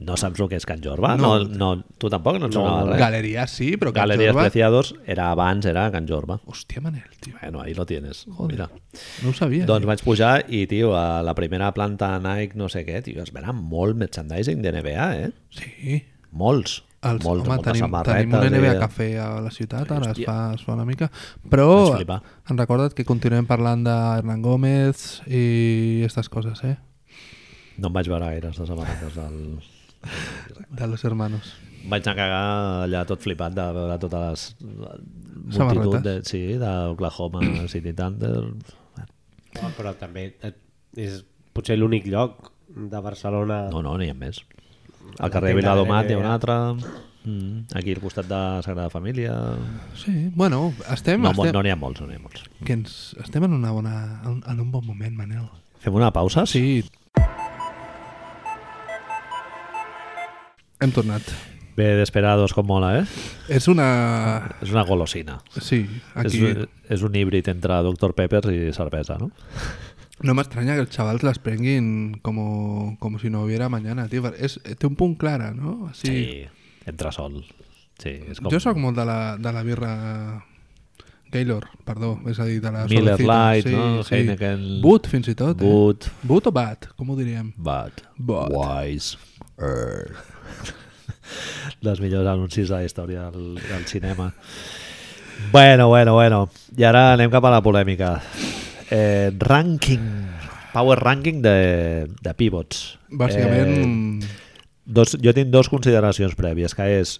Speaker 1: No saps el que és Can Jorba? No, no, tu tampoc no et sonava res.
Speaker 2: Galeries sí, però Can
Speaker 1: Galeries
Speaker 2: Jorba...
Speaker 1: Preciados era abans, era Can Jorba.
Speaker 2: Hòstia, Manel, tio.
Speaker 1: Bueno, ahí lo tienes. Mira.
Speaker 2: No ho sabia.
Speaker 1: Doncs
Speaker 2: tio.
Speaker 1: vaig pujar i, tio, a la primera planta Nike, no sé què, tio, es venen molt merchandising de NBA, eh?
Speaker 2: Sí.
Speaker 1: Molts.
Speaker 2: Els,
Speaker 1: molts,
Speaker 2: home,
Speaker 1: moltes
Speaker 2: tenim,
Speaker 1: samarretes
Speaker 2: tenim un
Speaker 1: i-
Speaker 2: NBA Cafè a la ciutat, ara
Speaker 1: eh?
Speaker 2: es
Speaker 1: Hòstia.
Speaker 2: fa, es fa una mica, però
Speaker 1: Vaig flipar.
Speaker 2: han recordat que continuem parlant de Hernán Gómez i aquestes coses, eh?
Speaker 1: No em vaig veure gaire les samarretes del...
Speaker 2: De los hermanos.
Speaker 1: Vaig anar a cagar allà tot flipat de veure totes les... Multitud
Speaker 2: Samarretes.
Speaker 1: de, sí, d'Oklahoma City Thunder...
Speaker 3: No, però també et- és potser l'únic lloc de Barcelona...
Speaker 1: No, no, n'hi ha més. Al carrer
Speaker 3: tenda de
Speaker 1: Viladomat n'hi ha
Speaker 3: NBA.
Speaker 1: un altre... Mm, aquí al costat de Sagrada Família...
Speaker 2: Sí, bueno, estem,
Speaker 1: No, mo-
Speaker 2: estem,
Speaker 1: no n'hi ha molts, no n'hi ha molts.
Speaker 2: que ens, estem en, una bona, en, en un bon moment, Manel.
Speaker 1: Fem una pausa?
Speaker 2: Sí. Hem tornat.
Speaker 1: Bé, d'esperados com mola, eh?
Speaker 2: És una...
Speaker 1: És una golosina.
Speaker 2: Sí, aquí...
Speaker 1: És, és un híbrid entre Dr. Pepper i cervesa, no?
Speaker 2: No m'estranya que els xavals les prenguin com, com si no hubiera mañana, tio. perquè És, té un punt clara, no? Així,
Speaker 1: Entre sol. Sí, és com
Speaker 2: Jo sóc molt de la, de la birra Gaylor, perdó, és a dir, de la
Speaker 1: Miller
Speaker 2: suavecita.
Speaker 1: Lite, no? Heineken.
Speaker 2: Boot, fins i tot.
Speaker 1: Boot.
Speaker 2: Eh? Boot o Bat, com ho diríem?
Speaker 1: bad,
Speaker 2: Bad.
Speaker 1: wise, er. dels millors anuncis de la història del, del cinema. Bueno, bueno, bueno. I ara anem cap a la polèmica. Eh, ranking, power ranking de, de pivots.
Speaker 2: Bàsicament, eh...
Speaker 1: Eh, dos, jo tinc dos consideracions prèvies, que és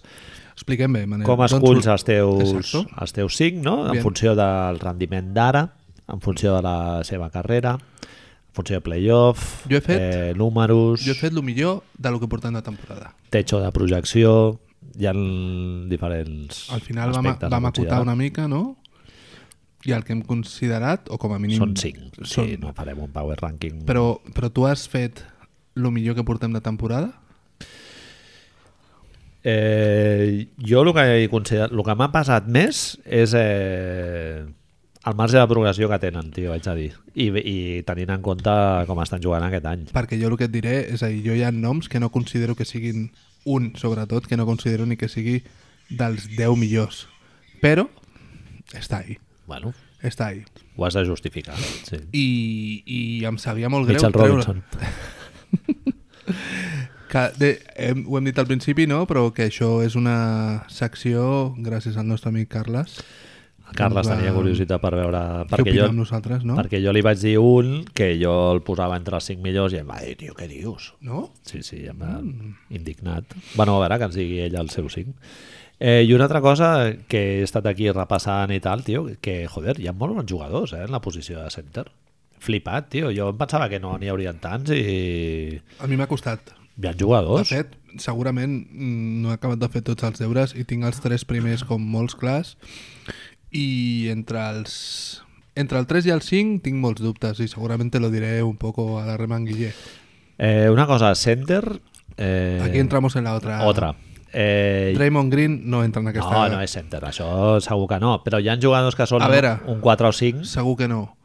Speaker 2: expliquem bé, Manel.
Speaker 1: com
Speaker 2: D'on
Speaker 1: esculls
Speaker 2: surt-
Speaker 1: els teus,
Speaker 2: Eh, doncs Exacto.
Speaker 1: els teus cinc, no? en
Speaker 2: Bien.
Speaker 1: funció del rendiment d'ara, en funció de la seva carrera, en funció de playoff,
Speaker 2: Jo he fet-
Speaker 1: eh, números,
Speaker 2: Jo he fet el millor de lo que portem de temporada.
Speaker 1: techo de projecció, hi ha diferents
Speaker 2: Al final vam,
Speaker 1: aspectes a
Speaker 2: vam acotar
Speaker 1: considerar.
Speaker 2: una mica, no? I el que hem considerat, o com a mínim...
Speaker 1: Són cinc,
Speaker 2: Són...
Speaker 1: sí, no farem un power ranking.
Speaker 2: però, però tu has fet el millor que portem de temporada?
Speaker 1: Eh, jo el que, he considerat, el que m'ha passat més és eh, el marge de progressió que tenen, tio, vaig a dir. I, I tenint en compte com estan jugant aquest any.
Speaker 2: Perquè jo el que et diré és a dir, jo hi ha noms que no considero que siguin un, sobretot, que no considero ni que sigui dels 10 millors. Però està ahí,
Speaker 1: Bueno,
Speaker 2: està ahí.
Speaker 1: ho has de justificar. Sí.
Speaker 2: I, i em sabia molt greu
Speaker 1: Mitchell
Speaker 2: treure-
Speaker 1: Robinson.
Speaker 2: Que de, hem, ho hem dit al principi, no? Però que això és una secció gràcies al nostre amic Carles.
Speaker 1: El Carles
Speaker 2: Doncs, Va.
Speaker 1: tenia curiositat per veure...
Speaker 2: Perquè
Speaker 1: Perquè
Speaker 2: opina
Speaker 1: jo,
Speaker 2: amb nosaltres, no?
Speaker 1: perquè jo li vaig dir un que jo el posava entre els 5 millors i em va dir, tio, què dius?
Speaker 2: No?
Speaker 1: Sí, sí, em va indignat. Bueno, a veure, que ens digui ell el seu 5. Eh, I una altra cosa que he estat aquí repassant i tal, tio, que, joder, hi ha molt bons jugadors eh, en la posició de center. Flipat, tio. Jo em pensava que no n'hi haurien tants i...
Speaker 2: A mi m'ha costat.
Speaker 1: Hi ha
Speaker 2: De
Speaker 1: jugadors.
Speaker 2: fet, segurament mm, no he acabat de fer tots els deures i tinc els tres primers com molts clars i entre els entre el 3 i el 5 tinc molts dubtes i segurament te lo diré un poco a la remanguiller.
Speaker 1: Eh, una cosa, center... Eh,
Speaker 2: Aquí entramos en la otra.
Speaker 1: Otra. Eh,
Speaker 2: Draymond Green no entra en aquesta.
Speaker 1: No, no és center, això segur que no. Però hi ha jugadors que són
Speaker 2: A veure.
Speaker 1: un 4 o 5.
Speaker 2: Segur que no.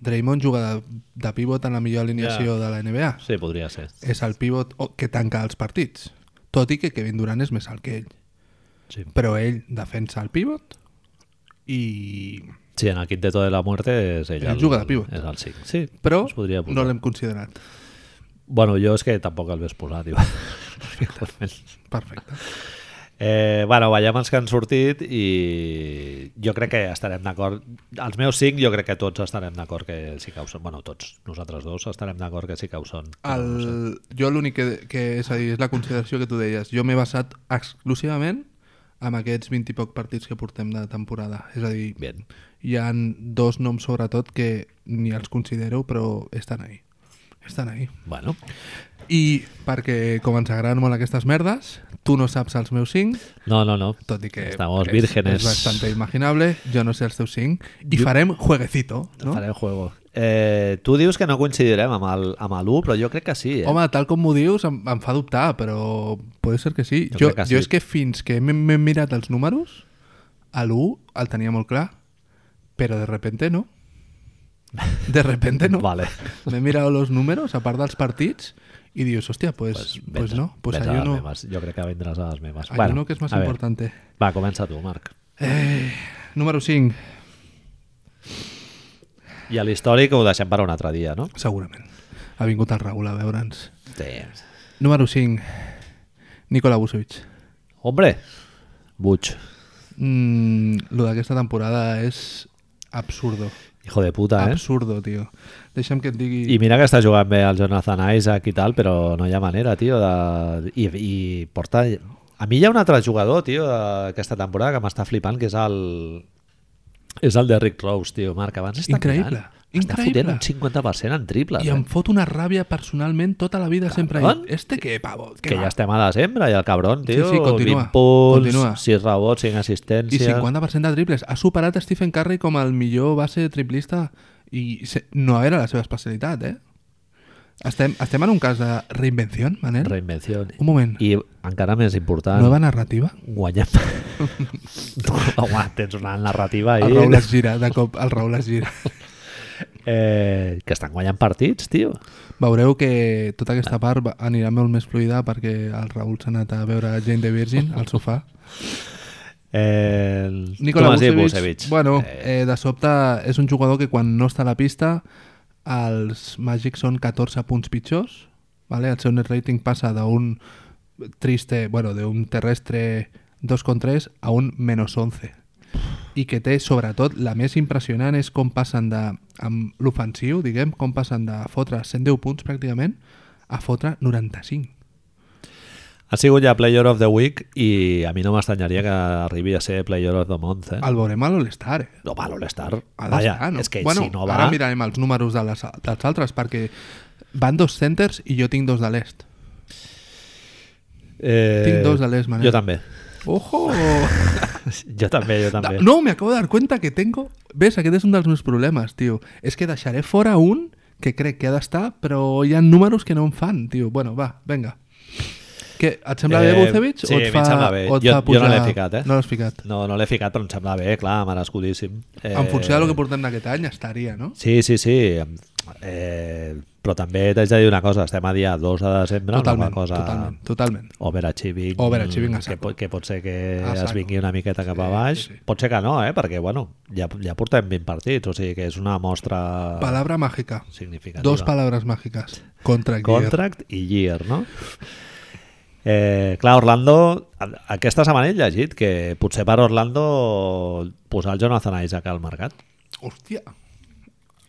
Speaker 2: Draymond juga de, de pivot en la millor alineació de la NBA.
Speaker 1: Sí, podria ser.
Speaker 2: És el pivot o- que tanca els partits. Tot i que Kevin Durant és més alt que ell.
Speaker 1: Sí.
Speaker 2: però ell defensa el pivot i...
Speaker 1: Sí, en el kit de tota la muerte és ell.
Speaker 2: Ell juga de pivot.
Speaker 1: És el 5. Sí,
Speaker 2: Però
Speaker 1: es podria
Speaker 2: no
Speaker 1: posar.
Speaker 2: l'hem considerat.
Speaker 1: Bueno, jo és que tampoc el ves posar, tio.
Speaker 2: Perfecte.
Speaker 1: Eh, bueno, veiem els que han sortit i jo crec que estarem d'acord els meus cinc jo crec que tots estarem d'acord que sí que ho són, bueno tots, nosaltres dos estarem d'acord que sí que ho són però
Speaker 2: Ah.
Speaker 1: Ah, no sé.
Speaker 2: El, jo l'únic que, que és a dir, és la consideració que tu deies. Jo m'he basat exclusivament amb aquests 20 i poc partits que portem de temporada. És a dir,
Speaker 1: Bien.
Speaker 2: hi han dos noms sobretot que ni els considero, però estan ahí. Estan ahí.
Speaker 1: bueno,
Speaker 2: I perquè, com ens agraden molt aquestes merdes, tu no saps els meus cinc,
Speaker 1: no, no, no
Speaker 2: tot i que
Speaker 1: Estamos
Speaker 2: és,
Speaker 1: vírgenes.
Speaker 2: és bastante imaginable, jo no sé els teus cinc, i farem jueguecito, no?
Speaker 1: faré el juego eh, tu dius que no coincidirem amb el, amb l'1 però jo crec que sí eh?
Speaker 2: Home, tal com m'ho dius, em, em fa dubtar, però pot ser que sí.
Speaker 1: Jo
Speaker 2: Jo,
Speaker 1: crec que
Speaker 2: jo
Speaker 1: sí.
Speaker 2: és que fins que m'he m'he mirat els números, a l'1 el tenia molt clar, però de repente no. De repente no.
Speaker 1: Vale.
Speaker 2: M'he mirat els números, a part dels partits, i dius, hòstia, pues,
Speaker 1: Vens-
Speaker 2: pues no, pues
Speaker 1: vens a les
Speaker 2: allò no.
Speaker 1: meves. jo crec que vindràs a les meves
Speaker 2: Allò no, que és més
Speaker 1: a veure.
Speaker 2: importante.
Speaker 1: va, comença tu Marc
Speaker 2: Eh, número 5,
Speaker 1: i a l'històric ho deixem per un altre dia no?
Speaker 2: segurament. Ha vingut el Raül a veure'ns.
Speaker 1: Sí.
Speaker 2: Número 5, Nikola Vucevic.
Speaker 1: hombre Butch
Speaker 2: Mm, lo d'aquesta temporada és absurdo.
Speaker 1: hijo de puta eh?
Speaker 2: Absurdo, tio. Deixa'm que et digui...
Speaker 1: I mira que està jugant bé el Jonathan Isaac i tal, però no hi ha manera, tio, de... I, i porta... A mi hi ha un altre jugador, tio, d'aquesta temporada que m'està flipant, que és el... És el Derrick Rose, tio, Marc. Abans està
Speaker 2: Increïble,
Speaker 1: Mirant, està fotent
Speaker 2: increïble.
Speaker 1: un 50% en triples. eh?
Speaker 2: I em fot una ràbia personalment tota la vida sempre.
Speaker 1: Cabrón.
Speaker 2: he dit, Este que, pavo,
Speaker 1: Que
Speaker 2: que
Speaker 1: ja estem a desembre i el cabron, tio,
Speaker 2: Sí, sí,
Speaker 1: 20
Speaker 2: continua,
Speaker 1: punts,
Speaker 2: continua.
Speaker 1: 6 rebots, 5
Speaker 2: I
Speaker 1: assistències...
Speaker 2: 50% de triples. Ha superat Stephen Curry com el millor base triplista i se... no era la seva especialitat, eh? Estem, estem en un cas de reinvenció, Manel?
Speaker 1: Reinvenció.
Speaker 2: Un moment.
Speaker 1: I encara més important,
Speaker 2: Nova narrativa?
Speaker 1: guanyem... Home, tens una narrativa ahí.
Speaker 2: El Raül es gira, de cop el Raül es gira.
Speaker 1: Eh, que estan guanyant partits, tio.
Speaker 2: Veureu que tota aquesta part va- anirà molt més fluida perquè el Raül s'ha anat a veure Jane the Virgin al sofà.
Speaker 1: Eh,
Speaker 2: Nikola
Speaker 1: Tomàs Dick
Speaker 2: Vucevic, bueno, eh, de sobte és un jugador que quan no està a la pista els Magic són 14 punts pitjors, vale? el seu net rating passa d'un triste, bueno, d'un terrestre 2,3 a un menos 11 i que té sobretot la més impressionant és com passen de amb l'ofensiu, diguem, com passen de fotre 110 punts pràcticament a fotre 95
Speaker 1: Ha sigut ja Player of the Week i a mi no m'estranyaria que arribi a ser Player of the Month. Eh?
Speaker 2: el veurem a l'All-Star eh?
Speaker 1: No va l'All-Star.
Speaker 2: Ha
Speaker 1: Vaja,
Speaker 2: d'estar,
Speaker 1: és que
Speaker 2: Ah, bueno,
Speaker 1: si no va...
Speaker 2: Ara mirarem els números de les, dels altres, perquè van dos centers i jo tinc dos de l'est.
Speaker 1: eh,
Speaker 2: tinc dos de l'est, Manel.
Speaker 1: Jo també.
Speaker 2: Ojo!
Speaker 1: Jo també, jo també.
Speaker 2: no, me acabo de dar cuenta que tengo... Ves, aquest és un dels meus problemes, tio. És que deixaré fora un que crec que ha d'estar, però hi ha números que no em fan, tio. Bueno, va, venga. Que, et sembla bé
Speaker 1: Eh,
Speaker 2: Vucevic?
Speaker 1: sí,
Speaker 2: o
Speaker 1: a
Speaker 2: et
Speaker 1: mi
Speaker 2: fa,
Speaker 1: em sembla bé.
Speaker 2: O et
Speaker 1: Jo-
Speaker 2: fa
Speaker 1: jo no
Speaker 2: pujar-
Speaker 1: l'he ficat, eh?
Speaker 2: No l'has ficat.
Speaker 1: No, no l'he ficat, però em sembla bé, clar, merescudíssim. Eh,
Speaker 2: En funció del que portem d'aquest any estaria, no?
Speaker 1: Sí, sí, sí. Eh, però també t'haig de dir una cosa, estem a dia 2 de desembre,
Speaker 2: totalment,
Speaker 1: una cosa...
Speaker 2: totalment, totalment.
Speaker 1: overachieving,
Speaker 2: Overachieving a
Speaker 1: que,
Speaker 2: saco.
Speaker 1: pot, que pot ser que
Speaker 2: A
Speaker 1: es
Speaker 2: saco.
Speaker 1: vingui una miqueta cap a
Speaker 2: Sí,
Speaker 1: baix
Speaker 2: sí, sí.
Speaker 1: pot ser que no, eh? perquè bueno, ja, ja portem 20 partits o sigui que és una mostra
Speaker 2: Palabra màgica.
Speaker 1: significativa
Speaker 2: Dos palabres màgiques. Contra
Speaker 1: contract i year no? Eh, clar, Orlando a- aquesta setmana he llegit que potser per Orlando posar el Jonathan Isaac al mercat
Speaker 2: Hòstia.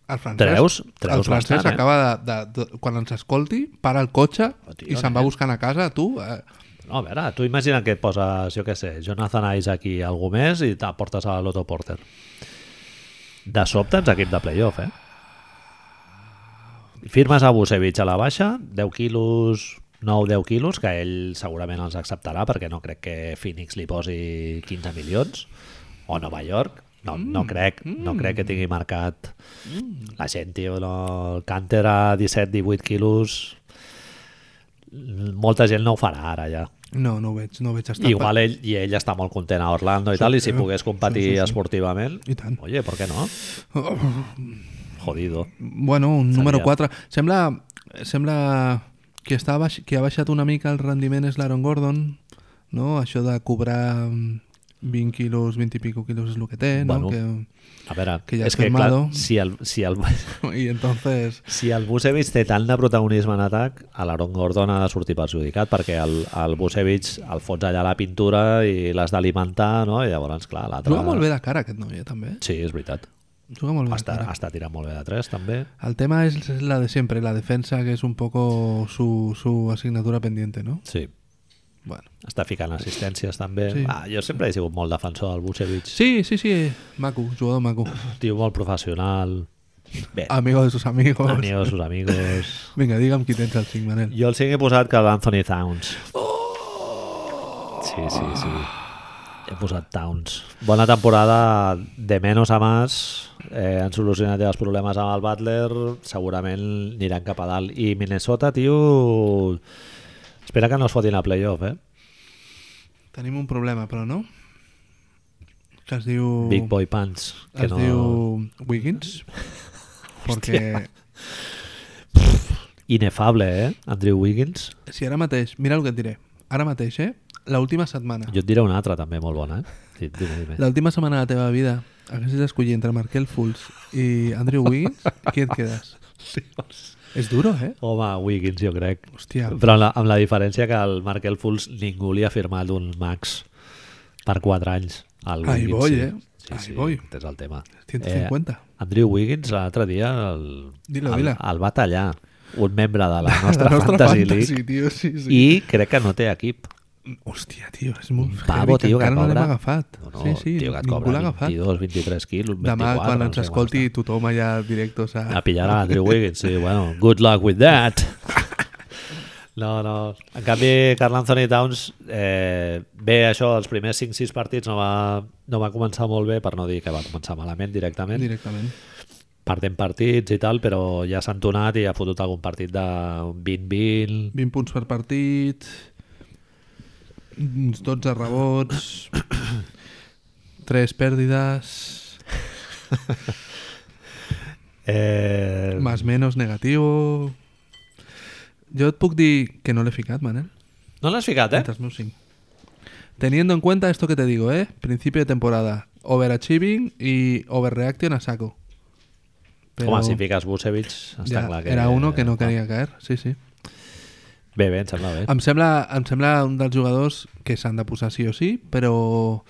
Speaker 2: El francès,
Speaker 1: Treus- treus
Speaker 2: el francès
Speaker 1: bastant, eh?
Speaker 2: acaba de, de, de, quan ens escolti, para el cotxe
Speaker 1: Oh, tio,
Speaker 2: i se'n va
Speaker 1: nen.
Speaker 2: buscant a casa, tu. Eh,
Speaker 1: no, a veure, tu imagina que et poses, jo què sé, Jonathan Isaac i algú més i t'aportes a l'Otto Porter. De sobte ens equip de playoff, eh? Firmes a Busevich a la baixa, 10 quilos, 9-10 quilos, que ell segurament els acceptarà perquè no crec que Phoenix li posi 15 milions, o Nova York, no, no, crec, no crec que tingui marcat la gent, tio, no, el Canter a 17-18 quilos, molta gent no ho farà ara ja.
Speaker 2: no, no ho veig, no ho veig estar.
Speaker 1: Igual ell, i ell està molt content a Orlando i tal, i si pogués competir sí, sí, sí. esportivament,
Speaker 2: I tant.
Speaker 1: oye, ¿por qué no? Jodido.
Speaker 2: Bueno, un número
Speaker 1: Seria.
Speaker 2: 4. Sembla, sembla que, està baix, que ha baixat una mica el rendiment és l'Aaron Gordon. no? Això de cobrar mm, 20 quilos, 20 i pico quilos és el que té, no?
Speaker 1: Bueno.
Speaker 2: Que...
Speaker 1: A veure,
Speaker 2: Que ja
Speaker 1: és
Speaker 2: has
Speaker 1: que clar,
Speaker 2: firmado.
Speaker 1: si el, si el,
Speaker 2: I entonces...
Speaker 1: si el Busevich té tant de protagonisme en atac, a l'Aaron Gordon ha de sortir perjudicat, perquè el, el Busevich el fots allà a la pintura i l'has d'alimentar, no? I llavors, clar, l'altre...
Speaker 2: Juga molt bé de cara aquest noi, eh, també.
Speaker 1: Sí, és veritat.
Speaker 2: Juga molt bé de
Speaker 1: Està,
Speaker 2: cara.
Speaker 1: està tirant molt bé de tres, també.
Speaker 2: El tema es, es la de siempre, la defensa, que es un poco su, su asignatura pendiente, ¿no?
Speaker 1: Sí.
Speaker 2: Bueno.
Speaker 1: Està ficant assistències, també. Sí.
Speaker 2: Sí.
Speaker 1: Ah, jo sempre he sigut molt defensor del Busevich.
Speaker 2: Sí, sí, sí, Maku, jugador Maku.
Speaker 1: Tio molt professional. Bé,
Speaker 2: Amigo de sus amigos.
Speaker 1: amigos, sus amigos...
Speaker 2: Venga, dígame quién tens al 5, Manel.
Speaker 1: Jo el sí que he posat que l'Anthony Towns.
Speaker 2: Oh.
Speaker 1: Sí, sí, sí.
Speaker 2: Ah.
Speaker 1: He posat Towns. Bona temporada de menys a més. Eh, han solucionat ja els problemes amb el Butler. Segurament aniran cap a dalt. I Minnesota, tio... Espera que no es fotin a playoff, eh?
Speaker 2: Tenim un problema, però no? Que es diu...
Speaker 1: Big Boy Pants. Que
Speaker 2: Es
Speaker 1: no...
Speaker 2: diu Wiggins. Perquè
Speaker 1: Inefable, eh? Andrew Wiggins.
Speaker 2: si ara mateix, mira el que et diré, ara mateix, eh? L'última setmana,
Speaker 1: Jo et diré una altra també molt bona, eh? Sí, dime, dime.
Speaker 2: l'última setmana de la teva vida, haguessis d'escollir entre Markel Fultz i Andrew Wiggins, qui et quedes? És duro, eh?
Speaker 1: Home, Wiggins, jo crec.
Speaker 2: Hòstia.
Speaker 1: Però amb la, amb la diferència que el Markel Fultz ningú li ha firmat un max per 4 anys. El
Speaker 2: Ahí
Speaker 1: Wiggins,
Speaker 2: voy,
Speaker 1: sí.
Speaker 2: eh?
Speaker 1: Sí,
Speaker 2: Ahí
Speaker 1: sí,
Speaker 2: voy.
Speaker 1: Tens el tema.
Speaker 2: 150.
Speaker 1: Eh, Andrew Wiggins l'altre dia el,
Speaker 2: Dilo,
Speaker 1: el,
Speaker 2: dilo.
Speaker 1: el va tallar un membre de la nostra,
Speaker 2: La nostra
Speaker 1: Fantasy,
Speaker 2: fantasy,
Speaker 1: League
Speaker 2: tio, sí, sí.
Speaker 1: i crec que no té equip.
Speaker 2: Hòstia, tio, és molt
Speaker 1: Pavo,
Speaker 2: heavy, que
Speaker 1: tio, que
Speaker 2: encara no l'hem
Speaker 1: cobra-
Speaker 2: agafat.
Speaker 1: No, no,
Speaker 2: sí, sí,
Speaker 1: tio, que et
Speaker 2: ningú
Speaker 1: cobra
Speaker 2: l'ha agafat.
Speaker 1: 22, 23 quilos, 24...
Speaker 2: Demà, quan
Speaker 1: no
Speaker 2: ens
Speaker 1: sé
Speaker 2: escolti,
Speaker 1: està.
Speaker 2: tothom allà directos a...
Speaker 1: A pillar a Andrew Wiggins, sí, bueno, good luck with that. No, no. En canvi, Carl Anthony Towns, eh, bé, això, els primers 5-6 partits no va, no va començar molt bé, per no dir que va començar malament directament,
Speaker 2: Directament.
Speaker 1: perdent partits i tal, però ja s'ha entonat i ha fotut algun partit de 20-20,
Speaker 2: 20 punts per partit, uns 12 rebots, 3 pèrdides,
Speaker 1: eh,
Speaker 2: més menys negatiu... Jo et puc dir que no l'he ficat, Manel,
Speaker 1: No l'has ficat, eh?
Speaker 2: entre els meus 5. Teniendo en cuenta esto que te digo, eh? Principio de temporada. Overachieving y overreaction a saco. Però-
Speaker 1: Home, si fiques Vucevic, està
Speaker 2: Ja,
Speaker 1: clar que...
Speaker 2: Era uno que no quería caer, sí, sí.
Speaker 1: Bé, bé, em sembla bé.
Speaker 2: Em sembla, em sembla un dels jugadors que s'han de posar sí o sí, però...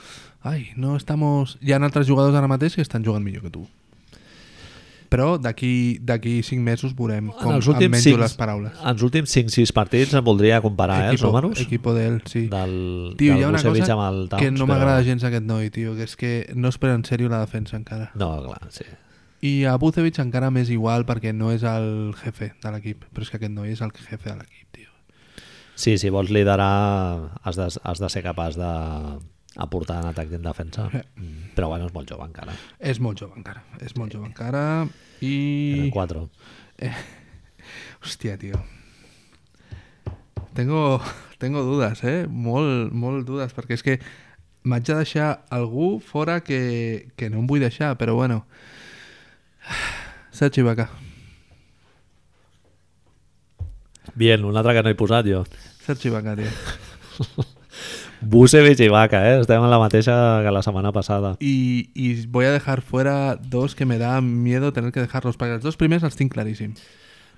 Speaker 2: Ai, no estamos... Hi ha altres jugadors ara mateix que estan jugant millor que tu. Però d'aquí d'aquí cinc mesos veurem com em menjo les paraules.
Speaker 1: En els últims 5-6 partits em voldria comparar, eh, els números.
Speaker 2: equipo d'ell, sí.
Speaker 1: del,
Speaker 2: Tio,
Speaker 1: del
Speaker 2: hi ha una
Speaker 1: Vucevic
Speaker 2: cosa
Speaker 1: amb el Towns,
Speaker 2: que no m'agrada gens aquest noi, tio, que és que no es pren en sèrio la defensa encara.
Speaker 1: No, clar, sí.
Speaker 2: I a Bucevic encara m'és igual perquè no és el jefe de l'equip, però és que aquest noi és el jefe de l'equip, tio.
Speaker 1: Sí, si vols liderar has de, has de ser capaç de aportar en atac i en defensa.
Speaker 2: Eh.
Speaker 1: Mm, Però bueno, és molt jove encara.
Speaker 2: És molt jove encara, és molt jove encara
Speaker 1: Tenen
Speaker 2: i...
Speaker 1: 4.
Speaker 2: Hòstia, tio. Tengo, tengo dudes, eh? Molt, molt dudes, perquè és que m'haig de deixar algú fora que, que no em vull deixar, però bueno. Sergi Ibaka.
Speaker 1: Bien, un altre que no he posat jo.
Speaker 2: Sergi Ibaka, tio.
Speaker 1: Busevich i Vaca, eh? Estem en la mateixa que la setmana passada.
Speaker 2: Y, y voy a dejar fuera dos que me da miedo tener que dejarlos, perquè els dos primers els tinc claríssim.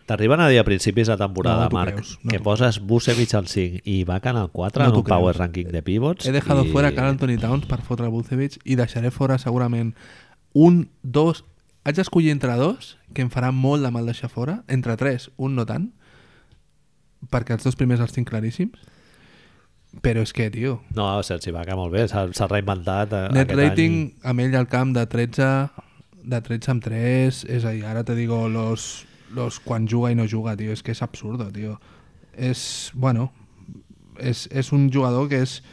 Speaker 1: T'arriben a dir a principis de temporada,
Speaker 2: No t'ho
Speaker 1: Marc,
Speaker 2: creus, no
Speaker 1: que
Speaker 2: t'ho
Speaker 1: poses Busevich al 5 i Vaca en el 4
Speaker 2: No
Speaker 1: en
Speaker 2: t'ho
Speaker 1: un power
Speaker 2: creus.
Speaker 1: ranking de pivots.
Speaker 2: He dejado
Speaker 1: i-
Speaker 2: fuera Carl Anthony Towns per fotre Vucevic i deixaré fora segurament un, dos... Haig d'escollir entre dos, que em farà molt de mal deixar fora, entre tres, un no tant, perquè els dos primers els tinc claríssims, però és que, tio,
Speaker 1: No, Sergi Vaca molt bé, s'ha s'ha reinventat eh,
Speaker 2: net
Speaker 1: aquest
Speaker 2: rating
Speaker 1: any.
Speaker 2: amb ell al camp de 13, de 13 amb 3, és a dir, ara te digo los, los quan juga i no juga, tio, és que és absurdo, tio. És, bueno, és, és un jugador que és,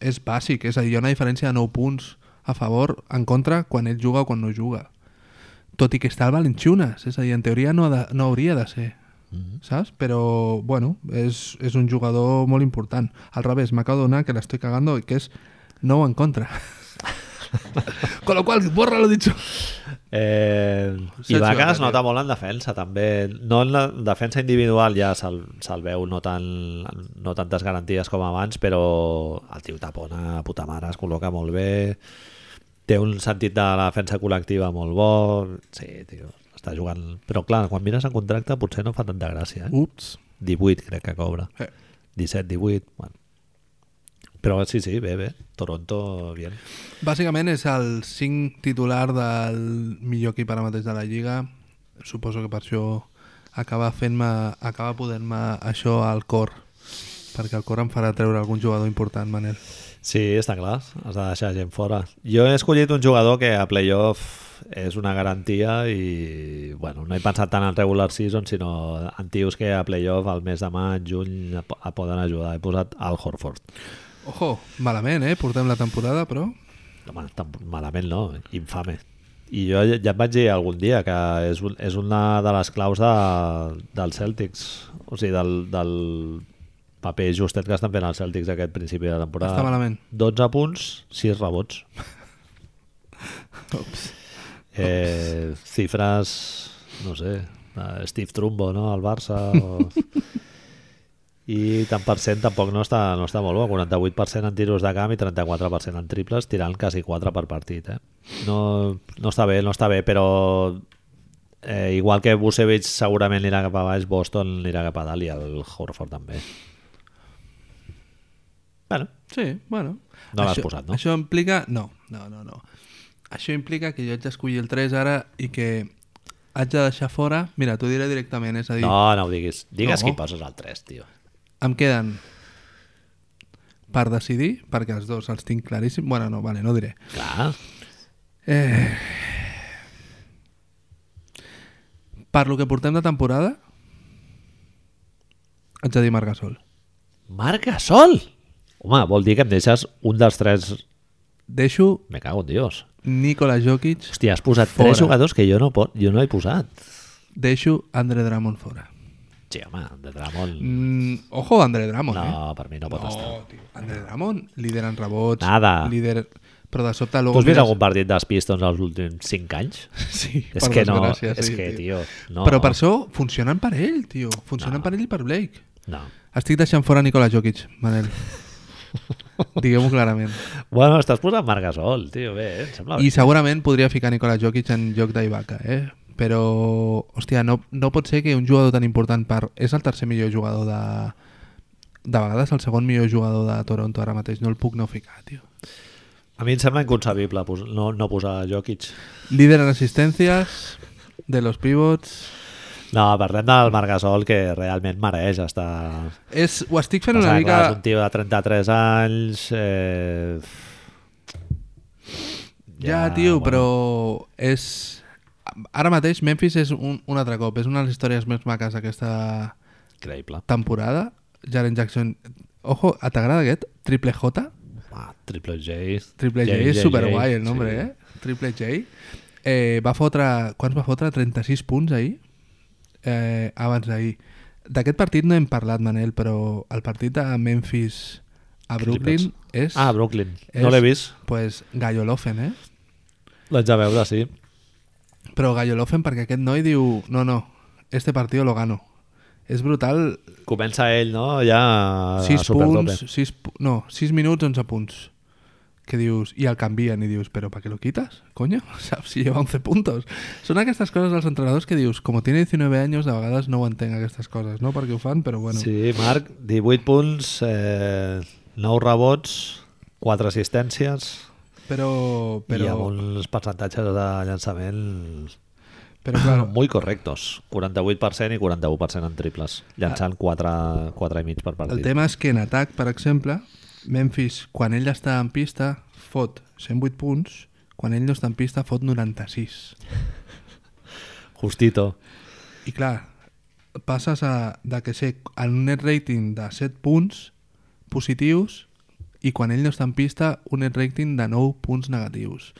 Speaker 2: és bàsic, és a dir, hi ha una diferència de 9 punts a favor, en contra, quan ell juga o quan no juga. Tot i que està al Valenciunes, és a dir, en teoria no, ha de, no hauria de ser,
Speaker 1: Mhm.
Speaker 2: saps? Però, bueno, és, és un jugador molt important. Al revés, m'acabo d'adonar que l'estic cagando i que és 9 en contra. Con lo cual, borra lo dicho.
Speaker 1: Eh,
Speaker 2: Sergio
Speaker 1: Ibaka es
Speaker 2: Ibaka.
Speaker 1: nota molt en defensa també, no en la en defensa individual ja se'l se veu no, tan, no tantes garanties com abans però el tio tapona puta mare, es col·loca molt bé té un sentit de la defensa col·lectiva molt bo sí, tio, està jugant però clar, quan mires el contracte potser no fa tanta gràcia eh?
Speaker 2: Ups.
Speaker 1: 18 crec que cobra
Speaker 2: Eh.
Speaker 1: 17, 18 bueno. però sí, sí, bé, bé Toronto, bien
Speaker 2: Bàsicament és el 5 titular del millor equip ara mateix de la Lliga. Suposo que per això acaba fent-me, acaba podent-me això al cor. Perquè el cor em farà treure algun jugador important, Manel.
Speaker 1: Sí, està clar, has de deixar gent fora. Jo he escollit un jugador que a playoff és una garantia i bueno, no he pensat tant en regular season sinó en tios que a playoff al mes de maig, juny et po- et poden ajudar. He posat al Horford.
Speaker 2: Ojo, malament, eh? Portem la temporada, però...
Speaker 1: Home, tan malament no, infame. I jo ja ja et vaig dir algun dia que és, un, és una de les claus de, dels Celtics, o sigui, del, del paper justet que estan fent els Celtics aquest principi de temporada.
Speaker 2: Està malament.
Speaker 1: 12 punts, 6 rebots.
Speaker 2: Ops.
Speaker 1: Eh, cifres, no sé, eh, Steve Trumbo, no?, al Barça. O... I tant per cent tampoc no està, no està molt bo. 48% en tiros de camp i 34% en triples, tirant quasi 4 per partit. Eh? No, no està bé, no està bé, però eh, igual que Busevich segurament anirà cap a baix, Boston anirà cap a dalt i el Horford també. Bueno,
Speaker 2: Sí, bueno.
Speaker 1: No l'has
Speaker 2: Això-
Speaker 1: posat, no?
Speaker 2: Això implica... No, no, no, no. Això implica que jo haig d'escollir el 3 ara i que haig de deixar fora... Mira, t'ho diré directament, és a dir,
Speaker 1: no, no ho diguis. Digues
Speaker 2: No.
Speaker 1: qui poses al 3, tio.
Speaker 2: em queden per decidir, perquè els dos els tinc claríssim. Bueno, no, vale, no diré.
Speaker 1: Clar,
Speaker 2: Eh... Per lo que portem de temporada, haig de dir Marc Gasol.
Speaker 1: Marc Gasol! Home, vol dir que em deixes un dels tres...
Speaker 2: Deixo
Speaker 1: Me cago en Dios.
Speaker 2: Nikola Jokic,
Speaker 1: Hòstia, has posat
Speaker 2: Fora.
Speaker 1: tres jugadors que jo no, pot, jo no he posat.
Speaker 2: deixo Andre Drummond fora.
Speaker 1: Sí, home, de Dramon...
Speaker 2: Mm, ojo, Andre Drummond,
Speaker 1: No,
Speaker 2: eh?
Speaker 1: per mi no pot
Speaker 2: No,
Speaker 1: estar.
Speaker 2: tio. Andre Drummond, líder en rebots.
Speaker 1: Nada.
Speaker 2: Líder... Però de sobte...
Speaker 1: Tu
Speaker 2: Luego
Speaker 1: has vist algun partit dels Pistons els últims cinc anys?
Speaker 2: Sí,
Speaker 1: És
Speaker 2: per
Speaker 1: que no,
Speaker 2: desgràcia,
Speaker 1: és
Speaker 2: sí,
Speaker 1: que, tio, no.
Speaker 2: Però per això funcionen per ell, tio. Funcionen per ell i per Blake.
Speaker 1: No.
Speaker 2: Estic deixant fora Nikola Jokic, Manel. Diguem-ho clarament.
Speaker 1: Bueno, estàs posant Marc Gasol, tio, bé, eh? em sembla
Speaker 2: I
Speaker 1: bé.
Speaker 2: segurament podria ficar Nikola Jokic en lloc d'Ibaka, eh? Però, hòstia, no, no pot ser que un jugador tan important per... És el tercer millor jugador de... De vegades el segon millor jugador de Toronto ara mateix. No el puc no ficar, tio.
Speaker 1: A mi em sembla inconcebible pos no, no posar Jokic.
Speaker 2: Líder en assistències de los pivots.
Speaker 1: No, parlem del Marc Gasol que realment mereix estar
Speaker 2: És, ho estic fent
Speaker 1: Passa
Speaker 2: una
Speaker 1: que,
Speaker 2: mica...
Speaker 1: clar, és un tio de 33 anys... Eh...
Speaker 2: Ja, tio, però és... Ara mateix Memphis és un, un altre cop. És una de les històries més maques d'aquesta
Speaker 1: Increïble.
Speaker 2: temporada. Jaren Jackson... Ojo, eh, t'agrada aquest? Triple J?
Speaker 1: Ah, Triple J.
Speaker 2: Triple J, és superguai el nombre, eh? Triple J. Eh, va fotre... Quants va fotre? 36 punts ahir? Eh, abans d'ahir. D'aquest partit no hem parlat, Manel, però el partit de Memphis a Brooklyn és...
Speaker 1: Ah, Brooklyn.
Speaker 2: és,
Speaker 1: No l'he vist.
Speaker 2: Pues Gallo Lofen, eh?
Speaker 1: L'haig de veure, sí.
Speaker 2: Però Gallo Lofen perquè aquest noi diu no, no, este partido lo gano. És brutal.
Speaker 1: Comença ell, no? Ja a
Speaker 2: 6
Speaker 1: supertope.
Speaker 2: punts, 6, no, 6 minuts, 11 punts. Que dius, i el canvien i dius, però per què lo quitas? Coño, saps? Si lleva 11 puntos. Són aquestes coses dels entrenadors que dius, com tiene 19 anys, de vegades no ho entenc aquestes coses, no? Perquè ho fan, però bueno.
Speaker 1: Sí, Marc, 18 punts, eh, 9 rebots, 4 assistències
Speaker 2: Però,
Speaker 1: però... i
Speaker 2: però,
Speaker 1: amb uns percentatges de llançament
Speaker 2: però clar,
Speaker 1: molt correctos. 48% i 41% en triples, llançant 4, 4 i mig per
Speaker 2: El
Speaker 1: partit.
Speaker 2: tema és que en atac, per exemple, Memphis, quan ell està en pista, fot 108 punts, quan ell no està en pista, fot 96.
Speaker 1: Justito.
Speaker 2: I clar, passes a, de que sé en un net rating de 7 punts positius i quan ell no està en pista un net rating de 9 punts negatius.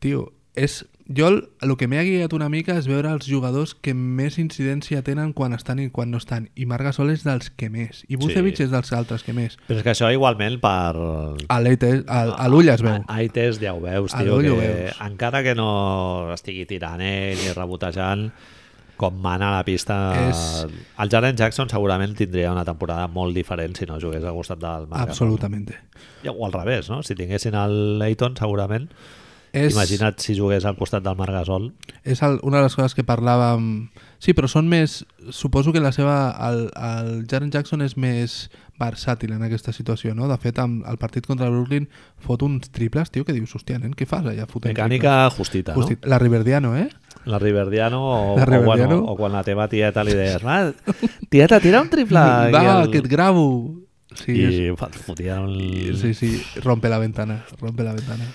Speaker 2: Tio, és... Jo el, el que m'he guiat una mica és veure els jugadors que més incidència tenen quan estan i quan no estan. I Marc Gasol és dels que més. I Vucevic
Speaker 1: Sí.
Speaker 2: és dels altres que més.
Speaker 1: Però és que això igualment per...
Speaker 2: A l'ull es veu.
Speaker 1: A, a ITES ja ho veus,
Speaker 2: A
Speaker 1: tio,
Speaker 2: l'ull
Speaker 1: que
Speaker 2: ho veus.
Speaker 1: encara que no estigui tirant ell ni rebotejant, com mana a la pista...
Speaker 2: És-
Speaker 1: El Jaren Jackson segurament tindria una temporada molt diferent si no jugués al costat del Marc.
Speaker 2: Absolutament.
Speaker 1: Gasol. O al revés, no? Si tinguessin el Leighton, segurament...
Speaker 2: És...
Speaker 1: Imagina't si jugués al costat del Marc Gasol.
Speaker 2: és el, una de les coses que parlàvem... Sí, però són més... Suposo que la seva... El, el Jaren Jackson és més versàtil en aquesta situació, no? De fet, amb el partit contra Brooklyn fot uns triples, tio, que dius, hòstia, nen, què fas allà fotent
Speaker 1: Mecànica justita,
Speaker 2: triples?" Hosti, La Riverdiano, eh?
Speaker 1: no? La Riverdiano, o,
Speaker 2: La
Speaker 1: O,
Speaker 2: Riverdiano.
Speaker 1: bueno, o quan la teva tieta li deies "Va, tieta, tira un triple aquí
Speaker 2: Va,
Speaker 1: al-"
Speaker 2: que et gravo! Sí,
Speaker 1: i fa- fotia un...
Speaker 2: és, sí, sí, rompe la ventana, rompe la ventana.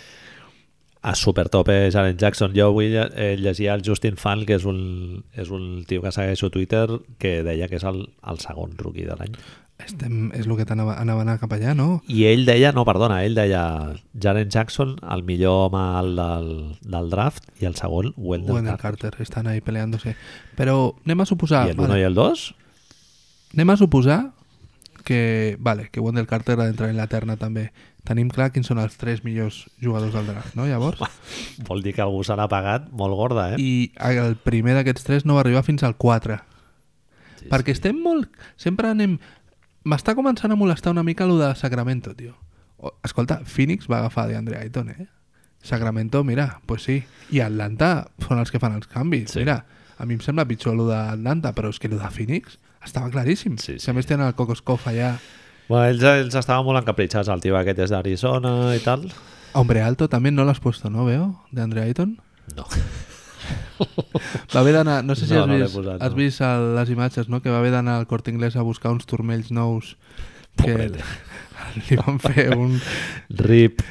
Speaker 1: a supertope Jaren Jackson. Jo avui eh, llegia el Justin Fan, que és un, és un tio que segueixo a Twitter, que deia que és el, el segon rookie de l'any.
Speaker 2: Estem, és el que t'anava anava a anar cap allà, no?
Speaker 1: I ell deia, no, perdona, ell deia Jaren Jackson, el millor home al del, del draft, i el segon, Wendell,
Speaker 2: Wendell
Speaker 1: Carter.
Speaker 2: Carter, estan ahí peleándose. Però anem a suposar...
Speaker 1: I el 1 i el 2?
Speaker 2: Anem a suposar que, vale, que Wendell Carter ha d'entrar en la terna també. Tenim clar quins són els tres millors jugadors del draft, no? Llavors,
Speaker 1: Vol dir que algú se l'ha pagat molt gorda, eh?
Speaker 2: i el primer d'aquests tres no va arribar fins al 4. Sí, perquè estem molt... Sempre anem... M'està començant a molestar una mica lo de Sacramento, tio. O- Escolta, Phoenix va agafar de Andre Ayton, eh? Sacramento, mira, pues sí. I Atlanta són els que fan els canvis.
Speaker 1: Sí.
Speaker 2: Sí. Mira, a mi em sembla pitjor lo d'Atlanta, però és que lo de Phoenix estava claríssim.
Speaker 1: Sí,
Speaker 2: Si a més tenen el Kokoskov allà...
Speaker 1: Bueno, ells, ells estaven molt encapritxats, el tio aquest és d'Arizona i tal.
Speaker 2: Hombre Alto también no lo has puesto, ¿no? Veo, de Andre Ayton.
Speaker 1: No.
Speaker 2: Va haver d'anar... No sé si
Speaker 1: No,
Speaker 2: has,
Speaker 1: no l'he
Speaker 2: vist,
Speaker 1: posat,
Speaker 2: has
Speaker 1: no.
Speaker 2: vist el, les imatges, no? Que va haver d'anar al Corte Inglés a buscar uns turmells nous que
Speaker 1: Pobret.
Speaker 2: li van fer un...
Speaker 1: Rip.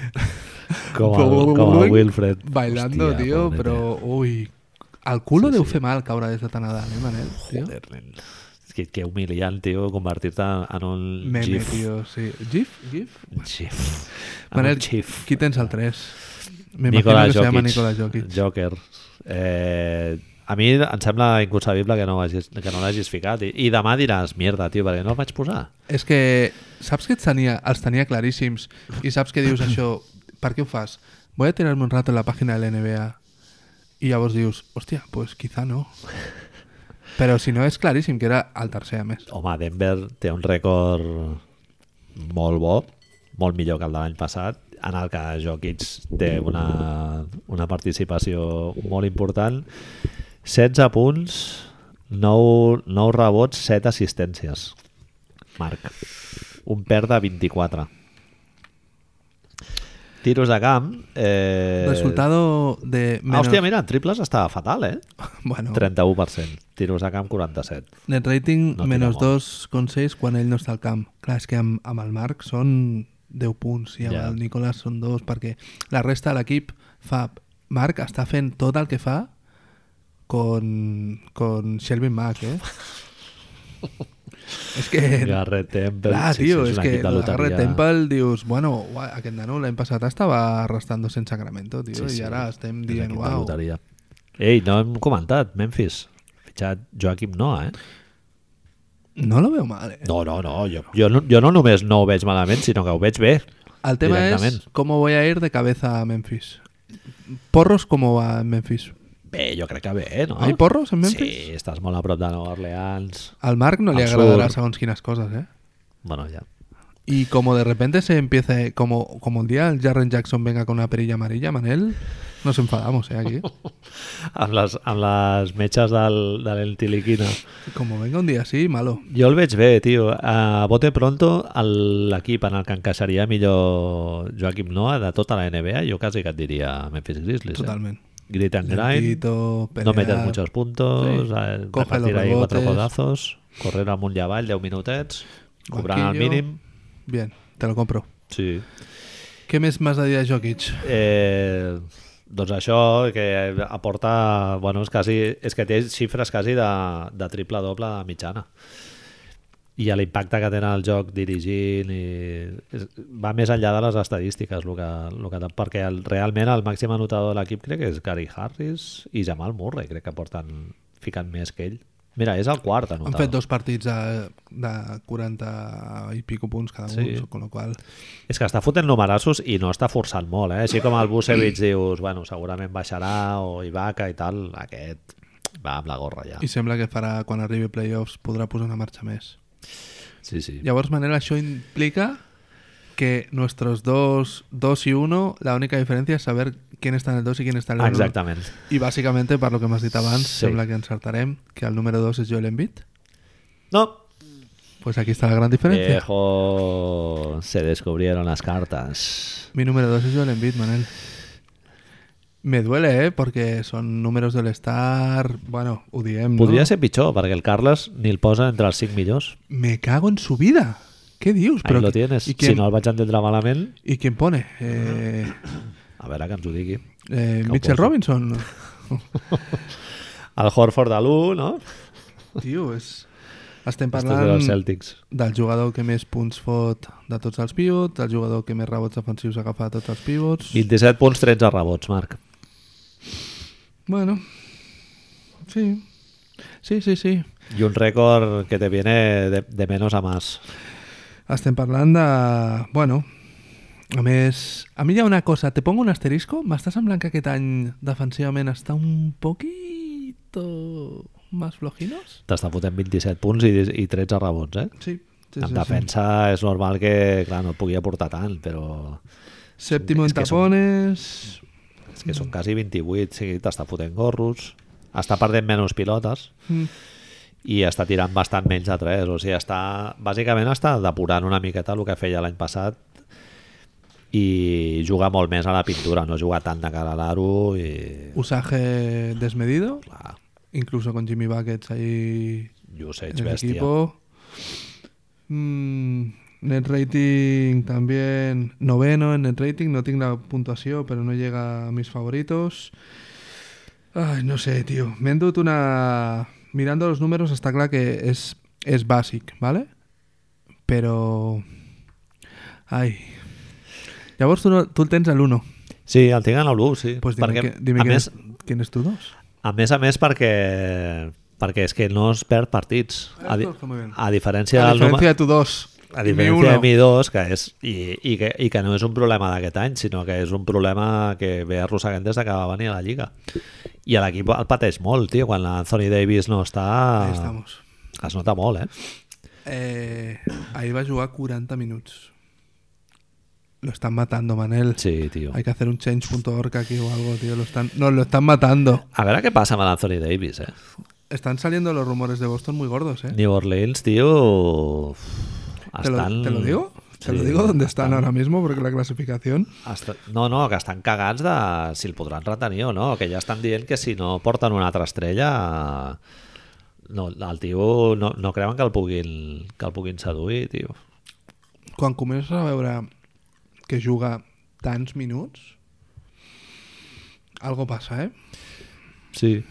Speaker 1: Com el, com el Wilfred.
Speaker 2: Bailando,
Speaker 1: Hòstia,
Speaker 2: tio,
Speaker 1: pobret,
Speaker 2: però...
Speaker 1: eh?
Speaker 2: Ui, el culo sí, deu fer mal caure des de tan a dalt, eh, Manel? Tio?
Speaker 1: Joder, nen. És que, que humiliant, tio, convertir-te en un
Speaker 2: Meme,
Speaker 1: gif.
Speaker 2: tio, sí. GIF? GIF?
Speaker 1: Gif. En
Speaker 2: Manel,
Speaker 1: un gif.
Speaker 2: qui tens el 3?
Speaker 1: Nikola
Speaker 2: que se llama
Speaker 1: Jokic.
Speaker 2: Nicola Jokic.
Speaker 1: Joker. Eh, a mi em sembla inconcebible que no, ho hagis, que no l'hagis ficat. I, I demà diràs, mierda, tio, perquè no el vaig posar.
Speaker 2: És que saps que et tenia, els tenia claríssims i saps que dius això, per què ho fas? Voy a tirarme un rato en la pàgina de la NBA i llavors dius, hòstia, pues quizá no. Però si no, és claríssim que era el tercer, a més.
Speaker 1: Home, Denver té un rècord molt bo, molt millor que el de l'any passat, en el que Jokic té una, una participació molt important. 16 punts, 9, 9 rebots, 7 assistències. Marc, un per de 24. Tiros de camp... Eh...
Speaker 2: Resultado de
Speaker 1: Ah,
Speaker 2: menos...
Speaker 1: hòstia, mira, en triples estava fatal, eh?
Speaker 2: Bueno,
Speaker 1: 31%. Tiros de camp, 47.
Speaker 2: net rating
Speaker 1: No
Speaker 2: no
Speaker 1: tira
Speaker 2: menos
Speaker 1: molt.
Speaker 2: 2,6 quan ell no està al camp. Clar, és que amb, amb el Marc són 10 punts i amb
Speaker 1: Ja.
Speaker 2: el Nicolas són 2 perquè la resta de l'equip fa... Marc està fent tot el que fa con, con Shelby Mack, eh? és que...
Speaker 1: Garrett Temple...
Speaker 2: Clar, tio,
Speaker 1: un
Speaker 2: és
Speaker 1: equip
Speaker 2: que
Speaker 1: de
Speaker 2: lo de
Speaker 1: loteria.
Speaker 2: Garrett Temple dius, bueno, ua, aquest nano l'any passat estava arrastrant en Sacramento, tio, i ara estem
Speaker 1: És
Speaker 2: dient,
Speaker 1: l'equip de
Speaker 2: uau,
Speaker 1: loteria. Ei, no hem comentat, Memphis. Ha Fitxat Joaquim Noah, eh?
Speaker 2: no lo veo mal, eh?
Speaker 1: No, no, no. Jo, jo, no, jo no només no ho veig malament, sinó que ho veig bé.
Speaker 2: El tema es
Speaker 1: Directamente.
Speaker 2: cómo voy a ir de cabeza a Memphis. ¿Porros cómo va en Memphis?
Speaker 1: Bé, jo crec que bé, eh, no?
Speaker 2: ¿Hay porros en Memphis?
Speaker 1: Sí, estàs molt a prop de Nova Orleans.
Speaker 2: Al Mark no le
Speaker 1: Al
Speaker 2: agradará
Speaker 1: sur.
Speaker 2: según quinas cosas, ¿eh?
Speaker 1: Bueno, ja.
Speaker 2: Y como de repente se empieza, eh, como, como el día el Jarren Jackson venga con una perilla amarilla, Manel, nos enfadamos, ¿eh? Aquí.
Speaker 1: Amb les, amb les metges del, de l'Entiliquina.
Speaker 2: Como venga un día así, malo.
Speaker 1: Jo el veig bé, tio. A bote pronto, el- l'equip en el que encaixaria millor Joaquim Noah de tota la NBA, jo quasi que et diria Memphis Grizzlies.
Speaker 2: Totalmente.
Speaker 1: Eh? Grit and grind.
Speaker 2: Lentito,
Speaker 1: No
Speaker 2: pelear.
Speaker 1: metes muchos puntos,
Speaker 2: Sí.
Speaker 1: eh,
Speaker 2: Coge
Speaker 1: repartir
Speaker 2: los
Speaker 1: ahí cuatro
Speaker 2: rebotes.
Speaker 1: codazos, correr amunt i avall 10 minutets, cobrant el
Speaker 2: Banquillo.
Speaker 1: mínim.
Speaker 2: Bien, te lo compro.
Speaker 1: Sí.
Speaker 2: ¿Qué mes más daría Jokic?
Speaker 1: Eh, doncs això que aporta... Bueno, és, quasi, és que té xifres quasi de, de triple-doble mitjana. i a l'impacte que tenen el joc dirigint i és, va més enllà de les estadístiques lo que, lo que, perquè el, realment el màxim anotador de l'equip crec que és Gary Harris i Jamal Murray crec que porten ficant més que ell mira, és el quart
Speaker 2: Han
Speaker 1: anotador
Speaker 2: fet dos partits de, de 40 i pico punts cada
Speaker 1: Sí.
Speaker 2: un, con lo cual...
Speaker 1: És que està fotent numerassos i no està forçant molt, eh? Així com el Busevich dius, bueno, segurament baixarà o Ibaka i tal, aquest va amb la gorra ja.
Speaker 2: I sembla que farà, quan arribi playoffs, podrà posar una marxa més.
Speaker 1: Sí, sí.
Speaker 2: Llavors, Manel, això implica que nuestros dos, dos y uno, la única diferencia es saber quién está en el 2 y quién está en el 1.
Speaker 1: Exactament.
Speaker 2: Y básicamente, para lo que más dit abans,
Speaker 1: Sí.
Speaker 2: sembla que encertarem que el número 2 es Joel Embiid.
Speaker 1: No.
Speaker 2: Pues aquí está la gran diferencia.
Speaker 1: Eh, Viejo, se descubrieron las cartas.
Speaker 2: Mi número 2 es Joel Embiid, Manel. Me duele, ¿eh? Porque son números del Star... Bueno, UDM,
Speaker 1: Podria
Speaker 2: ¿no?
Speaker 1: ser pitjor, perquè el Carles ni el posa entre els 5 millors.
Speaker 2: Me cago en su vida. ¿Qué dios?
Speaker 1: Ahí lo tienes.
Speaker 2: ¿y quién,
Speaker 1: Si no el vaig entendre malament,
Speaker 2: ¿Y quién pone? Eh,
Speaker 1: a veure que ens ho digui.
Speaker 2: eh,
Speaker 1: No
Speaker 2: Mitchell
Speaker 1: poso.
Speaker 2: Robinson.
Speaker 1: El Horford de l'1, no?
Speaker 2: Tio, és... Estem
Speaker 1: Estos de
Speaker 2: parlant
Speaker 1: los Celtics.
Speaker 2: del jugador que més punts fot de tots els pivots, del jugador que més rebots defensius agafa de tots els pivots.
Speaker 1: 27 punts, 13 rebots, Marc.
Speaker 2: Bueno, sí. Sí, sí, sí.
Speaker 1: I un rècord que te viene de, de menos a más.
Speaker 2: Estem parlant de... Bueno, a més, a mi hi ha una cosa, te pongo un asterisco, m'està semblant que aquest any defensivament està un poquito más flojinos?
Speaker 1: T'està fotent 27 punts i, i 13 rebots, eh?
Speaker 2: Sí, sí,
Speaker 1: Sí, en
Speaker 2: sí, sí.
Speaker 1: defensa sí. és normal que, clar, no et pugui aportar tant, però
Speaker 2: Séptimo en
Speaker 1: És que som-
Speaker 2: tapones...
Speaker 1: és que
Speaker 2: Mm.
Speaker 1: són quasi 28, sí, t'està fotent gorros, està perdent menys pilotes
Speaker 2: Mm.
Speaker 1: i està tirant bastant menys de 3, o sigui, està, bàsicament està depurant una miqueta el que feia l'any passat i juga molt més a la pintura, no juga tant de cara a l'aro i...
Speaker 2: Usaje desmedido,
Speaker 1: Clar,
Speaker 2: incluso con Jimmy Buckets ahí en
Speaker 1: usage
Speaker 2: el
Speaker 1: bèstia.
Speaker 2: equipo. Mm, net rating también noveno en net rating, no tiene la puntuación, pero no llega a mis favoritos. Ay, no sé, tío. Me han dado una... Mirando los números está claro que es, es basic, ¿vale? Pero... Ay. Ya vos tú, no- tú el tens al 1.
Speaker 1: Sí, el tinc en l'1, sí.
Speaker 2: Pues dime,
Speaker 1: perquè,
Speaker 2: que- dime
Speaker 1: a
Speaker 2: quién,
Speaker 1: més,
Speaker 2: es, quién es tu 2.
Speaker 1: A més a més perquè perquè és que no es perd partits. A, di
Speaker 2: Esto está muy bien.
Speaker 1: a diferència
Speaker 2: a
Speaker 1: del
Speaker 2: diferencia
Speaker 1: número...
Speaker 2: de tu 2.
Speaker 1: A diferència de mi 2, que és, i, i, que, i que no és un problema d'aquest any, sinó que és un problema que ve arrossegant des de que va venir a la Lliga. I a l'equip el pateix molt, tio, quan l'Anthony Davis no està...
Speaker 2: Ahí estamos.
Speaker 1: Es nota molt, eh?
Speaker 2: Eh, ahí va a jugar 40 minutos. Lo están matando, Manel.
Speaker 1: Sí, tio.
Speaker 2: Hay que hacer un change.org aquí o algo, tío. Lo están... Nos lo están matando.
Speaker 1: A veure què passa amb l'Anthony Davis, eh?
Speaker 2: Están saliendo los rumores de Boston muy gordos, ¿eh?
Speaker 1: New Orleans, tio... uf,
Speaker 2: ¿Te lo,
Speaker 1: Estan...
Speaker 2: te lo digo? Te lo
Speaker 1: Ah, Sí,
Speaker 2: digo dónde están ahora mismo porque la clasificación...
Speaker 1: Està... No, no, que estan cagats de si el podran retenir o no, que ja estan dient que si no porten una altra estrella no, el tio no, no creuen que el puguin, que el puguin seduir, tio.
Speaker 2: Quan comences a veure que juga tants minuts, algo passa, eh?
Speaker 1: Sí.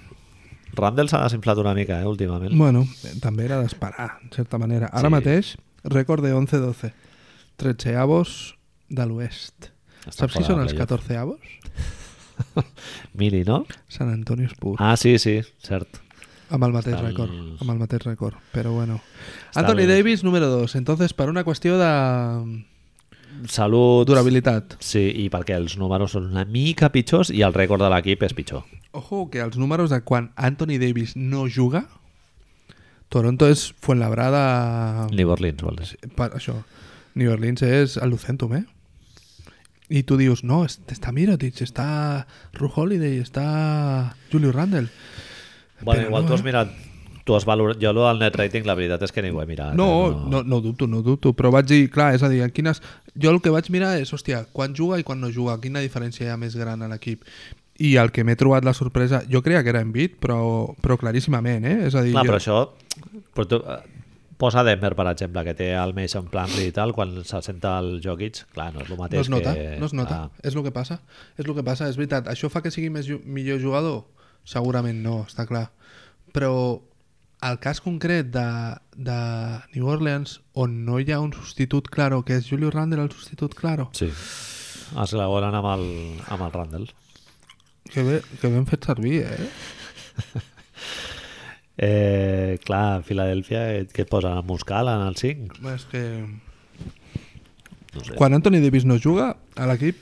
Speaker 1: Randall s'ha desinflat una mica, eh, últimament.
Speaker 2: Bueno, eh, també era d'esperar, en certa manera. Ara
Speaker 1: Sí.
Speaker 2: mateix, rècord de 11-12. 13avos de l'oest.
Speaker 1: Estan
Speaker 2: Saps qui
Speaker 1: fora
Speaker 2: són
Speaker 1: de
Speaker 2: els
Speaker 1: playoff.
Speaker 2: 14avos?
Speaker 1: Mini, no?
Speaker 2: San Antonio Spurs.
Speaker 1: Ah, sí, sí, cert.
Speaker 2: Amb el mateix
Speaker 1: estan-
Speaker 2: rècord. Amb el mateix rècord. Però bueno.
Speaker 1: Estan-
Speaker 2: Anthony Davis, número 2. Entonces, per una qüestió de
Speaker 1: Salut.
Speaker 2: durabilitat.
Speaker 1: Sí, i perquè els números són una mica pitjors i el rècord de l'equip és pitjor.
Speaker 2: Ojo, que els números de quan Anthony Davis no juga, Toronto és Fuenlabrada...
Speaker 1: New Orleans, vol dir.
Speaker 2: Ah. Sí, per això, New Orleans és el Lucentum, eh? I tu dius, no, es- està Mirotic, està Ru Holiday, està Julio Randle.
Speaker 1: Bueno,
Speaker 2: Però
Speaker 1: igual
Speaker 2: no,
Speaker 1: tu has
Speaker 2: eh?
Speaker 1: mirat... Tu has valorat... Jo el net rating, la veritat és que ni ho he mirat. eh,
Speaker 2: No, no, no ho dubto, no ho dubto, però vaig dir, clar, és a dir, en quines... Jo el que vaig mirar és, hòstia, quan juga i quan no juga, quina diferència hi ha més gran a l'equip. I el que m'he trobat la sorpresa, jo creia que era Embiid, però, però claríssimament, eh? És a dir,
Speaker 1: Clar,
Speaker 2: jo...
Speaker 1: però això... Però tu, eh, posa Denver, per exemple, que té el Mason Plumlee i tal, quan se senta el Jokic, clar, no és el
Speaker 2: No
Speaker 1: mateix
Speaker 2: es nota,
Speaker 1: que...
Speaker 2: no es nota.
Speaker 1: Ah,
Speaker 2: És el que passa. És el que passa, és veritat. Això fa que sigui més ju- millor jugador? Segurament no, està clar. Però el cas concret de, de New Orleans, on no hi ha un substitut claro, que és Julio Randle el substitut claro,
Speaker 1: Sí. Es elaboren amb el, amb el Randall.
Speaker 2: que, bé, que ben fet servir, eh?
Speaker 1: Eh, clar, Filadèlfia, eh, què et posen? El Muscal en el 5?
Speaker 2: Bé, És que...
Speaker 1: No sé.
Speaker 2: Quan Anthony Davis no juga, a l'equip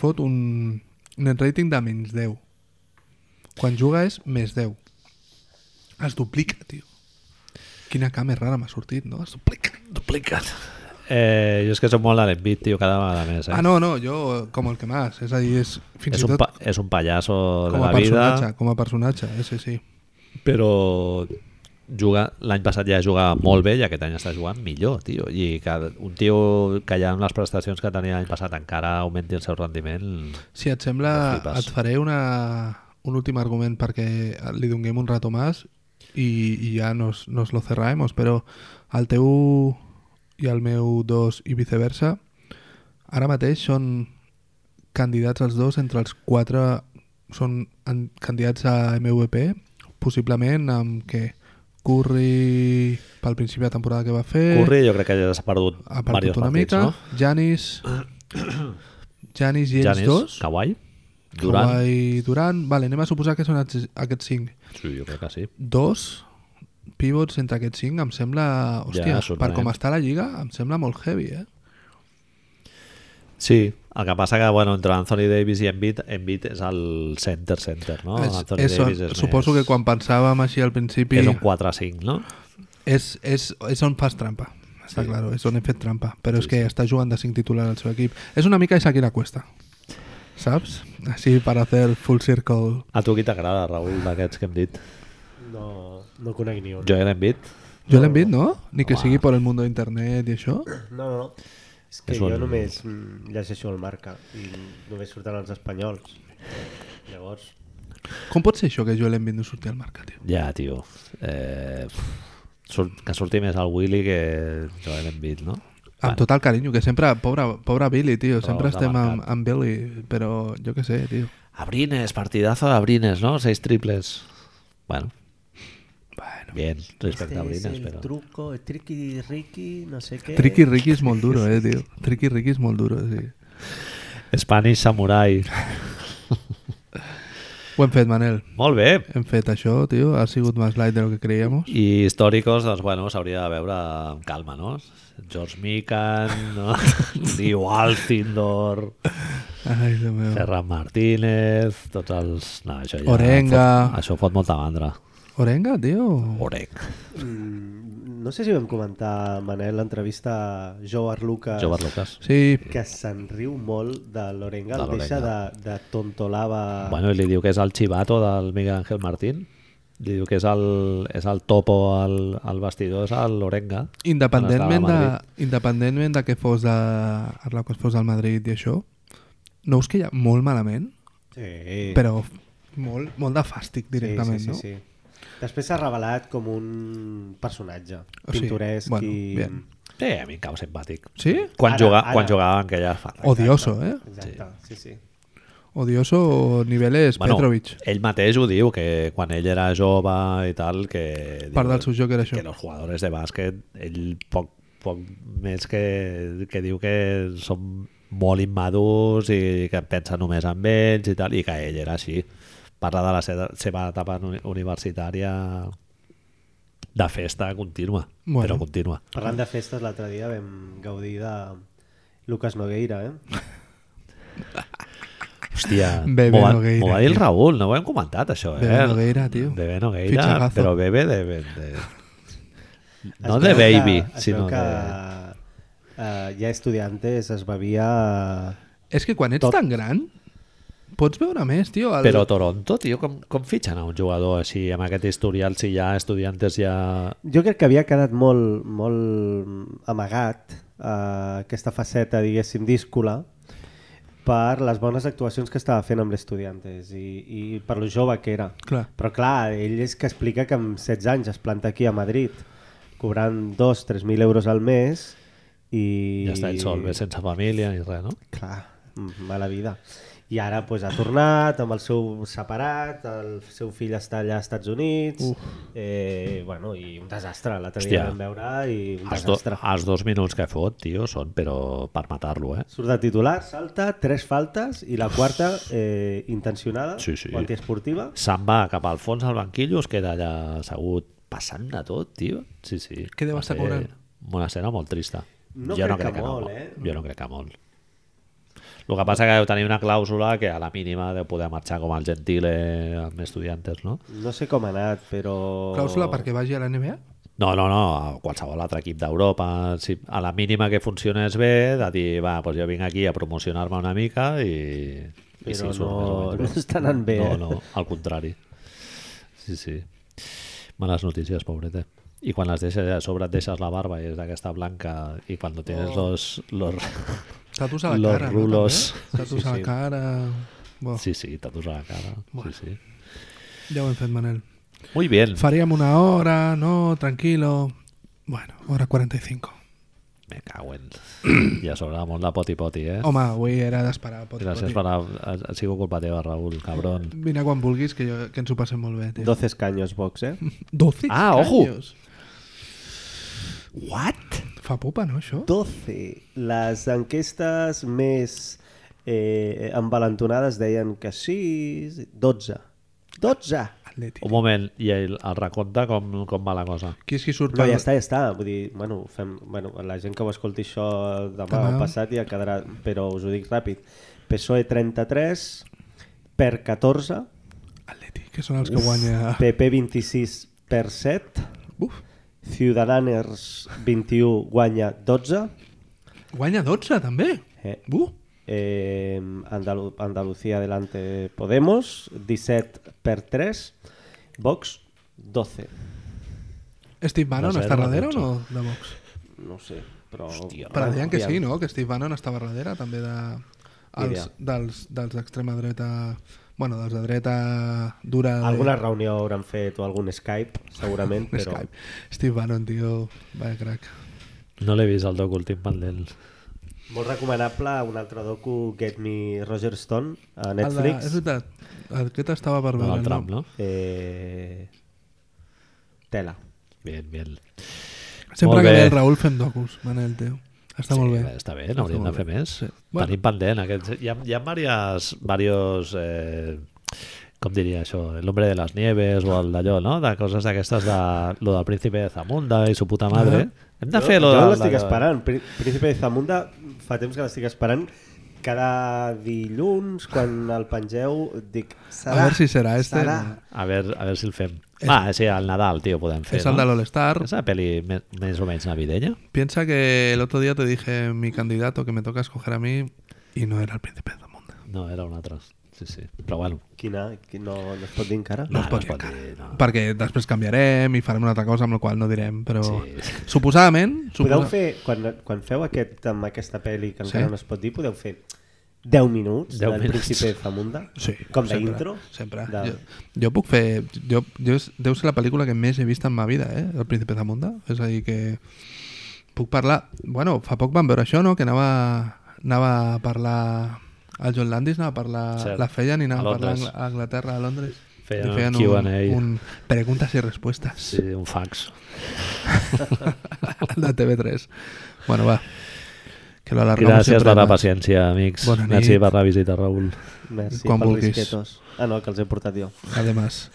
Speaker 2: fot un net rating de menys 10. Quan juga és més 10. Es duplica, tio. Quina cama més rara m'ha sortit, no? Es duplica.
Speaker 1: Duplicat. Eh, jo és que som molt a l'envit, tio, cada vegada més. Eh?
Speaker 2: Ah, no, no, jo eh, com el que más. És a dir, és fins
Speaker 1: és,
Speaker 2: i
Speaker 1: un
Speaker 2: tot
Speaker 1: pa, és un pallasso de
Speaker 2: com a
Speaker 1: la vida,
Speaker 2: personatge, com a personatge, eh, sí, sí.
Speaker 1: però juga l'any passat ja jugava molt bé i aquest any està jugant millor, tio. I que un tio que ja amb les prestacions que tenia l'any passat encara augmenti el seu rendiment...
Speaker 2: Si et
Speaker 1: No
Speaker 2: sembla,
Speaker 1: flipes.
Speaker 2: et faré una, un últim argument perquè li donem un rato más i, i ja nos, nos lo cerraemos, però el teu i el meu 2 i viceversa ara mateix són candidats els dos entre els quatre són en, candidats a MVP possiblement amb que Curry pel principi de temporada que va fer
Speaker 1: Curry jo crec que ja s'ha perdut
Speaker 2: Eh, ha
Speaker 1: diversos
Speaker 2: perdut una
Speaker 1: partits,
Speaker 2: mica
Speaker 1: no?
Speaker 2: Janis Janis i ells
Speaker 1: Giannis,
Speaker 2: dos
Speaker 1: Kawhi, Durant...
Speaker 2: Durant. i Durant, vale, anem a suposar que són aquests, aquests cinc.
Speaker 1: Sí, jo crec que sí.
Speaker 2: Dos pivots entre aquests cinc em sembla... Hòstia, ja, per
Speaker 1: sorprenent.
Speaker 2: com està la lliga, em sembla molt heavy, eh?
Speaker 1: Sí, el que passa que bueno, entre Anthony Davis i Embiid, Embiid és el center-center, no?
Speaker 2: És-
Speaker 1: Anthony
Speaker 2: és-
Speaker 1: Davis és
Speaker 2: suposo
Speaker 1: més...
Speaker 2: que quan pensàvem així al principi
Speaker 1: És
Speaker 2: és,
Speaker 1: un 4-5, no?
Speaker 2: és, és, on fas trampa. Està
Speaker 1: Sí.
Speaker 2: sí. clar, és on he fet trampa. Però
Speaker 1: Sí,
Speaker 2: és que està jugant de cinc titular al seu equip. És una mica Isaac i la Cuesta, saps? Així per fer el full circle.
Speaker 1: A tu qui t'agrada, Raül, d'aquests que hem dit?
Speaker 3: No, no conec ni un.
Speaker 1: Joel Embiid?
Speaker 2: Jo l'hem vist, no? Ni que sigui per el món d'internet i això.
Speaker 3: No, no, no. És que
Speaker 1: És
Speaker 3: jo
Speaker 1: un-
Speaker 3: només mm, llegeixo el marca i només surten els espanyols. Llavors,
Speaker 2: Com pot ser això que Joel Embiid no surti al mercat, tio?
Speaker 1: Ja, tio. Eh, surt, que surti més el Willy que Joel Embiid, no?
Speaker 2: Amb tot el carinyo, que sempre, pobre, pobre Billy, tio,
Speaker 1: Però
Speaker 2: sempre
Speaker 1: els ha
Speaker 2: estem amb,
Speaker 1: marcat.
Speaker 2: amb Billy, però jo què sé, tio.
Speaker 1: Abrines, partidazo de Abrines, no? Seis triples. Bueno,
Speaker 2: Bueno.
Speaker 1: bien, respecte a Abrines, però...
Speaker 3: truco, el triqui riqui, no sé què.
Speaker 2: Tricky Ricky és molt duro, eh, tio. Tricky Ricky és molt duro, sí.
Speaker 1: Spanish Samurai.
Speaker 2: Ho hem fet, Manel.
Speaker 1: Molt bé.
Speaker 2: Hem fet això, tio. Ha sigut més light de lo que creíamos.
Speaker 1: I històricos, doncs, bueno, s'hauria de veure amb calma, no? George Mikan, no? Dio Alcindor,
Speaker 2: Ai, Déu meu.
Speaker 1: Ferran Martínez, tots els... No, això ja
Speaker 2: Orenga.
Speaker 1: Fot, això fot molta mandra.
Speaker 2: Orenga, tio.
Speaker 1: Orenga.
Speaker 3: Mm, No sé si vam comentar, Manel, l'entrevista a Joe Arluca,
Speaker 1: Jove Lucas.
Speaker 2: Sí,
Speaker 3: que se'n riu molt de l'Orenga,
Speaker 1: De
Speaker 3: el deixa de,
Speaker 1: l'Orenga.
Speaker 3: de tontolava...
Speaker 1: Bueno, i li diu que és el xivato del Miguel Ángel Martín. Li diu que és el, és el topo al, al vestidor, és el Lorenga.
Speaker 2: independentment
Speaker 1: Quan
Speaker 2: de,
Speaker 1: estava a Madrid.
Speaker 2: independentment de que fos de... Arlau, que fos del Madrid i això, no us queia molt malament?
Speaker 3: sí.
Speaker 2: Però molt, molt de fàstic directament,
Speaker 3: sí, sí, sí, no? Sí. Després s'ha revelat com un personatge
Speaker 2: O sigui,
Speaker 3: pintoresc
Speaker 2: bueno,
Speaker 3: i...
Speaker 2: bien.
Speaker 1: Sí, a mi em cau simpàtic.
Speaker 2: no? Sí?
Speaker 1: Quan,
Speaker 3: Ara,
Speaker 1: juga,
Speaker 3: ara.
Speaker 1: quan jugava en aquella fa.
Speaker 2: sí? Odioso, eh?
Speaker 3: Exacte, sí, sí.
Speaker 2: Odioso niveles bueno, Petrovic.
Speaker 1: ell mateix ho diu, que quan ell era jove i tal, que...
Speaker 2: Part
Speaker 1: diu
Speaker 2: del seu joc era això.
Speaker 1: Que els jugadors de bàsquet, ell poc, poc més que, que diu que són molt immadurs i que pensa només en ells i tal, i que ell era així. Parla de la seva, seva etapa uni- universitària de festa contínua,
Speaker 2: Bueno.
Speaker 1: però contínua.
Speaker 3: Parlant de festes, l'altre dia vam gaudir de Lucas Nogueira, eh?
Speaker 1: Hòstia,
Speaker 2: Bebe
Speaker 1: m'ho va,
Speaker 2: Nogueira,
Speaker 1: m'ho va dir el
Speaker 2: tio.
Speaker 1: Raül, no ho hem comentat això, eh?
Speaker 2: Bebe Nogueira, tio.
Speaker 1: Bebe Nogueira,
Speaker 2: Fitxagazo.
Speaker 1: però bebe de... de, de...
Speaker 3: Es
Speaker 1: No de
Speaker 3: veu que-
Speaker 1: baby,
Speaker 3: es
Speaker 1: sinó
Speaker 3: veu que
Speaker 1: de...
Speaker 3: eh, ja estudiantes es bevia...
Speaker 2: És que quan ets
Speaker 3: Tot.
Speaker 2: tan gran pots veure més, tio. El...
Speaker 1: Però Toronto, tio, com, com fitxen a un jugador així, amb aquest historial, si ja estudiantes ja...
Speaker 3: Jo crec que havia quedat molt, molt amagat eh, aquesta faceta, diguéssim, díscola per les bones actuacions que estava fent amb l'estudiantes i, i per lo jove que era.
Speaker 2: Clar.
Speaker 3: Però clar, ell és que explica que amb 16 anys es planta aquí a Madrid cobrant 2-3.000 euros al mes i...
Speaker 1: Ja està ell sol, bé, sense família ni res, no?
Speaker 3: Clar, mm, mala vida. I ara pues, ha tornat amb el seu separat, el seu fill està allà als Estats Units, eh, bueno, i un desastre, l'altre dia
Speaker 1: Hòstia.
Speaker 3: el vam veure, i un
Speaker 1: Els, do,
Speaker 3: desastre.
Speaker 1: els dos minuts que fot, tio, són però per matar-lo, eh?
Speaker 3: Surt de titular, salta, tres faltes, i la quarta, eh, intencionada,
Speaker 1: Sí, sí.
Speaker 3: o antiesportiva,
Speaker 1: Se'n va cap al fons del banquillo, es queda allà assegut passant de tot, tio. Sí, sí.
Speaker 2: Què deu
Speaker 1: Va
Speaker 2: estar
Speaker 1: ser
Speaker 2: cobrant?
Speaker 1: Una escena molt trista.
Speaker 3: No
Speaker 1: jo no
Speaker 3: crec
Speaker 1: crec
Speaker 3: que
Speaker 1: que,
Speaker 3: molt,
Speaker 1: no,
Speaker 3: eh?
Speaker 1: Jo no crec que molt. El que passa que deu tenir una clàusula que a la mínima deu poder marxar com el Gentile amb estudiantes, no?
Speaker 3: no sé com ha anat, però...
Speaker 2: Clàusula perquè vagi a la NBA?
Speaker 1: No, no, no, a qualsevol altre equip d'Europa. Si a la mínima que funcionés bé, de dir, va, doncs jo vinc aquí a promocionar-me una mica i... i
Speaker 3: Però
Speaker 1: surt més
Speaker 3: no-
Speaker 1: o menys
Speaker 3: no està anant bé,
Speaker 1: No,
Speaker 3: eh?
Speaker 1: no, al contrari. Sí, sí. Males notícies, pobreta. I quan les deixes, a sobre et deixes la barba i és d'aquesta blanca i quan no tienes
Speaker 2: Oh.
Speaker 1: los, los...
Speaker 2: Tatus a la
Speaker 1: Los
Speaker 2: cara.
Speaker 1: rulos.
Speaker 2: No, també? Tatus
Speaker 3: Sí,
Speaker 2: a
Speaker 3: sí.
Speaker 2: la cara... Bo,
Speaker 1: Sí, sí, tatus a la cara.
Speaker 2: Bueno.
Speaker 1: Sí, sí.
Speaker 2: Ja ho hem fet, Manel.
Speaker 1: Muy bien.
Speaker 2: Faríem una hora, no? Tranquilo. Bueno, hora 45.
Speaker 1: Me cago en... I a sobre molt de poti-poti,
Speaker 3: Oh,
Speaker 1: eh?
Speaker 2: Home, avui era d'esperar. pot-
Speaker 1: Gràcies
Speaker 2: pot
Speaker 1: per...
Speaker 2: dir.
Speaker 1: Ha, ha sigut culpa teva, Raül, cabron.
Speaker 2: Vine quan vulguis, que, jo, que ens ho passem molt bé, tio.
Speaker 3: 12 escaños, Vox, eh?
Speaker 2: 12
Speaker 1: Ah, ojo.
Speaker 2: What? Fa pupa, no, això?
Speaker 3: 12. Les enquestes més eh, envalentonades deien que sí, 12. 12!
Speaker 2: Atlètic.
Speaker 1: Un moment, i el, el recompte com, com va la cosa?
Speaker 2: Qui és qui surt
Speaker 3: Però
Speaker 2: per...
Speaker 3: ja està, ja està. Vull dir, bueno, fem, bueno, la gent que ho escolti això demà, demà.
Speaker 2: Demà.
Speaker 3: passat ja quedarà, però us ho dic ràpid. PSOE 33, E per 14,
Speaker 2: Atlètic, que són els que guanya...
Speaker 3: PP 26 per 7,
Speaker 2: Uf,
Speaker 3: Ciudadaners 21 guanya 12,
Speaker 2: guanya 12, també.
Speaker 3: eh,
Speaker 2: Uh,
Speaker 3: Eh, Andalu- Andalucía delante Podemos, 17 per 3, Vox 12.
Speaker 2: Steve Bannon
Speaker 1: No Ah, sé,
Speaker 2: està
Speaker 1: no
Speaker 2: darrere o
Speaker 1: dotze.
Speaker 2: no, de Vox?
Speaker 3: No sé, però...
Speaker 1: Hòstia,
Speaker 2: Però deien que
Speaker 3: aviam.
Speaker 2: sí, no? Que Steve Bannon estava darrere també de... Els,
Speaker 3: idea.
Speaker 2: dels, dels d'extrema dreta... Bueno, dels de dreta dura... de-
Speaker 3: Alguna reunió hauran fet o algun Skype, segurament,
Speaker 2: de
Speaker 3: però...
Speaker 2: Skype. Steve Bannon, tio, va, crac.
Speaker 1: No l'he vist el doc últim pendent.
Speaker 3: Molt recomanable un altre docu, Get Me Roger Stone, a
Speaker 2: El de, és
Speaker 3: Netflix.
Speaker 2: veritat, aquest estava per
Speaker 1: No,
Speaker 2: veure.
Speaker 1: el Trump, no?
Speaker 3: Eh... Tela.
Speaker 1: Bien, bien.
Speaker 2: Sempre
Speaker 1: Molt
Speaker 2: que
Speaker 1: bé.
Speaker 2: ve el Raül fem docus, Manel, teu. Està molt bé.
Speaker 1: Està bé, n'hauríem de
Speaker 2: molt
Speaker 1: fer
Speaker 2: bé.
Speaker 1: més.
Speaker 2: Sí. Bueno.
Speaker 1: Bueno. Tenim pendent. Aquests, hi ha, hi ha diverses, diversos, eh, com diria això, l'hombre de les nieves o el d'allò, no? De coses d'aquestes de lo del príncipe de Zamunda i su puta madre. Hem de fer
Speaker 3: jo
Speaker 1: lo
Speaker 3: jo
Speaker 1: del-
Speaker 3: l'estic
Speaker 1: d'allò.
Speaker 3: esperant. Pri- Príncipe de Zamunda fa temps que l'estic esperant. Cada dilluns, quan el pengeu, dic... Serà,
Speaker 2: A veure si serà este.
Speaker 3: Serà.
Speaker 1: A veure, a veure si el fem. Ah, sí, al Nadal, tio, podem fer.
Speaker 2: Es el de
Speaker 1: no?
Speaker 2: All-Star.
Speaker 1: És una pel·li me- més o menys navideña.
Speaker 2: Piensa que el otro día te dije mi candidato que me toca escoger a mí y no era el príncipe de mundo.
Speaker 1: No, era una altra. Sí, sí. Però bueno,
Speaker 3: Quina? Qui- No, no es pot dir encara?
Speaker 1: No,
Speaker 2: es pot
Speaker 1: es
Speaker 2: dir
Speaker 1: pot dir, no.
Speaker 2: Perquè després canviarem i farem una altra cosa amb la qual no direm, però
Speaker 1: Sí.
Speaker 2: suposadament...
Speaker 3: Podeu
Speaker 2: suposa-
Speaker 3: fer, quan, quan feu aquest, amb aquesta pel·li que
Speaker 2: Sí.
Speaker 3: encara no es pot dir, podeu fer 10 minuts
Speaker 1: 10
Speaker 3: del
Speaker 1: minuts.
Speaker 3: Príncipe de Zamunda?
Speaker 2: Sí,
Speaker 3: Com
Speaker 2: sempre,
Speaker 3: d'intro?
Speaker 2: Sempre.
Speaker 3: De...
Speaker 2: Jo, jo puc fer... Jo, jo és, deu ser la pel·lícula que més he vist en ma vida, eh? El príncipe de Munda. És a dir, que puc parlar... Bueno, fa poc vam veure això, no? Que anava, anava a parlar... El John Landis anava a parlar...
Speaker 1: Cert.
Speaker 2: La feien i anava
Speaker 1: A
Speaker 2: a, parlar
Speaker 1: Londres.
Speaker 2: a Anglaterra, a Londres.
Speaker 1: Feien
Speaker 2: I
Speaker 1: un
Speaker 2: feien
Speaker 1: Q&A.
Speaker 2: un, un preguntes i respostes
Speaker 1: sí, un fax.
Speaker 2: de TV3. Bueno, va. Que lo alargamos
Speaker 1: Gràcies
Speaker 2: sempre
Speaker 1: per la
Speaker 2: més.
Speaker 1: paciència, amics.
Speaker 2: Bona nit.
Speaker 1: Merci per la visita, Raül.
Speaker 3: Merci
Speaker 2: Quan
Speaker 3: pels
Speaker 2: vulguis.
Speaker 3: risquetos. Ah, no, que els he portat jo.
Speaker 2: Además.